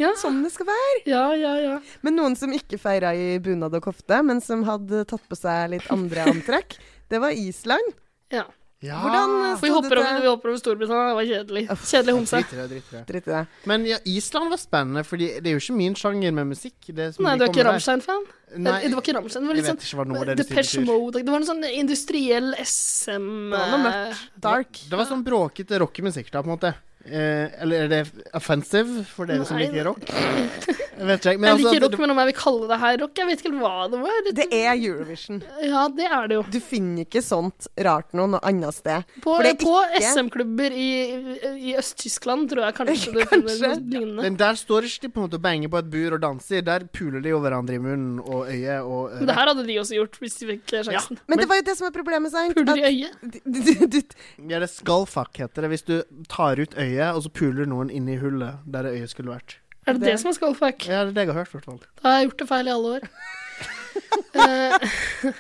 S3: Ja,
S2: som Sånn det skal være.
S3: ja, ja. ja.
S2: Men noen som ikke feira i bunad og kofte, men som hadde tatt på seg litt andre antrekk, det var Island.
S3: ja. eh,
S1: Ja.
S2: Hvordan
S3: Vi
S2: stod det
S3: hopper, over, vi
S2: til
S3: hopper over Storbritannia, det var kjedelig. Kjedelig homse.
S1: Drit i det, drit i det.
S2: Dritt i det.
S1: Men ja, Island var spennende, Fordi det er jo ikke min sjanger med musikk. Det som
S3: Nei,
S1: de
S3: du er
S1: kommer
S3: ikke
S1: der.
S3: Rammstein-fan?
S1: Nei,
S3: Eller, Det var ikke Rammstein, det var
S1: jeg
S3: litt
S1: vet
S3: sånn
S1: ikke hva noe av det du
S3: Depeche
S1: sier betyr.
S3: Mode. Det var en sånn industriell eh, SM
S2: Det var noe mørkt. Dark.
S1: Det var sånn bråkete rockemusikk, da, på en måte. Eh, eller er det offensive for dere som
S3: Nei.
S1: liker rock? Jeg vet ikke, men
S3: Jeg
S1: altså,
S3: liker
S1: det-
S3: rock, men om jeg vil kalle det her rock, jeg vet ikke helt hva det var.
S2: Det er Eurovision.
S3: Ja, det er det jo.
S2: Du finner ikke sånt rart noe noe annet sted.
S3: På,
S2: For det er
S3: på
S2: ikke-
S3: SM-klubber i, i Øst-Tyskland tror jeg kanskje du finner noe lignende.
S1: Men der står ikke de på en måte og banger på et bur og danser. Der puler de jo hverandre i munnen og øyet og
S3: Men det her hadde de også gjort hvis de fikk eh, sjansen.
S2: Men det var jo det som er problemet, sant?
S3: Puler i
S2: At-
S3: øyet.
S2: Du- du- du-
S1: Ja, det er skullfuck heter det hvis du tar ut øyet, og så puler noen inn i hullet der det øyet skulle vært.
S3: Er det det,
S2: det-
S3: som er skullfuck?
S1: Ja, det er det jeg har hørt, i hvert fall.
S3: Da har jeg gjort det feil i alle år. Eh,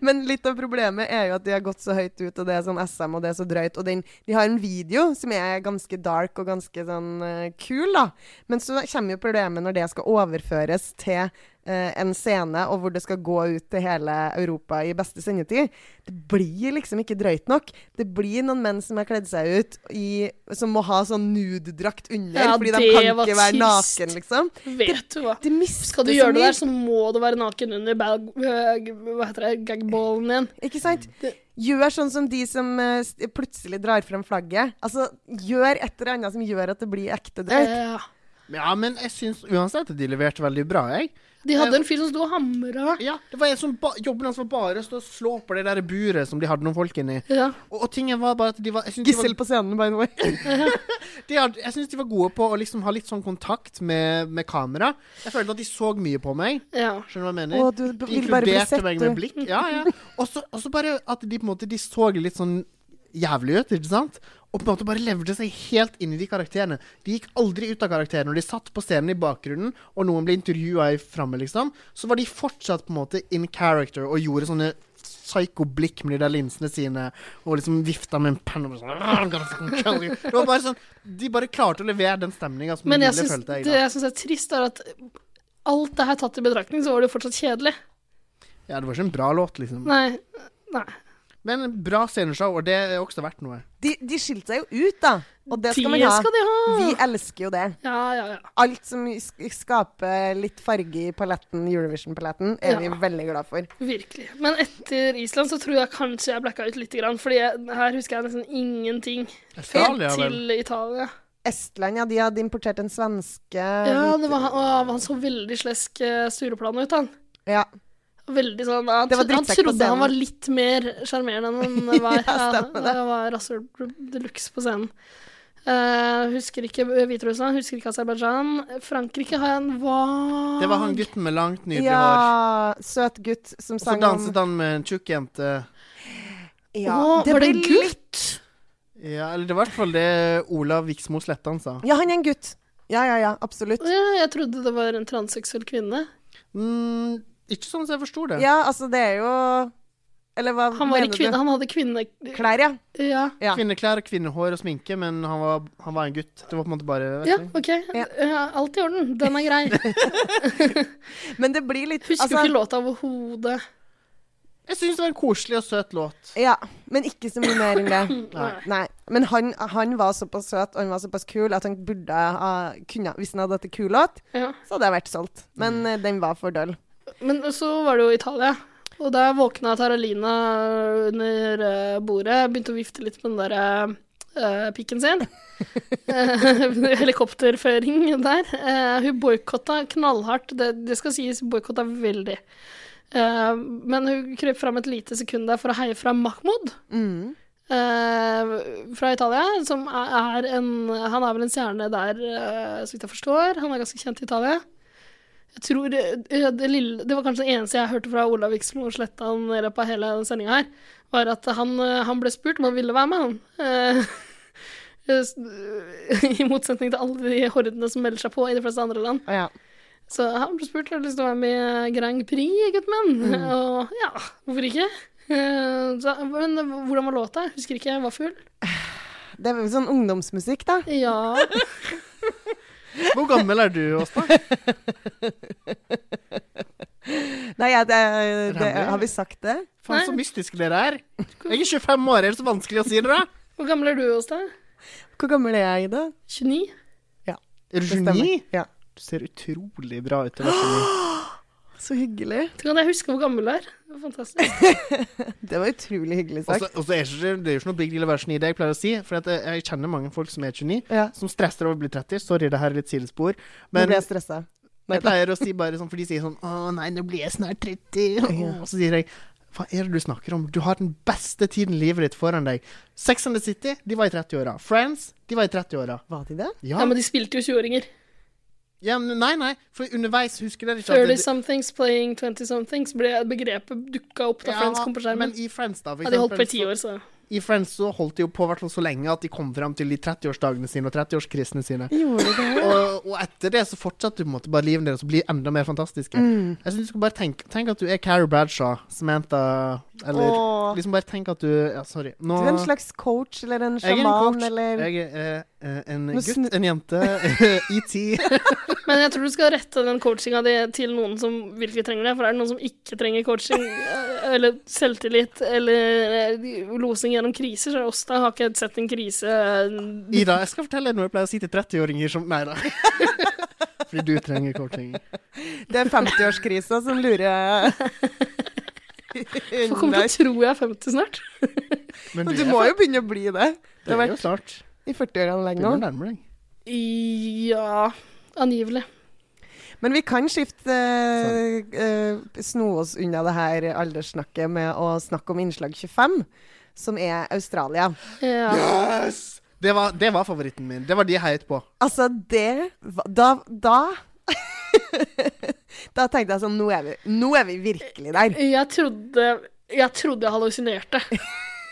S2: Men litt av problemet er jo at de har gått så høyt ut, og det er sånn SM, og det er så drøyt. Og den, de har en video som er ganske dark og ganske sånn eh, kul, da. Men så kommer jo problemet når det skal overføres til eh, en scene, og hvor det skal gå ut til hele Europa i beste sendetid. Det blir liksom ikke drøyt nok. Det blir noen menn som har kledd seg ut i Som må ha sånn nudedrakt under,
S3: Ja,
S2: fordi
S3: det
S2: de kan
S3: var
S2: ikke være
S3: trist.
S2: naken, liksom.
S3: vet du hva.
S2: De mister
S3: Skal du
S2: så
S3: gjøre det
S2: mye.
S3: der, så må du være naken under bag, eh, g- hva heter det, gagballen igjen.
S2: Ikke sant?
S3: Mm.
S2: Gjør sånn som de som eh, s- plutselig drar frem flagget. Altså, gjør et eller annet som gjør at det blir ekte drøyt.
S3: Eh,
S1: Ja, men jeg syns uansett at de leverte veldig bra, jeg.
S3: de hadde en fyr som sto og hamra.
S1: Ja, det var en som ba Jobben hans var bare å stå og slå på det der buret som de hadde noen folk inni.
S3: Ja.
S1: Og, og tingen var bare at de var Jeg syns de,
S2: Gissel
S1: var-
S2: på scenen, by the way.
S1: de, hadde- jeg synes de var gode på å liksom ha litt sånn kontakt med, med kamera. Jeg følte at de så mye på meg.
S3: ja.
S1: Skjønner du hva jeg mener?
S2: Å, du b-
S1: De
S2: vil bare bli
S1: inkluderte
S2: sett,
S1: meg
S2: du.
S1: med blikk. Ja, ja. Og så- Og så bare at de på en måte De så litt sånn jævlig ut, ikke sant? Og på en måte bare levde seg helt inn i de karakterene. De gikk aldri ut av karakterene. Og de satt på scenen i bakgrunnen, og noen ble intervjua framme, liksom. Så var de fortsatt på en måte in character og gjorde sånne psycho-blikk med de der linsene sine, og liksom vifta med en penn og bare sånn "I'm gonna fucking kill you." Det var bare sånn De bare klarte å levere den stemninga som de
S3: Men
S1: ville,
S3: jeg syns
S1: følte jeg.
S3: det
S1: Da.
S3: jeg syns er trist, er at alt det her tatt i betraktning, så var det jo fortsatt kjedelig.
S1: Ja, det var ikke en bra låt, liksom.
S3: Nei. Nei.
S1: Men en bra sceneshow, og det er også verdt noe.
S2: De, de skilte seg jo ut, da. Og det
S3: Det
S2: skal man ha.
S3: skal de ha.
S2: Vi elsker jo det.
S3: Ja, ja, ja.
S2: Alt som sk- skaper litt farge i paletten, Eurovision-paletten,
S3: Ja.
S2: er vi veldig glad for.
S3: Virkelig. Men etter Island så tror jeg kanskje jeg blacka ut litt, grann, fordi jeg, her husker jeg nesten ingenting.
S1: Australia,
S3: Helt
S1: vel.
S3: til Italia.
S2: Estland, ja, de hadde importert en svenske
S3: Ja, det var, å, han så veldig slesk eh, Stureplan ut, han.
S2: Ja.
S3: Veldig sånn, han,
S2: Det var
S3: han
S2: drittsekk på
S3: trodde han
S2: scenen.
S3: var litt mer sjarmerende enn han var.
S2: Ja, stemmer det.
S3: Han var rasshøl de luxe på scenen. Eh, husker ikke Hviterussland, husker ikke Aserbajdsjan. Frankrike har jeg en vag
S1: Det var han gutten med langt, nydelig hår.
S2: Ja, søt gutt som
S1: Og så
S2: sang om
S1: danset han med en tjukk jente.
S2: ja,
S3: Å,
S2: det
S3: var det en
S2: blir
S3: gutt?
S2: litt-
S1: Ja, eller det var i hvert fall det Olav Viksmo Slettan sa.
S2: Ja, han er en gutt. Ja, ja, ja, absolutt.
S3: Ja, jeg trodde det var en transseksuell kvinne.
S1: Mm, ikke sånn som jeg forsto det.
S2: Ja, altså, det er jo Eller hva
S3: Han, var i
S2: mener
S3: kvinne,
S2: du?
S3: han hadde kvinne...
S2: Klær, ja.
S3: Ja.
S2: ja.
S1: Kvinneklær, kvinnehår og sminke, men han var, han var en gutt. Det var på en måte bare vet
S3: Ja,
S1: du.
S3: OK.
S2: Ja.
S3: Ja, alt i orden. Den er grei.
S2: Men det blir litt
S3: Husker jo
S2: altså,
S3: ikke låta overhodet.
S1: Jeg syns det var en koselig og søt låt.
S2: Ja, men ikke så mye mer enn det.
S3: Nei.
S2: Nei. Men han, han var såpass søt og han var såpass kul at han burde ha kunnet Hvis han hadde hatt en kul låt,
S3: Ja.
S2: så hadde jeg vært solgt. Men eh, den var for døll.
S3: Men så var det jo Italia. Og der våkna Taralina under eh, bordet, begynte å vifte litt med den der eh, pikken sin. Eh, Helikopterføring der. Eh, hun boikotta knallhardt, det, det skal sies, hun boikotta veldig. Eh, men hun krøp fram et lite sekund der for å heie fram Mahmoud.
S2: Mm.
S3: Eh, eh, fra Italia. Som er er en, han er vel en stjerne der, eh, så vidt jeg forstår. Han er ganske kjent i Italia. Jeg tror eh, det, lille, det var kanskje det eneste jeg hørte fra Olav Viksmo Slettan i løpet av hele sendinga her, var at han, eh, han ble spurt om han ville være med, han. Eh, s- I motsetning til alle de hordene som melder seg på i de fleste andre land.
S2: Ja.
S3: Så han ble spurt om han hadde lyst til å være med i Grand Prix, guttmenn.
S1: Mm.
S3: Og ja, hvorfor ikke? Eh, Så, men hvordan var låta? Jeg Husker ikke, jeg var full.
S2: Det er vel sånn ungdomsmusikk, da.
S3: Ja.
S1: Hvor gammel er du, Åsta?
S2: Nei, jeg, det, det,
S1: Ramler.
S2: har vi sagt det?
S1: Faen, så mystiske dere er. Jeg er 25 år, er det så vanskelig å si det, da?
S3: Hvor gammel er du hos deg?
S2: Hvor gammel er jeg, Ida?
S3: 29?
S1: Er du
S2: Det stemmer.
S1: 29?
S2: Ja.
S1: Du ser utrolig bra ut. til å være 29.
S2: Så hyggelig.
S3: Tenk at jeg husker hvor gammel du er. Det var Fantastisk.
S2: Det var utrolig hyggelig
S1: Og så
S2: sagt.
S1: og så er det ikke- det er jo ikke noe big deal å være 29, det jeg pleier å si. For at jeg- jeg kjenner mange folk som er 29,
S2: Ja,
S1: som stresser over å bli 30. Sorry, det her er litt sidespor.
S2: nå
S1: Men
S2: ble jeg
S1: jeg
S2: stressa. Nei, da.
S1: pleier å si bare sånn, for de sier sånn Å nei, nå blir jeg snart 30.
S2: Ja.
S1: Åh, Og så sier jeg hva er det du snakker om? Du har den beste tiden i livet ditt foran deg. Sex and the City, de var i 30-åra. Friends, de var i 30-åra.
S2: Var de det?
S3: Ja, men de spilte jo 20-åringer.
S1: Ja, men nei, nei, for underveis husker dere ikke at det-
S3: 30-somethings playing 20-somethings ble begrepet dukka opp da
S1: Ja,
S3: Friends kom på skjermen.
S1: Men i Friends, da, for
S3: Ja, de holdt på i
S1: eksempel,
S3: ti år, så
S1: så, i Friends så holdt de jo på hvertfall så lenge at de kom fram til de 30-årsdagene sine og 30-årskrisene sine.
S2: Gjorde de det?
S1: Og, og etter det så fortsatte du på en måte bare livet deres å bli enda mer fantastiske.
S2: Mm.
S1: Jeg synes du skal bare tenke Tenk at du er Carrie Bradshaw, Samantha Eller
S2: Åh.
S1: liksom bare tenk at du Ja, sorry.
S2: Du
S1: Nå
S2: er en slags coach eller en
S1: jeg er en
S2: sjaman
S1: coach.
S2: eller
S1: Jeg er eh, en
S2: Nå
S1: gutt,
S2: snu-
S1: en jente, eh, E ET.
S3: Men jeg tror du skal rette den coachinga di til noen som virkelig trenger det. For er det noen som ikke trenger coaching, eh, eller selvtillit, eller eh, losing gjennom kriser, så er det oss. Da har ikke jeg sett en krise eh,
S1: Ida, jeg skal fortelle deg noe jeg pleier å si til 30-åringer som Nei da. Fordi du trenger coaching.
S2: Det er 50-årskrisa som lurer
S3: Folk kommer
S2: unna.
S3: til å tro jeg er 50 snart.
S1: Men
S2: Du
S1: er
S2: må jo begynne å bli det.
S1: faktisk- det
S2: Du har
S1: er jo
S2: vært
S1: snart.
S2: i 40-årene lenge nå.
S1: Begynner å nærme deg.
S3: Ja Angivelig.
S2: Men vi kan skifte
S1: Sånn.
S2: eh, eh, Sno oss unna det her alderssnakket med å snakke om innslag 25, som er Australia.
S3: Ja.
S1: Det var, det var favoritten min. Det var de jeg heiet på.
S2: Altså, det va- Da Da, da tenkte jeg sånn nå er, vi, nå er vi virkelig der.
S3: Jeg trodde jeg, trodde jeg hallusinerte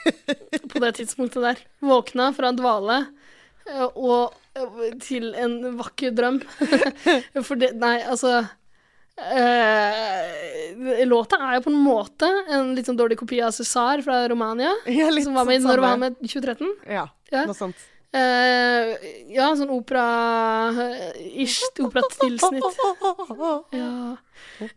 S3: på det tidspunktet der. Våkna fra en dvale eh, og eh, til en vakker drøm. For det Nei, altså eh, Låta er jo på en måte en litt sånn dårlig kopi av César fra Romania.
S2: Ja, litt
S3: Som var med i
S2: sånn
S3: når
S2: samme-
S3: var han med 2013.
S2: Ja,
S3: Ja.
S2: noe sånt.
S3: Eh, ja, sånn opera-ish. Operatilsnitt. Ja.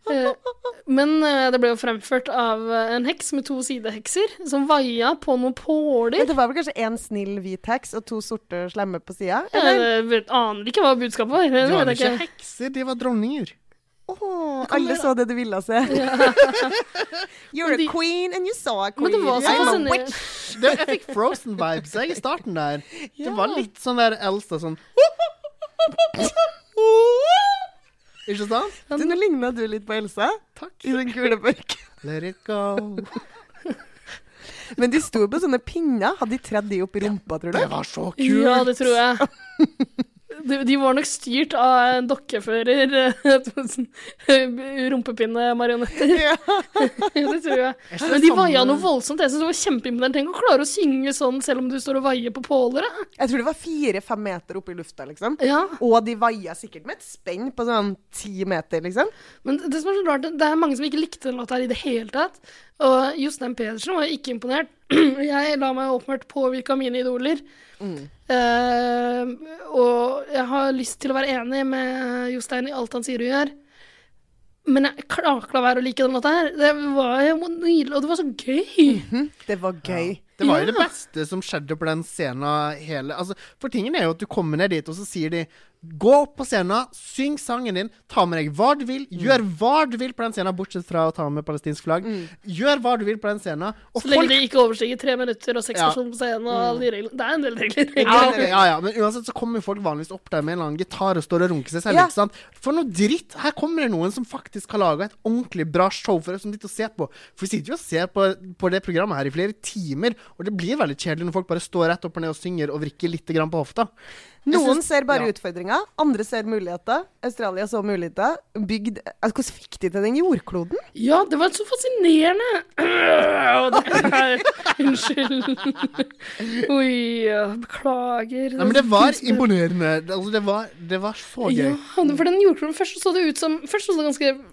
S3: Eh, Men eh, det ble jo fremført av eh, en heks med to sidehekser, som vaia på noen
S2: Men
S3: påler.
S2: det var vel kanskje én snill hvit heks og to sorte slemme på sida?
S3: Jeg Eh, vet- aner ikke hva budskapet var. Det
S1: De var
S3: vet
S1: ikke
S3: jeg ikke.
S1: hekser, de var dronninger.
S2: Åh, alle så det du ville se. You're
S3: Men de-
S2: a queen and you saw a queen.
S3: Men det var så
S2: I'm a
S3: fascinerende.
S2: witch.
S1: Det, jeg fikk Frozen-vibes jeg, i starten der. Det var litt sånn der Elsa sånn Ikke sant?
S2: Du, Nå ligna du litt på Elsa
S1: Takk.
S2: i den gule børken.
S1: Let it go.
S2: Men de sto på sånne pinner. Hadde de tredd de opp i rumpa, tror du?
S1: Det var så kult.
S3: Ja, det tror jeg. De, de var nok styrt av en dokkefører. eh, sånn, eh, Rumpepinne-marionetter.
S2: Ja.
S3: det tror jeg.
S1: Jeg synes
S3: Men de
S1: sånn-
S3: vaia noe voldsomt. Jeg synes det var kjempeimponerende. Tenk å klare å synge sånn selv om du står og vaier på påler. da.
S2: Jeg tror det var fire-fem meter opp i lufta, liksom.
S3: Ja.
S2: Og de vaia sikkert med et spenn på sånn ti meter, liksom.
S3: Men det som er så rart, det er mange som ikke likte den låta her i det hele tatt. Og Jostein Pedersen var jo ikke imponert. Jeg la meg åpenbart påvirke av mine idoler.
S1: Mm.
S3: Eh, og jeg har lyst til å være enig med Jostein i alt han sier og gjør. Men jeg klarte ikke å la være å like den låta her. Det var jo nydelig, og det var så gøy.
S2: Det var gøy.
S1: Det var jo det beste som skjedde på den scenen hele altså, For tingen er jo at du kommer ned dit, og så sier de Gå opp på scenen, syng sangen din, ta med deg hva du vil.
S3: Mm.
S1: Gjør hva du vil på den scenen, bortsett fra å ta med palestinsk flagg. Gjør hva du vil på den scenen. og
S3: Mm. Så lenge
S1: folk-
S3: det ikke overstiger tre minutter og seks
S1: Ja. Mm.
S3: personer på scenen og alle de reglene. Det er en del regler.
S1: Ja,
S3: egentlig.
S1: ja, ja, men uansett så kommer jo folk vanligvis opp der med en eller annen gitar og står og runker seg selv.
S3: Ja.
S1: ikke sant? For noe dritt! Her kommer det noen som faktisk har laga et ordentlig bra show for oss som sitter og ser på. For vi sitter jo og ser på, på det programmet her i flere timer, og det blir veldig kjedelig når folk bare står rett opp og ned og synger og vrikker litt grann på hofta. Jeg
S2: Noen
S1: synes-
S2: ser bare
S1: ja.
S2: utfordringer, andre ser muligheter. Australia så muligheter. Bygd altså, Hvordan fikk de til den jordkloden?
S3: Ja, det var så fascinerende! Og det er Unnskyld. Oi, ja, beklager.
S1: Nei, men det var imponerende. Altså, det var, det var så gøy.
S3: Ja, for den jordkloden Først så det ut som Først så det ganske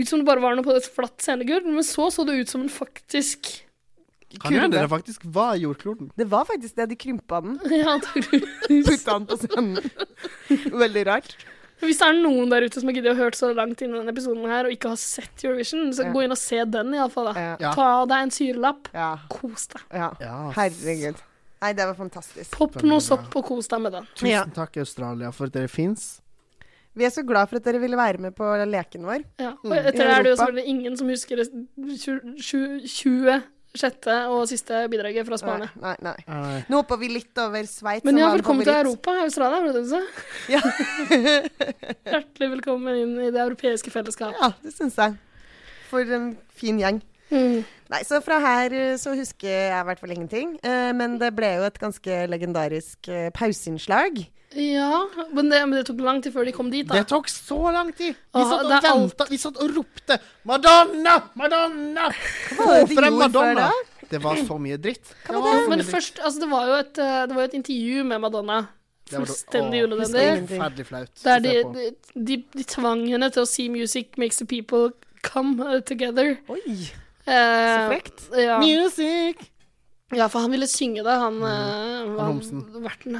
S3: ut som det bare var noe på et flatt scenegulv, men så så det ut som en faktisk
S1: Kan hende det faktisk var jordkloden.
S2: Det var faktisk det. De krympa den.
S3: Ja,
S2: Putta den på scenen. Veldig rart.
S3: Hvis det er noen der ute som har giddet å hørt så langt inn i denne episoden her, og ikke har sett Eurovision, så
S2: Ja.
S3: gå inn og se den iallfall.
S2: Ja.
S3: Ta deg en syrelapp. Kos deg.
S2: Ja. Herregud. Nei, det var fantastisk.
S3: Popp noe sopp og kos deg med den.
S1: Tusen takk, Australia, for at dere fins.
S2: Vi er så glad for at dere ville være med på leken vår.
S3: Ja.
S2: Mm.
S3: Og etter
S2: I
S3: det er det jo
S2: Europa.
S3: selvfølgelig ingen som husker det tju- tju- 26. og siste bidraget fra Spania.
S2: Nei, nei, nei. Nå hopper vi litt over Sveits.
S3: Men
S2: som
S3: ja,
S2: var en
S3: velkommen til
S2: favoritt.
S3: Europa. Australia, var det det du sa? Hjertelig velkommen inn i det europeiske fellesskapet.
S2: Ja, det syns jeg. For en fin gjeng.
S3: Mm.
S2: Nei, så fra her eh, så husker jeg i hvert fall ingenting. Eh, Men det ble jo et ganske legendarisk eh, pauseinnslag.
S3: Ja, men det, men det tok lang tid før de kom dit, da.
S1: Det tok så lang tid! Vi
S3: Åh,
S1: satt og
S3: det er alt-
S1: ventet, vi satt og ropte 'Madonna! Madonna!' Få
S2: var det de
S1: frem
S2: gjorde
S1: Madonna!
S2: før
S1: Det var så mye dritt.
S3: Ja, men først, altså, det var jo et, eh, det var jo et intervju med Madonna.
S1: Det var da-
S3: Fullstendig
S1: åh,
S3: unødvendig.
S1: Forferdelig flaut.
S3: Der
S1: å
S3: de,
S1: se på.
S3: de, de, de tvang henne til å si 'Music makes the people come uh, together'.
S2: Oi,
S3: Eh,
S2: så frekt.
S3: Ja.
S1: Music!
S3: ja, for han ville synge det, han, mm. han
S1: homsen.
S3: verten.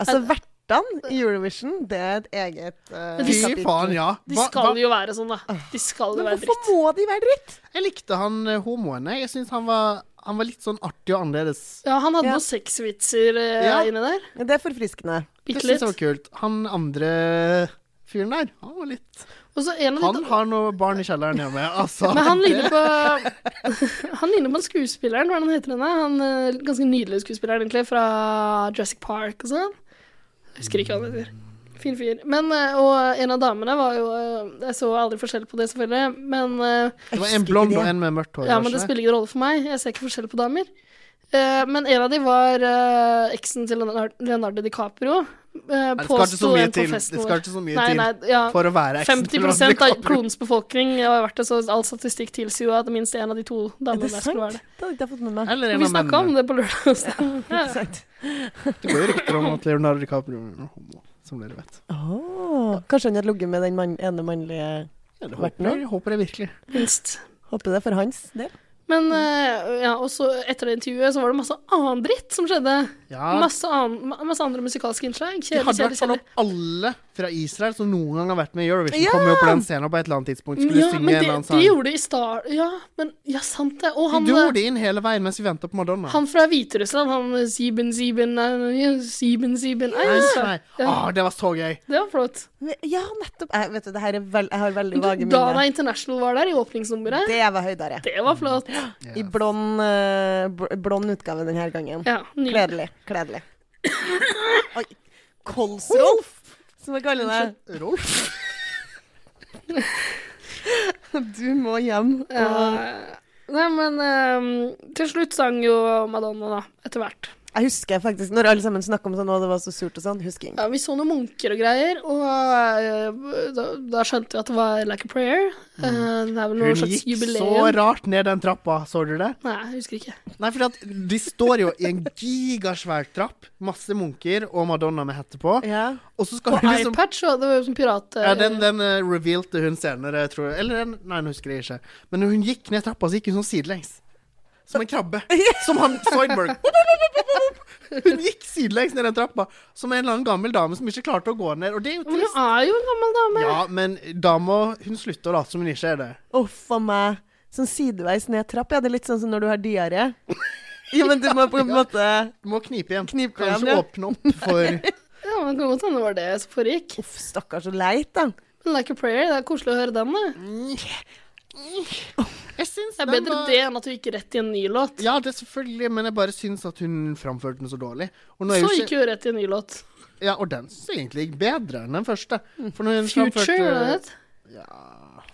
S2: Altså, vertene i Eurovision, det er et eget eh,
S3: Men de-
S1: Fy faen, ja.
S3: De
S1: Hva-
S3: skal
S1: hva-
S3: jo være sånn, da. De skal jo
S2: Men
S3: være
S2: hvorfor
S3: dritt.
S2: må de være dritt?
S1: Jeg likte han eh, homoen. jeg. Jeg syns han, var- han var litt sånn artig og annerledes.
S3: Ja, han hadde
S2: Ja.
S3: noen sexvitser eh,
S1: Ja.
S3: inni der.
S2: Det er forfriskende.
S1: Det
S3: Bitte
S1: syns
S3: litt.
S1: jeg var kult. Han andre fyren der, han var litt
S3: Og så en av
S1: Han
S3: de
S1: har noe barn i kjelleren hjemme, altså.
S3: Men han ligner på Han ligner på en skuespilleren, hva er det han heter henne? Han eh, ganske nydelig skuespilleren, egentlig, fra Jurassic Park og sånn. Jeg Husker ikke hva han heter. Fin fyr. Men, eh, og en av damene var jo eh, Jeg så aldri forskjell på det, selvfølgelig, men eh,
S1: Det var en blond og en med mørkt hår.
S3: Ja,
S1: var
S3: men det
S1: ikke det?
S3: spiller ingen rolle for meg. Jeg ser ikke forskjell på damer. Eh, men en av de var eh, eksen til Leonardo, Leonardo DiCaprio. Uh,
S1: det skal ikke så mye til. Det skal ikke så mye til
S3: ja,
S1: for å være eksen til
S3: 50 av
S1: Leonardo DiCaprio.
S3: klodens befolkning har vært det, så all statistikk tilsier jo at minst en av de to
S2: Er
S3: damene
S2: det
S3: der
S2: sant?
S3: skulle være
S2: Det
S3: det.
S2: hadde ikke jeg fått med meg.
S1: Eller en
S3: Vi
S1: av
S3: snakka om
S1: mennene.
S3: det på lørdag. så- Ja.
S1: Det går jo rykter om at Leonardo DiCaprio er homo, som dere vet.
S3: Ah.
S2: Åh, kanskje han hadde ligget med den mann, ene mannlige
S1: Ja, det
S2: Vært
S1: håper
S2: med?
S1: jeg, håper jeg virkelig.
S3: Minst.
S2: Håper det er for hans del.
S3: Men eh, ja, og så etter det intervjuet så var det masse annen dritt som skjedde.
S1: Ja.
S3: Masse, annen, ma- masse andre musikalske innslag.
S1: De
S3: Kjedelig,
S1: hadde i hvert
S3: kjedelig,
S1: fall
S3: kjedelig.
S1: opp alle fra Israel som noen gang har vært med i Eurovision, kom jo på den scenen og på et eller annet tidspunkt skulle
S3: Ja,
S1: synge en
S3: men
S1: eller
S3: det,
S1: annen
S3: de
S1: sang.
S3: gjorde det i star... Ja, men ja, sant det. Og han, eh,
S1: de gjorde det inn hele veien mens vi venta på Madonna.
S3: han fra Hviterussland, han eh, Siben, Siben, nei, Siben, Siben nei,
S1: Nei,
S3: altså.
S1: nei.
S3: Ja.
S1: Åh, det var så gøy!
S3: Det var flott.
S2: Men- Ja, nettopp. Jeg, vet du, det her er vel, jeg har veldig vage
S3: Dana
S2: minner.
S3: International var der i åpningsnummeret.
S2: Det var høydere.
S3: Det var flott.
S2: I blond, eh, bl- blond utgave denne gangen.
S3: Ja, nydelig.
S2: Kledelig. Kledelig. Oi. Kols-Rolf, som jeg kaller det.
S1: Rolf?
S2: Du må hjem. Og
S3: Eh, nei, men eh, til slutt sang jo Madonna, da. Etter hvert.
S2: jeg husker faktisk, når alle sammen snakka om sånn, og det var så surt og sånn, husker jeg.
S3: Ja, vi så noen munker og greier, og eh, da, da skjønte vi at det var Like a Prayer. Eh, det er vel noe
S1: Mm. Hun
S3: slags
S1: gikk
S3: jubileum.
S1: så rart ned den trappa, så du det?
S3: Nei, jeg husker ikke.
S1: Nei, for at de står jo i en gigasvær trapp, masse munker og Madonna med hette på,
S2: Ja.
S1: og så skal hun liksom
S3: Eyepatch, og det var jo som pirat...
S1: Ja, den, den eh, revealte hun senere, tror jeg. Eller den, nei, nå husker jeg ikke. Men når hun gikk ned trappa, så gikk hun sånn sidelengs. Som en krabbe. Som han Zoidberg. Hun gikk sidelengs ned den trappa, som en eller annen gammel dame som ikke klarte å gå ned. Og det er jo
S3: Men
S1: trist.
S3: hun er jo en gammel dame.
S1: Ja, men dama, hun slutter å late som hun ikke er det.
S2: Uff a meg. Sånn sideveis ned trapp, ja. Det er litt sånn som når du har diaré. Ja, men du må på en måte
S1: Du må knipe igjen.
S2: Knipe
S1: Kanskje
S2: igjen, ja.
S1: åpne opp for
S3: Ja, men det kan godt hende det var det som foregikk.
S2: Uff, stakkars så leit, da.
S3: Men Like a Prayer, det er koselig å høre den,
S1: Mm.
S3: det.
S1: Jeg syns
S3: Det er bedre det enn at du gikk rett i en ny låt.
S1: Ja, det er selvfølgelig, men jeg bare syns at hun framførte den så dårlig. Og nå er
S3: Så
S1: jo ikke-
S3: gikk jo rett i en ny låt.
S1: Ja, og den syns jeg egentlig gikk bedre enn den første.
S3: Mm.
S1: For når hun eh,
S3: Future, var det
S1: framførte
S3: het?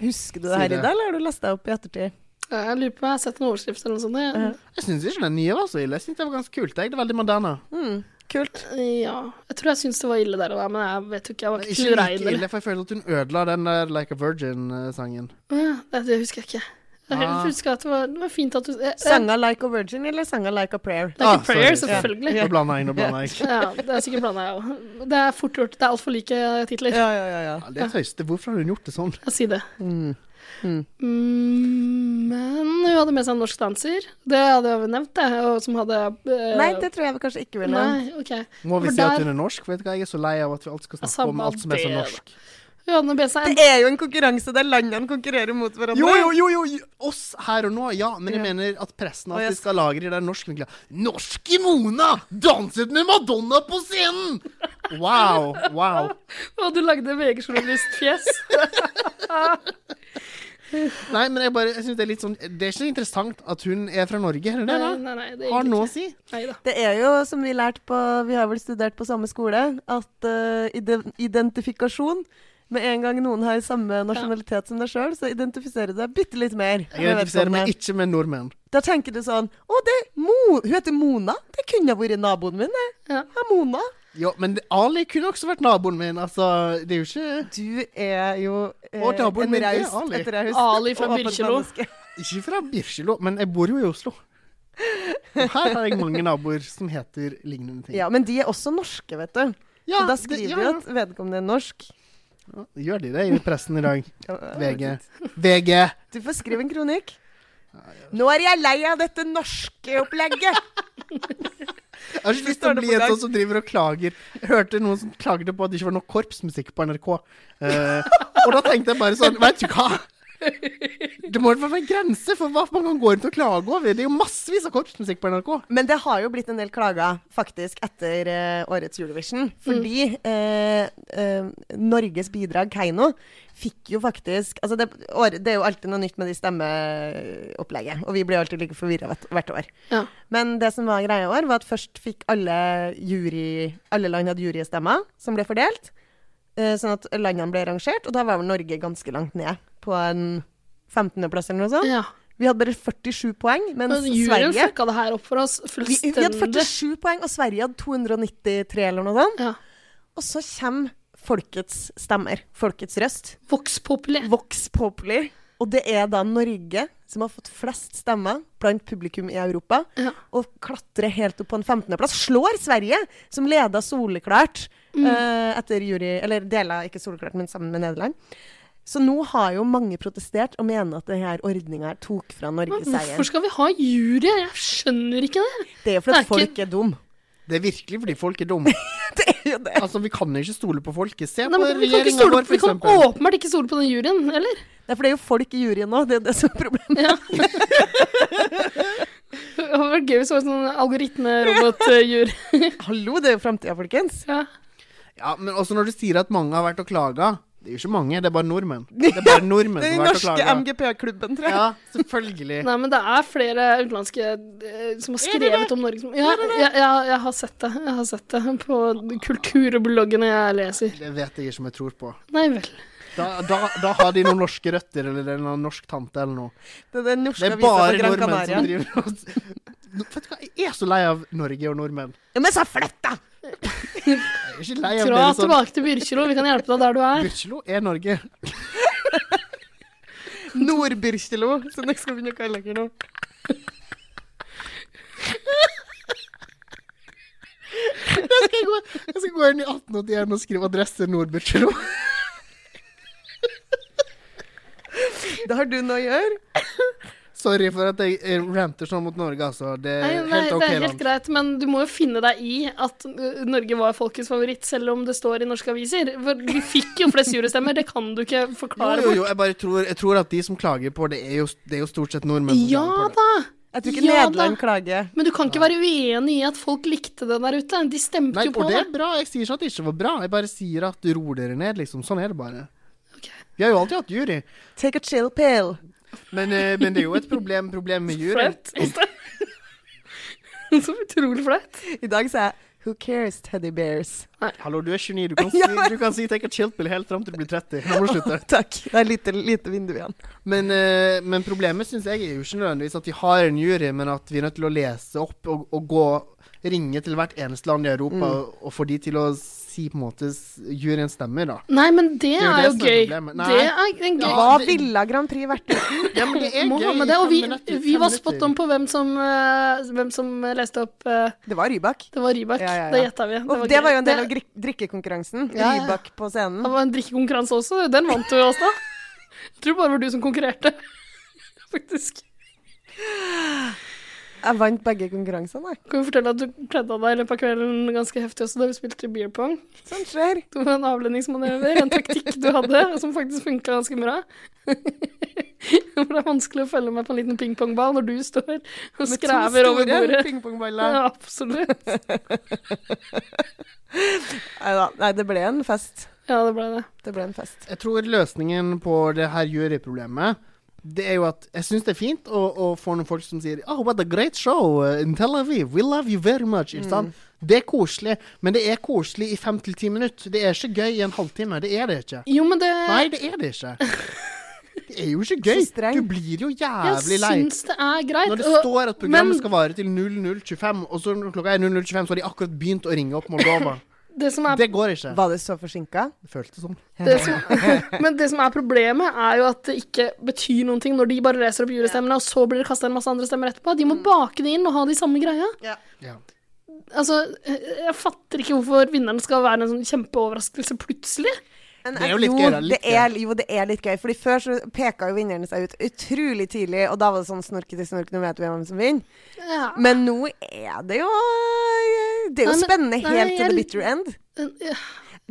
S2: Husker du
S1: Si
S2: det her
S1: det.
S2: i dag, eller har du lest deg opp i ettertid?
S3: Ja, Jeg lurer på om jeg har sett en overskrift eller noe sånt. jeg.
S1: Jeg syns ikke den nye var så ille. Jeg syns det var ganske kult. Jeg. Det er veldig moderne.
S2: Kult.
S3: Ja. Jeg tror jeg syntes det var ille der og da, men jeg vet jo ikke. Jeg var
S1: Men
S3: ikke
S1: Ikke
S3: til
S1: like
S3: regn.
S1: ille, for jeg føler at hun ødela den der Like a eh, Virgin-sangen.
S3: Ja, det, det husker jeg ikke. Jeg
S1: Ah.
S3: husker at det var, det var fint at du jeg, jeg,
S2: Sanga 'Like a Virgin' eller sanga 'Like a Prayer'?
S3: Like
S1: Ah,
S3: a prayer,
S1: sorry.
S3: selvfølgelig.
S1: Nå blanda jeg inn, nå blanda jeg inn.
S3: Ja, det er sikkert blanda, jeg òg. Det er fort gjort. Det er altfor like titler.
S2: Ja, ja, ja. ja.
S1: Ja, det er tøyste. Hvorfor har hun gjort det sånn?
S3: Jeg sier det.
S1: Mm.
S3: Mm, men hun hadde med seg en norsk danser. Det hadde jeg vel nevnt, det. Og som hadde eh,
S2: Nei, det tror jeg vel kanskje ikke ville.
S3: Nei, ok.
S1: Må vi
S3: For
S1: si at
S3: der-
S1: hun er norsk? Vet du hva, Jeg er så lei av at vi alt skal snakke om
S3: Samme
S1: alt som er så
S3: det,
S1: norsk.
S3: Hun hadde med seg en
S2: Det er jo en konkurranse der landene konkurrerer mot hverandre.
S1: Jo, jo, jo, jo, jo, oss her og nå, ja. Men jeg
S2: Ja.
S1: mener at pressen
S2: Å,
S1: alltid
S2: yes.
S1: skal lagre den norske reklamen. Norske Mona danset med Madonna på scenen! Wow, wow.
S3: Og du lagde VG-journalistfjes.
S1: Nei, men jeg bare jeg synes det er litt sånn Det er ikke så interessant at hun er fra Norge, er det det?
S3: Nei,
S1: da?
S3: nei, nei, det er
S1: Har
S3: egentlig
S1: noe å
S3: ikke.
S1: si?
S3: Neida.
S2: Det er jo, som vi lærte på Vi har vel studert på samme skole, at eh, ide- identifikasjon Med en gang noen har samme nasjonalitet som deg sjøl, så identifiserer du deg bitte litt mer.
S1: Jeg identifiserer meg
S2: Vedkommende.
S1: ikke med nordmenn.
S2: Da tenker du sånn Å, det er Mo hun heter Mona. Det kunne ha vært naboen min, det.
S3: Ja.
S2: Ja, Mona.
S1: Jo, men Ali kunne også vært naboen min. Altså, det er jo ikke
S2: Du er jo eh,
S1: Og naboen min
S2: en
S1: er
S2: raust
S1: Ali.
S2: etter jeg husker.
S3: Ali fra
S2: og åpent
S3: Byrkjelo.
S2: menneske.
S1: Ikke fra Birkjelo, men jeg bor jo i Oslo. Og her har jeg mange naboer som heter lignende ting.
S2: Ja, men de er også norske, vet du.
S1: Ja,
S2: så da
S1: det-
S2: skriver
S1: ja,
S2: vi
S1: ja.
S2: at vedkommende er norsk.
S1: Gjør de det i pressen i dag?
S2: Ja, jeg vet
S1: VG.
S2: ikke.
S1: VG!
S2: Du får skrive en kronikk. Nå er jeg lei av dette norske opplegget!
S1: Jeg har ikke lyst til å bli en sånn som driver og klager. Jeg hørte noen som klagde på at det ikke var nok korpsmusikk på NRK. Eh, og da tenkte jeg bare sånn, vet du hva? Det må være en grense for hva man kan gå rundt og klage over. Det er jo massevis av korpsmusikk på NRK.
S2: Men det har jo blitt en del klager, faktisk, etter eh, årets Eurovision. Fordi eh, eh, Norges bidrag, Keiino, fikk jo faktisk Altså, det, år, det er jo alltid noe nytt med de stemmeopplegget, og vi blir jo alltid like forvirra hvert år.
S3: Ja.
S2: Men det som var greia i år, var at først fikk alle jury Alle land hadde jurystemmer som ble fordelt. eh, sånn at landene ble rangert, og da var vel Norge ganske langt ned, på en 15.-plass eller noe sånt.
S3: ja.
S2: Vi hadde bare 47 poeng, mens
S1: Altså,
S3: Men juryen
S2: Sverige
S3: fucka det her opp for oss
S2: vi, vi hadde
S3: fullstendig.
S2: 47 poeng, og Sverige hadde 293 eller noe sånt.
S3: Ja.
S2: Og så kommer folkets stemmer, folkets røst,
S3: Vox Populi.
S2: Vox Populi. Og det er da Norge som har fått flest stemmer blant publikum i Europa,
S3: Ja.
S2: og klatrer helt opp på en 15.-plass. Slår Sverige, som leda soleklart
S3: Mm.
S2: eh, etter jury Eller deler ikke soleklart, men sammen med Nederland. Så nå har jo mange protestert og mener at denne ordninga tok fra Norge
S3: Men Hvorfor
S2: seieren.
S3: skal vi ha jury? Jeg skjønner ikke det.
S2: Det er jo fordi
S3: Det er ikke-
S2: folk er dum.
S1: Det er virkelig fordi folk er dumme.
S2: Det er jo det.
S1: Altså, vi kan jo ikke stole på folket. Se
S3: Nei,
S1: på
S3: men vi kan, ikke
S1: regjeringa
S3: stole,
S1: vår, for
S3: vi kan
S1: eksempel.
S3: åpenbart ikke stole på den juryen, eller?
S2: Det er for det er jo folk i juryen nå, det er det som er problemet.
S3: Ja. det hadde vært gøy hvis det var sånn algoritmerobotjury.
S2: Hallo, det er jo framtida, folkens.
S3: Ja.
S1: Ja, men også når du sier at mange har vært og klaga. Det er jo ikke mange, det er bare nordmenn. Det er bare nordmenn
S2: Det
S1: som
S2: er den
S1: har vært og
S2: norske
S1: klaga.
S2: MGP-klubben, tror jeg.
S1: Ja, selvfølgelig.
S3: Nei, men det er flere utenlandske eh, som har skrevet om Norge. som- Ja, ja, ja, jeg har sett det. Jeg har sett det på kulturbloggene jeg leser.
S1: Det vet jeg ikke om jeg tror på.
S3: Nei vel.
S1: Da, da, da har de noen norske røtter, eller en eller annen norsk tante eller noe.
S2: Det er den norske
S1: Det er
S2: avisa på
S1: bare
S2: Gran
S1: nordmenn
S2: Canaria.
S1: som driver og Nå, Vet du hva, jeg er så lei av Norge og nordmenn.
S2: Ja, men så flett, da!
S1: Jeg er ikke lei av
S3: Dra
S1: dere sånn.
S3: tilbake til Byrkjelo, vi kan hjelpe deg der du er.
S1: Byrkjelo er Norge.
S2: Nord-Byrkjelo, som dere skal begynne å kalle dere nå.
S1: Jeg skal gå, jeg skal gå inn i 1881 og skrive adresse Nord-Byrkjelo.
S2: Det har du noe å gjøre.
S1: Sorry for at jeg eh, ranter sånn mot Norge, altså. Det
S3: Nei,
S1: er
S3: nei,
S1: helt
S3: det
S1: OK
S3: er helt
S1: land.
S3: greit, men du må jo finne deg i at ø, Norge var folkets favoritt, selv om det står i norske aviser. For vi fikk jo flest jurystemmer, det kan du ikke
S1: Jo,
S3: forklare
S1: jo,
S3: bort.
S1: jo, jeg bare tror, jeg tror at de som klager på det, er jo, det er jo stort sett nordmenn. som
S3: Ja
S1: klager på det.
S3: da!
S2: Jeg tror ikke
S3: Ja da.
S2: Nederland klager.
S3: Men du kan ikke være uenig i at folk likte det der ute. De stemte
S1: Nei,
S3: jo
S1: og
S3: på
S1: det
S3: det.
S1: er bra. Jeg sier ikke at det ikke var bra. Jeg bare sier at du roer dere ned, liksom. Sånn er det bare. Vi har jo alltid hatt jury.
S2: Take a chill pill.
S1: Men, eh, men det er jo et problem, problem med jury.
S3: Flaut. Så utrolig flaut.
S2: I dag sa jeg Who cares, teddy bears?
S1: Hallo, du er 29. Du kan si, du kan si take a chill-pill helt fram til du blir 30. Nå må du slutte.
S2: Takk. Det er lite, lite vindu igjen.
S1: Men, eh, men problemet syns jeg er jo ikke nødvendigvis at vi har en jury, men at vi er nødt til å lese opp og, og gå Ringe til hvert eneste land i Europa og, og få de til å si på en måte s- juryens stemmer, da.
S3: Nei, men det,
S1: jo
S3: er
S1: det
S3: jo
S1: som er
S3: gøy.
S1: problemet. Nei.
S3: Det er en gøy
S2: Hva ville Grand Prix vært uten?
S1: Ja, men det er
S3: Må
S1: gøy
S3: ha
S1: i
S3: med det. Og
S1: fem
S3: vi,
S1: minutter,
S3: vi
S1: fem
S3: var spot
S1: minutter.
S3: on på hvem som, eh, hvem som leste opp eh,
S2: Det var Rybak.
S3: Det var Rybak.
S2: Ja, ja, ja.
S3: Det gjetta vi.
S2: Og det
S3: gøy.
S2: var jo en del av
S3: Det-
S2: grik- drikkekonkurransen.
S3: Ja, ja.
S2: Rybak på
S3: Det
S2: scenen.
S3: var en drikkekonkurranse også. Den vant du, Åsta. Jeg tror bare det var du som konkurrerte, faktisk.
S2: Jeg vant begge konkurransene. jeg.
S3: Kan jo fortelle at du kledde av deg i løpet av kvelden ganske heftig også da vi spilte beer pong.
S2: Sånn skjer.
S3: Det var en avledningsmanøver, en taktikk du hadde, som faktisk funka ganske bra. For det er vanskelig å følge med på en liten pingpongball når du står og skræver over bordet.
S2: pingpongballer.
S3: Ja, absolutt.
S2: Neida. Nei, det ble en fest.
S3: Ja, det ble det.
S2: Det ble en fest.
S1: Jeg tror løsningen på det her juryproblemet det er jo at jeg syns det er fint å, å få noen folk som sier Oh, what a great show eh, in Tel Aviv. We love you very much. Ikke sant? Det er koselig, men det er koselig i fem til ti minutter. Det er ikke gøy i en halvtime. Det er det ikke.
S3: Jo, men det
S1: Nei, det er det ikke. Det er jo ikke
S2: Så streng.
S1: gøy. Du blir jo jævlig
S3: Jeg
S1: lei.
S3: syns det er greit.
S1: Når det
S3: og-
S1: står at programmet
S3: men-
S1: skal vare til 00.25, og så når klokka er 00.25, så har de akkurat begynt å ringe opp Moldova.
S3: det som er
S1: Det går ikke.
S2: Var det så forsinka?
S1: Det føltes sånn.
S3: Det som, men det som er problemet, er jo at det ikke betyr noen ting når de bare leser opp julestemmene, og så blir det kasta en masse andre stemmer etterpå. De må bake det inn og ha de samme greia.
S2: Mm. Ja.
S1: Ja.
S3: Altså, jeg fatter ikke hvorfor vinneren skal være en sånn kjempeoverraskelse plutselig.
S2: Men
S1: Det er
S2: jeg-
S1: jo litt
S2: jo,
S1: gøy, da. Litt
S2: det er, jo, det er litt gøy. Fordi Før så peka jo vinnerne seg ut utrolig tidlig, og da var det sånn snorkete snork, nå vet vi hvem som vinner.
S3: Ja.
S2: Men nå er det jo Det er jo
S3: Nei, men-
S2: spennende
S3: nei,
S2: helt til
S3: jeg-
S2: the bitter end.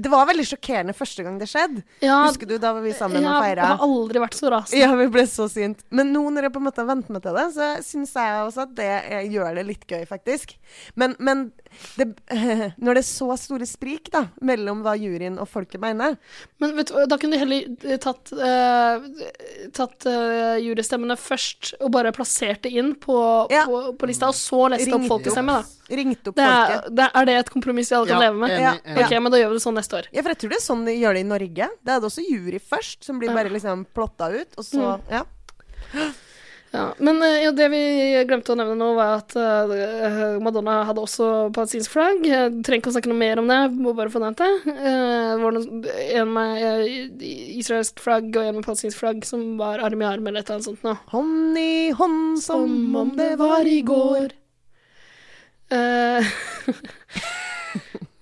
S2: Det var veldig sjokkerende første gang det skjedde. Husker du da var vi sammen og
S3: Jeg har
S2: feira?
S3: aldri vært så rasende.
S2: Ja, vi ble så sint. Men nå når jeg på en måte har vent meg til det, så syns jeg også at det eh, gjør det litt gøy, faktisk. Men, men det, når det er så store sprik da, mellom hva juryen og folket mener
S3: Men vet du, hva, da kunne de heller eh, tatt, eh, tatt eh, jurystemmene først, og bare plassert det inn på,
S2: Ja.
S3: på, på lista, og så leste opp
S2: Ringt opp.
S3: folkestemme, da.
S2: Ringte opp
S3: Det er,
S2: folket.
S3: det er det et kompromiss vi alle kan
S1: Ja,
S3: leve med?
S1: enig,
S2: Ja. enig.
S3: Ok, men da gjør vi det sånn neste år.
S2: Ja, for jeg tror det er sånn de gjør det i Norge. Da er det også jury først, som blir bare liksom plotta ut, og så Ja.
S3: Ja. Men eh, ja, det vi glemte å nevne nå, var at eh, Madonna hadde også palestinsk flagg. Jeg trenger ikke å snakke noe mer om det, jeg må bare få nevnt det. Eh, det var noen, en med eh, israelsk flagg og en med palestinsk flagg som var arm i arm eller et eller annet sånt nå.
S2: Hånd i hånd som om det var i går.
S3: Eh,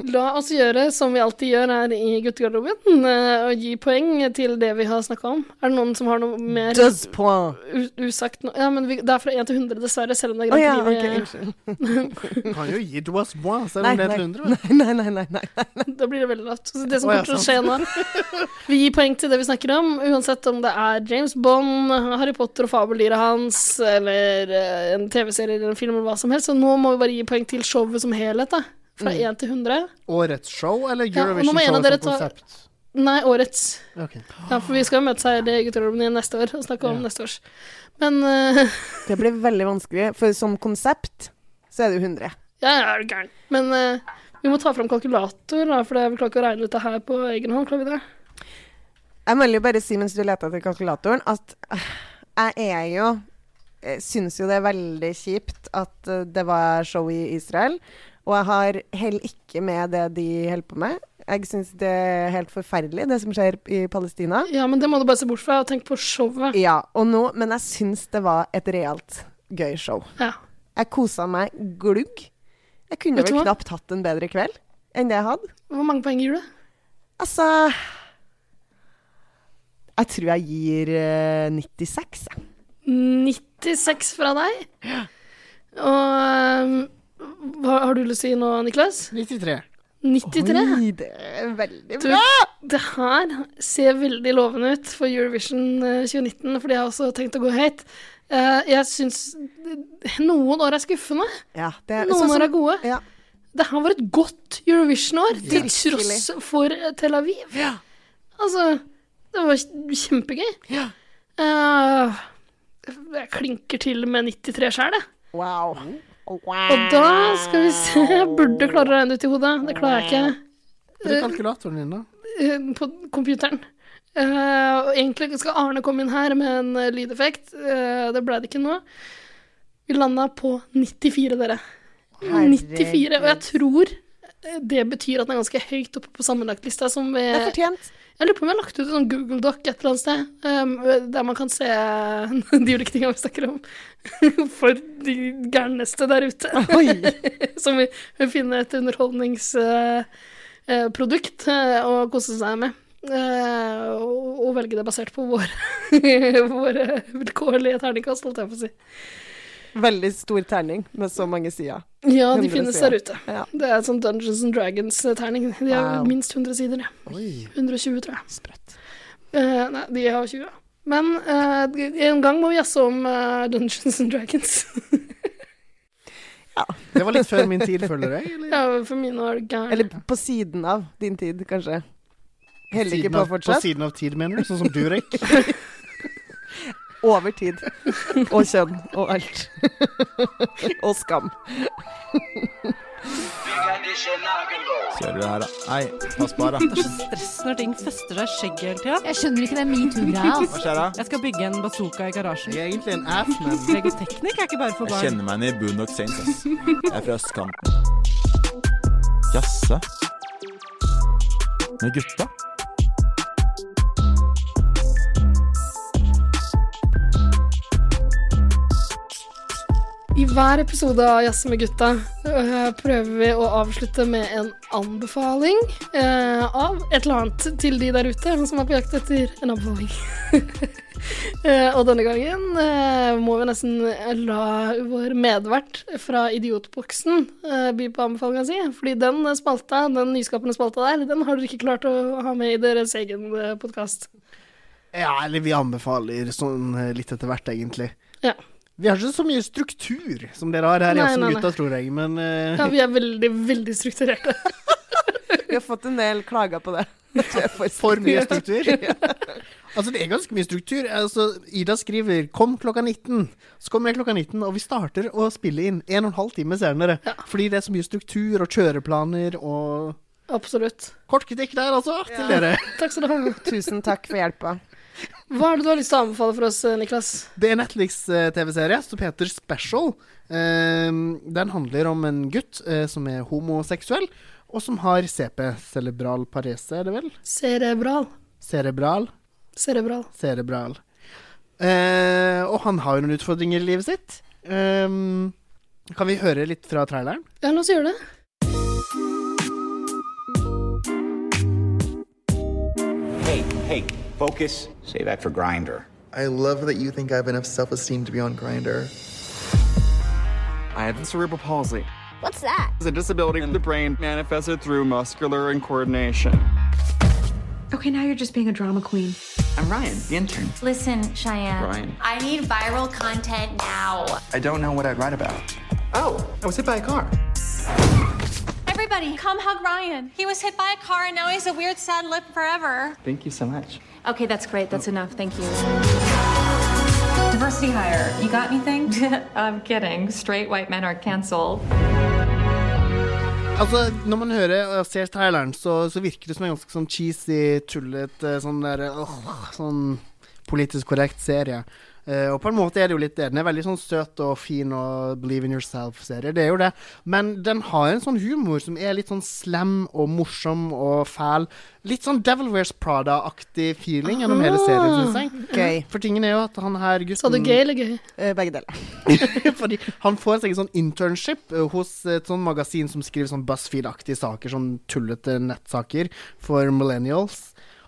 S3: La oss gjøre som vi alltid gjør her i guttegarderoben, eh, og gi poeng til det vi har snakka om. Er det noen som har noe mer
S2: Does point.
S3: u- usagt nå? Ja, men vi, det er fra 1 til 100, dessverre, selv om det er
S2: Å ja,
S3: Grand
S2: OK.
S3: Prix.
S2: Unnskyld.
S1: Kan jo gi Doas Bois, selv
S2: Nei,
S1: om det er
S2: nei.
S1: til 100. vel?
S2: Nei, nei, nei. nei, nei.
S3: Da blir det veldig lavt. Så det som
S1: Å, ja,
S3: kommer til å skje nå Vi gir poeng til det vi snakker om, uansett om det er James Bond, Harry Potter og fabeldyret hans, eller eh, en TV-serie eller en film eller hva som helst. Så nå må vi bare gi poeng til showet som helhet, da. Fra
S1: Mm.
S3: 1 til 100.
S1: Årets show eller
S3: Ja, og nå
S1: Eurovision
S3: må en
S1: show
S3: av dere
S1: som
S3: ta-
S1: konsept?
S3: Nei, årets.
S1: Ok.
S3: Ja, for vi skal jo møtes her i gutterommet igjen neste år og snakke om neste års. Men eh,
S2: Det blir veldig vanskelig, for som konsept så er det jo 100.
S3: Ja, ja, er du gæren. Men eh, vi må ta fram kalkulator, da, for det er vel klart ikke å regne ut det her på egen hånd. Klarer vi det?
S2: Jeg må jo bare si mens du leter etter kalkulatoren, at eh, jeg er jo jeg Syns jo det er veldig kjipt at eh, det var show i Israel. Og jeg har heller ikke med det de holder på med. Jeg syns det er helt forferdelig, det som skjer i Palestina.
S3: Ja, men det må du bare se bort fra og tenke på showet.
S2: Ja, og nå, Men jeg syns det var et realt gøy show.
S3: Ja.
S2: Jeg kosa meg glugg. Jeg kunne
S3: Vet du
S2: vel
S3: hva?
S2: knapt hatt en bedre kveld enn det jeg hadde.
S3: Hvor mange poeng gir du?
S2: Altså Jeg tror jeg gir eh, 96, jeg.
S3: 96 fra deg. Og eh, hva har du lyst til å si nå, Niklas?
S1: 93.
S3: 93?
S2: Oi, det er veldig
S3: Du,
S2: bra.
S3: det her ser veldig lovende ut for Eurovision eh, 2019, fordi jeg har også tenkt å gå høyt. Eh, jeg syns noen år er skuffende.
S2: Ja, det,
S3: Noen
S2: sånn som-
S3: år er gode.
S2: Ja.
S3: Det her var et godt Eurovision-år, til
S2: Virkelig.
S3: tross for eh, Tel Aviv. Altså, det var kj- kjempegøy. Eh, jeg klinker til med 93 sjæl, jeg.
S2: Wow.
S3: Og da skal vi se Jeg burde klare å regne det ut i hodet. Det klarer jeg ikke.
S1: Bruk kalkulatoren din, da.
S3: eh, på computeren. Eh, og egentlig skal Arne komme inn her med en eh, lydeffekt. Eh, det ble det ikke nå. Vi landa på 94, dere. 94, Og jeg tror eh, det betyr at den er ganske høyt oppe på sammenlagtlista. Som vi,
S2: Det er fortjent.
S3: jeg lurer på om jeg har lagt ut en sånn Google Doc et eller annet sted, eh, der man kan se de ulike tingene vi snakker om. For de gærneste der ute. Som vi vil finne et eh, underholdningsprodukt eh, å kose seg med. Eh, og, og velge det basert på våre, våre vilkårlige terningkast, holdt jeg på å si.
S2: Veldig stor terning med så mange sider.
S3: Ja, de
S2: 100
S3: finnes
S2: sider.
S3: der ute.
S2: Ja.
S3: Det er en sånn Dungeons and Dragons-terning. De har
S2: Wow.
S3: minst 100 sider. ja. 120, tror jeg. Eh, nei, de har 20. ja. Men eh, de- en gang må vi jazze om eh, Dungeons and Dragons.
S1: Det var litt før min tid, føler jeg. Eller?
S3: ja, for mine år gæren.
S2: Eller på siden av din tid, kanskje. Heller ikke
S1: Siden
S2: på
S1: av- På
S2: fortsatt.
S1: siden av tid, mener du? Sånn som Durek?
S2: Over tid. Og kjønn og alt. og skam.
S10: Ser du det her, da? Nei, pass på her, da.
S11: Det er så stress når ting fester seg i skjegget hele tida.
S7: Jeg skjønner ikke den metoo-greia.
S10: Hva skjer da?
S11: Jeg skal bygge en bazooka i garasjen.
S1: Jeg er egentlig en ass-man.
S11: Legoteknikk er ikke bare for
S10: Jeg
S11: barn.
S10: kjenner meg igjen i Boondock Saints, ass. Jeg er fra østkanten. Jaså? Med gutta?
S3: I hver episode av Jazz med gutta øh, prøver vi å avslutte med en anbefaling øh, av et eller annet til de der ute som er på jakt etter en anbefaling. Eh, Og denne gangen eh, må vi nesten la vår medvert fra Idiotboksen eh, by på anbefalinga si. Fordi den spalta, den nyskapende spalta der, den har dere ikke klart å ha med i deres egen eh, podkast.
S1: Ja, eller vi anbefaler sånn eh, litt etter hvert, egentlig.
S3: Ja.
S1: Vi har ikke så mye struktur som dere har her,
S3: Nei,
S1: nei, som
S3: nei, nei.
S1: gutta, tror jeg, men eh,
S3: ja, vi er veldig, veldig strukturerte.
S2: Vi har fått en del klager på det. At vi er For,
S1: for mye struktur. altså, det er ganske mye struktur. Altså, Ida skriver 'kom klokka 19', så kommer jeg klokka 19, og vi starter å spille inn en og en halv time senere. Fordi det er så mye struktur og kjøreplaner og
S3: Absolutt.
S1: Kort kritikk der, altså, til dere.
S3: Takk skal du ha.
S2: Tusen takk for hjelpa.
S3: Hva er det du har lyst til å anbefale for oss, Niklas?
S1: Det er Netflix-TV-serie som heter Special. Ehm, den handler om en gutt eh, som er homoseksuell, og som har CP. Cerebral parese, er det vel?
S3: Cerebral.
S1: Cerebral.
S3: Cerebral.
S1: Cerebral. Eh, og han har jo noen utfordringer i livet sitt. Ehm, kan vi høre litt fra traileren?
S3: Ja, la oss gjøre det.
S12: Hey, hey, focus. Save that for grinder.
S13: I love that you think I have enough self esteem to be on Grinder.
S14: I have cerebral palsy.
S15: What's that?
S14: It's a disability in the brain manifested through muscular incoordination.
S16: Okay, now you're just being a drama queen.
S14: I'm Ryan, the intern.
S17: Listen, Cheyenne.
S14: Ryan.
S17: I need viral content now.
S13: I don't know what I'd write about. Oh, I was hit by a car.
S17: Everybody, come hug Ryan. He was hit by a car and now he's a weird, sad lip forever.
S14: Thank you so much.
S17: Okay, that's great. That's enough. Thank you. Diversity hire. You got anything? I'm kidding. Straight white men are canceled.
S1: Altså, Når man hører og ser traileren, så, så virker det som en ganske sånn cheesy, tullete, sånn der åh, Sånn politisk korrekt serie. Eh, og på en måte er det jo litt det. Den er veldig sånn søt og fin og believe in yourself-serie. Det er jo det. Men den har en sånn humor som er litt sånn slem og morsom og fæl. Litt sånn Devil Wears Prada-aktig feeling gjennom hele serien, syns jeg.
S2: Gøy. Eh,
S1: For tingen er jo at han her gutten
S3: Sa du gøy eller gøy?
S2: begge deler.
S1: Fordi han får seg en sånn internship eh, hos et sånn magasin som skriver sånn BuzzFeed-aktige saker, sånn tullete nettsaker for millennials.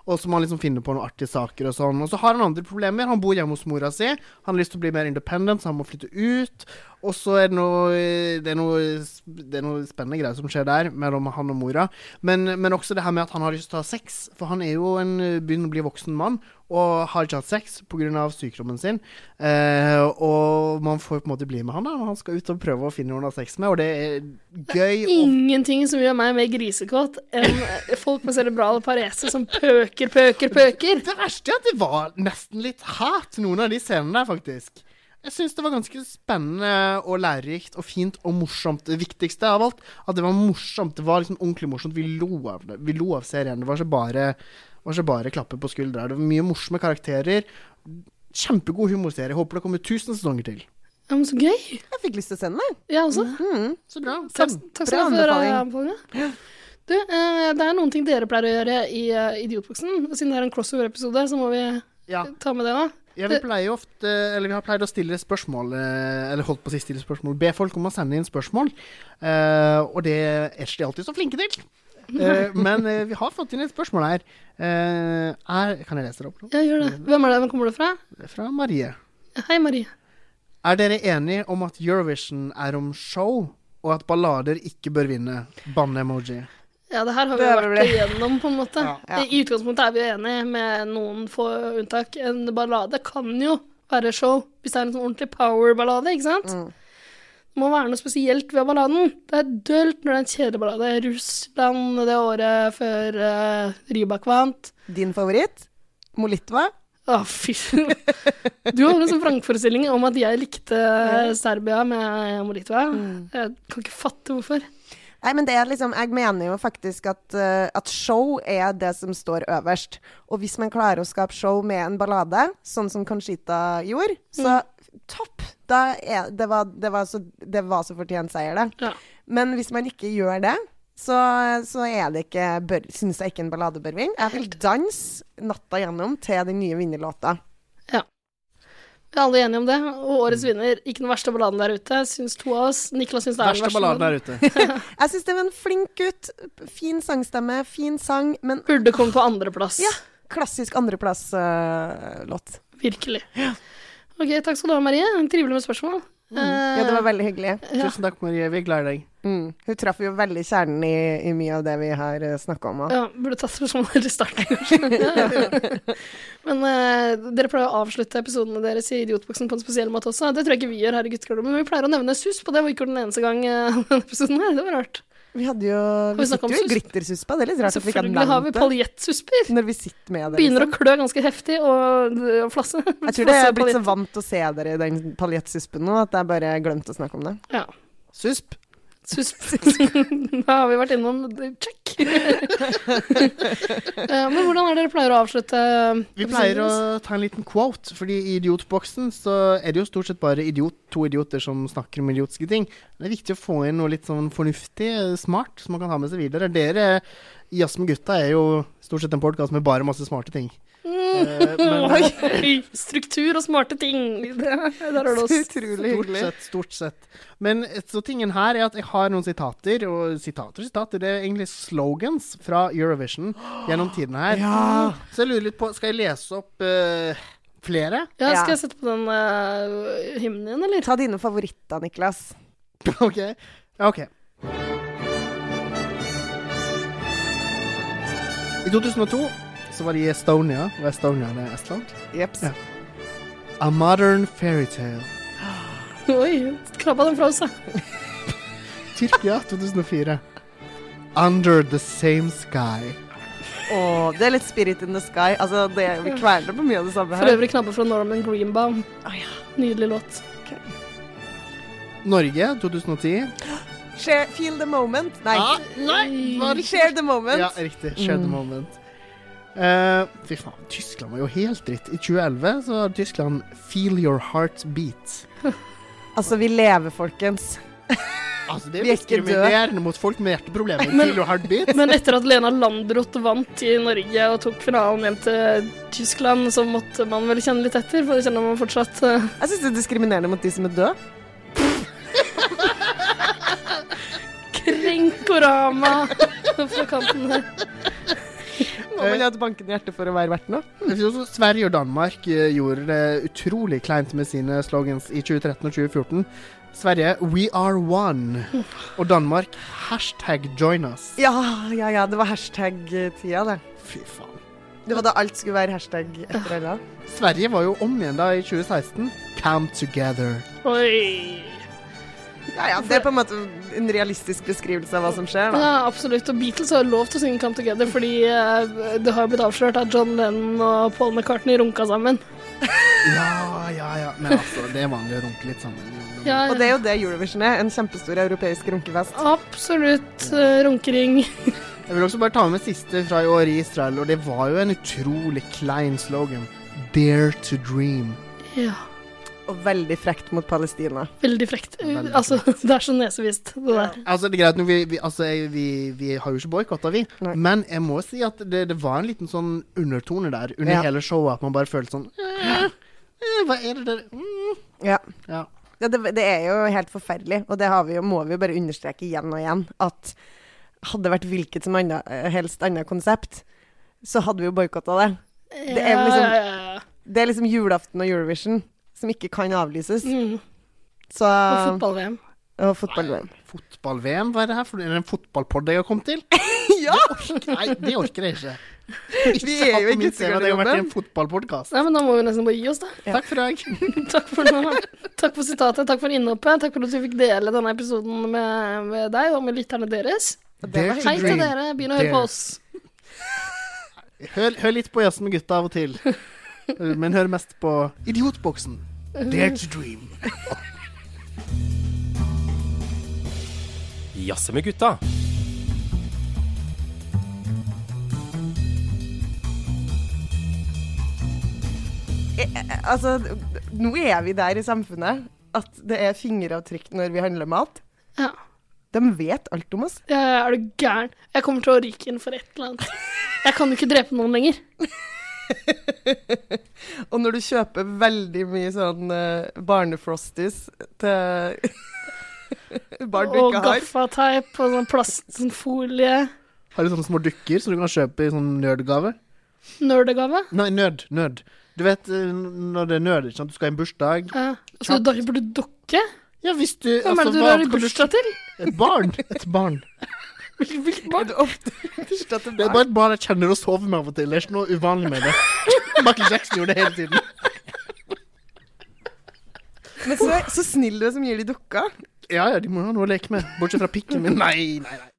S1: Og så må han liksom finne på noen artige saker og sånn. Og så har han andre problemer. Han bor hjemme hos mora si. Han har lyst til å bli mer independent, så han må flytte ut. Og så er det noe Det er noe, det er noe spennende greier som skjer der, mellom han og mora. Men, men også det her med at han har lyst til å ha sex. For han er jo en eh, begynner å bli voksen mann, og har ikke hatt sex pga. sykdommen sin. Eh, og man får på en måte bli med han da når han skal ut og prøve å finne noen å ha sex med, og det er gøy. og-
S3: Ingenting som gjør meg mer grisekåt enn folk med cerebral parese som pøker, pøker, pøker.
S1: Det verste er at det var nesten litt hat, noen av de scenene der, faktisk. Jeg syns det var ganske spennende og lærerikt og fint og morsomt. Det viktigste av alt, at det var morsomt. Det var liksom ordentlig morsomt. Vi lo av det. Vi lo av serien. Det var ikke bare, var ikke bare klappe på skuldra. Det var mye morsomme karakterer. Kjempegod humorserie. Håper det kommer 1000 sesonger til.
S3: Ja, men så gøy.
S2: Jeg fikk lyst til å se den, jeg.
S3: Jeg også.
S1: Så bra.
S3: Takk, takk
S2: Bra
S3: skal du ha for eh,
S2: anbefaling.
S3: anbefalinga. Du, eh, det er noen ting dere pleier å gjøre i eh, Idiotboksen. Siden det er en crossover-episode, så må vi
S1: Ja.
S3: ta med det nå.
S1: Ja, vi pleier jo ofte, eller vi har pleid å stille spørsmål, eh, eller holdt på å si stille spørsmål, be folk om å sende inn spørsmål. Eh, og det er ikke de alltid så flinke til. Eh, men eh, vi har fått inn et spørsmål her. Eh, er, kan jeg lese det opp nå?
S3: Ja, gjør det. Hvem er det? Hvem kommer det fra?
S1: Det er Fra Marie.
S3: Hei, Marie.
S1: Er dere enige om at Eurovision er om show, og at ballader ikke bør vinne? Banne-emoji.
S3: Ja, det her har vi
S2: Det
S3: jo
S2: er
S3: vært
S2: vel det.
S3: igjennom, på en måte.
S2: ja.
S3: I utgangspunktet er vi jo enige, med noen få unntak. En ballade kan jo være show, hvis det er en sånn ordentlig power-ballade, ikke sant?
S2: Mm.
S3: Det må være noe spesielt ved balladen. Det er dølt når det er en kjedeballade. Russland det året før eh, Rybak vant.
S2: Din favoritt? Molitva?
S3: Å, fy Du hadde en sånn vrangforestilling om at jeg likte Serbia med Molitva.
S2: Mm.
S3: Jeg kan ikke fatte hvorfor.
S2: Nei, men det er liksom, jeg mener jo faktisk at, eh, at show er det som står øverst. Og hvis man klarer å skape show med en ballade, sånn som Conchita gjorde, så topp! Da er, det, var, det, var så, det var så fortjent seier, det. Men hvis man ikke gjør det, så, så er det ikke bør, Syns jeg ikke en ballade bør vinne. Jeg vil danse natta gjennom til den nye vinnerlåta.
S3: Vi er alle enige om det. Og
S2: Mm.
S3: årets vinner, ikke den verste balladen der ute, syns to av oss. Niklas syns det er den verste.
S1: ute.
S2: jeg syns det var en flink gutt. Fin sangstemme, fin sang, men
S3: Burde komme på andreplass.
S2: Ja. Klassisk eh, andreplass-låt.
S3: Virkelig. Ok, takk skal du ha, Marie. Trivelig med spørsmål. Eh,
S2: Mm. Ja, det var veldig hyggelig.
S3: Ja.
S1: Tusen takk, Marie. Vi er glad i deg.
S2: Mm. Hun traff jo veldig kjernen i, i mye av det vi har snakka om. også.
S3: Ja, burde tatt spørsmålet i starten, kanskje. men eh, dere pleier å avslutte episodene deres i Idiotboksen på en spesiell måte også. Det tror jeg ikke vi gjør her i gutteklubben, men vi pleier å nevne SUS på det, og ikke den eneste gang eh, denne episoden her. Det var rart.
S2: Vi hadde jo Vi
S3: snakket om
S2: sitter jo i
S3: susp?
S2: glittersuspa, det er litt rart at vi ikke har
S3: Selvfølgelig har vi
S2: nevnt det.
S3: paljettsusper.
S2: Når vi sitter med det.
S3: Begynner å klø ganske heftig og, og flasse.
S2: Jeg tror det
S3: Flasse
S2: er blitt så
S3: paljett.
S2: vant å se dere i den paljettsuspen nå at jeg bare glemte å snakke om det.
S3: Ja.
S1: Susp.
S3: Susp. da har vi vært innom check. Eh, Men hvordan er det dere pleier å avslutte? eh,
S1: Vi pleier å ta en liten quote, fordi i Idiotboksen så er det jo stort sett bare idiot, to idioter som snakker om idiotiske ting. Det er viktig å få inn noe litt sånn fornuftig, eh, smart, som man kan ha med seg videre. Dere i Jazz med gutta er jo stort sett en podkast med bare masse smarte ting.
S3: Mm.
S1: men-
S3: Oi, struktur og smarte ting. Der har du oss.
S1: Stort sett, stort sett. Men eh, så tingen her er at jeg har noen sitater, og sitater og sitater, det er egentlig slogans fra Eurovision gjennom tidene her.
S2: Ja.
S1: Så jeg lurer litt på, skal jeg lese opp eh, flere?
S3: Ja, skal jeg sette på den eh, hymnen, eller?
S2: Ta dine favoritter, Niklas.
S1: Ok. ok. I 2002 så var de i Estonia, og Estonia det er Estland.
S2: Jeps.
S1: Ja. A modern fairytale.
S3: Oi, krabba den fra oss, da.
S1: Tyrkia 2004. Under the same sky.
S2: Åh, det er litt spirit in the sky. Altså, det, vi kveler på mye av det samme
S3: For
S2: her.
S3: øvrig knabbe fra Norman Greenbaum. Nydelig låt.
S1: Norge 2010.
S2: Share, feel the moment. Nei.
S1: Ah, var riktig.
S2: Share the moment.
S1: Ja, riktig. Share the
S2: Mm.
S1: moment. Eh, fy faen, Tyskland var jo helt dritt. I 2011 så hadde Tyskland Feel Your Heart Beat.
S2: Altså, vi lever, folkens.
S1: Altså, det er
S2: Vi er ikke
S1: diskriminerende mot folk med hjerteproblemer.
S3: Men-
S1: Feel Your Heart Beat.
S3: Men etter at Lena Landroth vant i Norge og tok finalen hjem til Tyskland, så måtte man vel kjenne litt etter, for det kjenner man fortsatt. eh.
S2: Jeg syns det er diskriminerende mot de som er døde.
S3: Krenkorama fra kanten her.
S2: Må
S1: Eh.
S2: man ha et bankende hjerte for å være verdt noe?
S1: Jeg synes også Sverige og Danmark eh, gjorde det utrolig kleint med sine slogans i 2013 og 2014. Sverige 'We are one', og Danmark 'hashtag join us'.
S2: Ja, ja, ja. Det var hashtag-tida, det.
S1: Fy faen.
S2: Det var da alt skulle være hashtag et eller annet.
S1: Sverige var jo om igjen da i 2016. Camp together.
S3: Oi.
S2: Ja, ja, det er på en måte en realistisk beskrivelse av hva som skjer, da.
S3: Ja, absolutt. Og Beatles har lov til å synge Come Together, fordi eh, det har blitt avslørt at John Lennon og Paul McCartney runka sammen.
S1: Ja, ja, ja. Men altså, det er vanlig å runke litt sammen.
S3: Ja,
S2: Og det er jo det Eurovision er. En kjempestor europeisk runkefest.
S3: Absolutt. eh, Runkering.
S1: Jeg vil også bare ta med siste fra i år i Israel, og det var jo en utrolig klein slogan. Dare to dream.
S3: Ja,
S2: Og veldig frekt mot Palestina.
S3: veldig frekt. altså, det er så nesevist, det der.
S1: Altså, det er greit, nå, vi, vi, altså, jeg- vi, vi har jo ikke boikotta, vi. Men jeg må si at det, det var en liten sånn undertone der under
S2: Ja.
S1: hele showet, at man bare følte sånn Eh, Hva er det der mm.
S2: Ja.
S1: Ja.
S2: det, det er jo helt forferdelig, og det har vi jo, må vi jo bare understreke igjen og igjen, at hadde det vært hvilket som anna, helst annet konsept, så hadde vi jo boikotta det. Det er,
S3: Ja, ja,
S2: liksom,
S3: ja, ja.
S2: det er liksom julaften og Eurovision som ikke kan avlyses. Så,
S3: Og Mm, fotball-VM.
S2: Og fotball-VM.
S1: Fotball-VM, hva er det her? For er det en fotballpod jeg har kommet til?
S2: ja!
S1: Det orker, nei, det orker jeg ikke. Ikke
S2: Vi er jo
S1: hatt på
S2: i
S1: min CV at jeg har vært i en
S3: guttegarderoben.
S1: fotballpodkast.
S3: Nei, men da må vi nesten bare gi oss, da.
S1: Takk for i dag.
S3: takk for nå. Takk for sitatet, takk for innhoppet, takk for at vi fikk dele denne episoden med, med deg og med lytterne deres.
S1: Dare to
S3: Hei til
S1: dream.
S3: dere, begynn å høre på
S1: Dare.
S3: oss.
S1: Hør, hør litt på Jazz med gutta av og til, men hør mest på Idiotboksen. Dare to dream.
S4: Jazze med gutta.
S2: Eh, eh, Altså, d- nå er vi der i samfunnet at det er fingeravtrykk når vi handler mat.
S3: Ja.
S2: De vet alt om oss.
S3: Ja, er du gæren? Jeg kommer til å ryke inn for et eller annet. Jeg kan jo ikke drepe noen lenger.
S2: Og når du kjøper veldig mye sånn eh, barnefrosties til barn du
S3: Og
S2: ikke har
S3: gaffateip og sånn plast, sånn folie.
S1: Har du sånne små dukker som du kan kjøpe i sånn nødgave?
S3: Nerdegave.
S1: Nei, nød. Nød. Du vet eh, når det er nød, ikke sant? Du skal i en bursdag.
S3: Ja. Så da burde du dukke?
S1: Ja, hvis du
S3: Hvem er
S1: altså,
S3: det du
S1: hva
S3: har i
S1: skal du-
S3: bursdag til?
S1: Et barn. Et barn.
S3: Hvilket barn?
S1: Det er bare et barn jeg kjenner og sover med av og til. Det er ikke noe uvanlig med det. Michael Jackson gjorde det hele tiden.
S2: Men så, så snill du er som gir de dukka.
S1: Ja, ja, de må ha noe å leke med. Bortsett fra pikken min. Nei, nei, nei.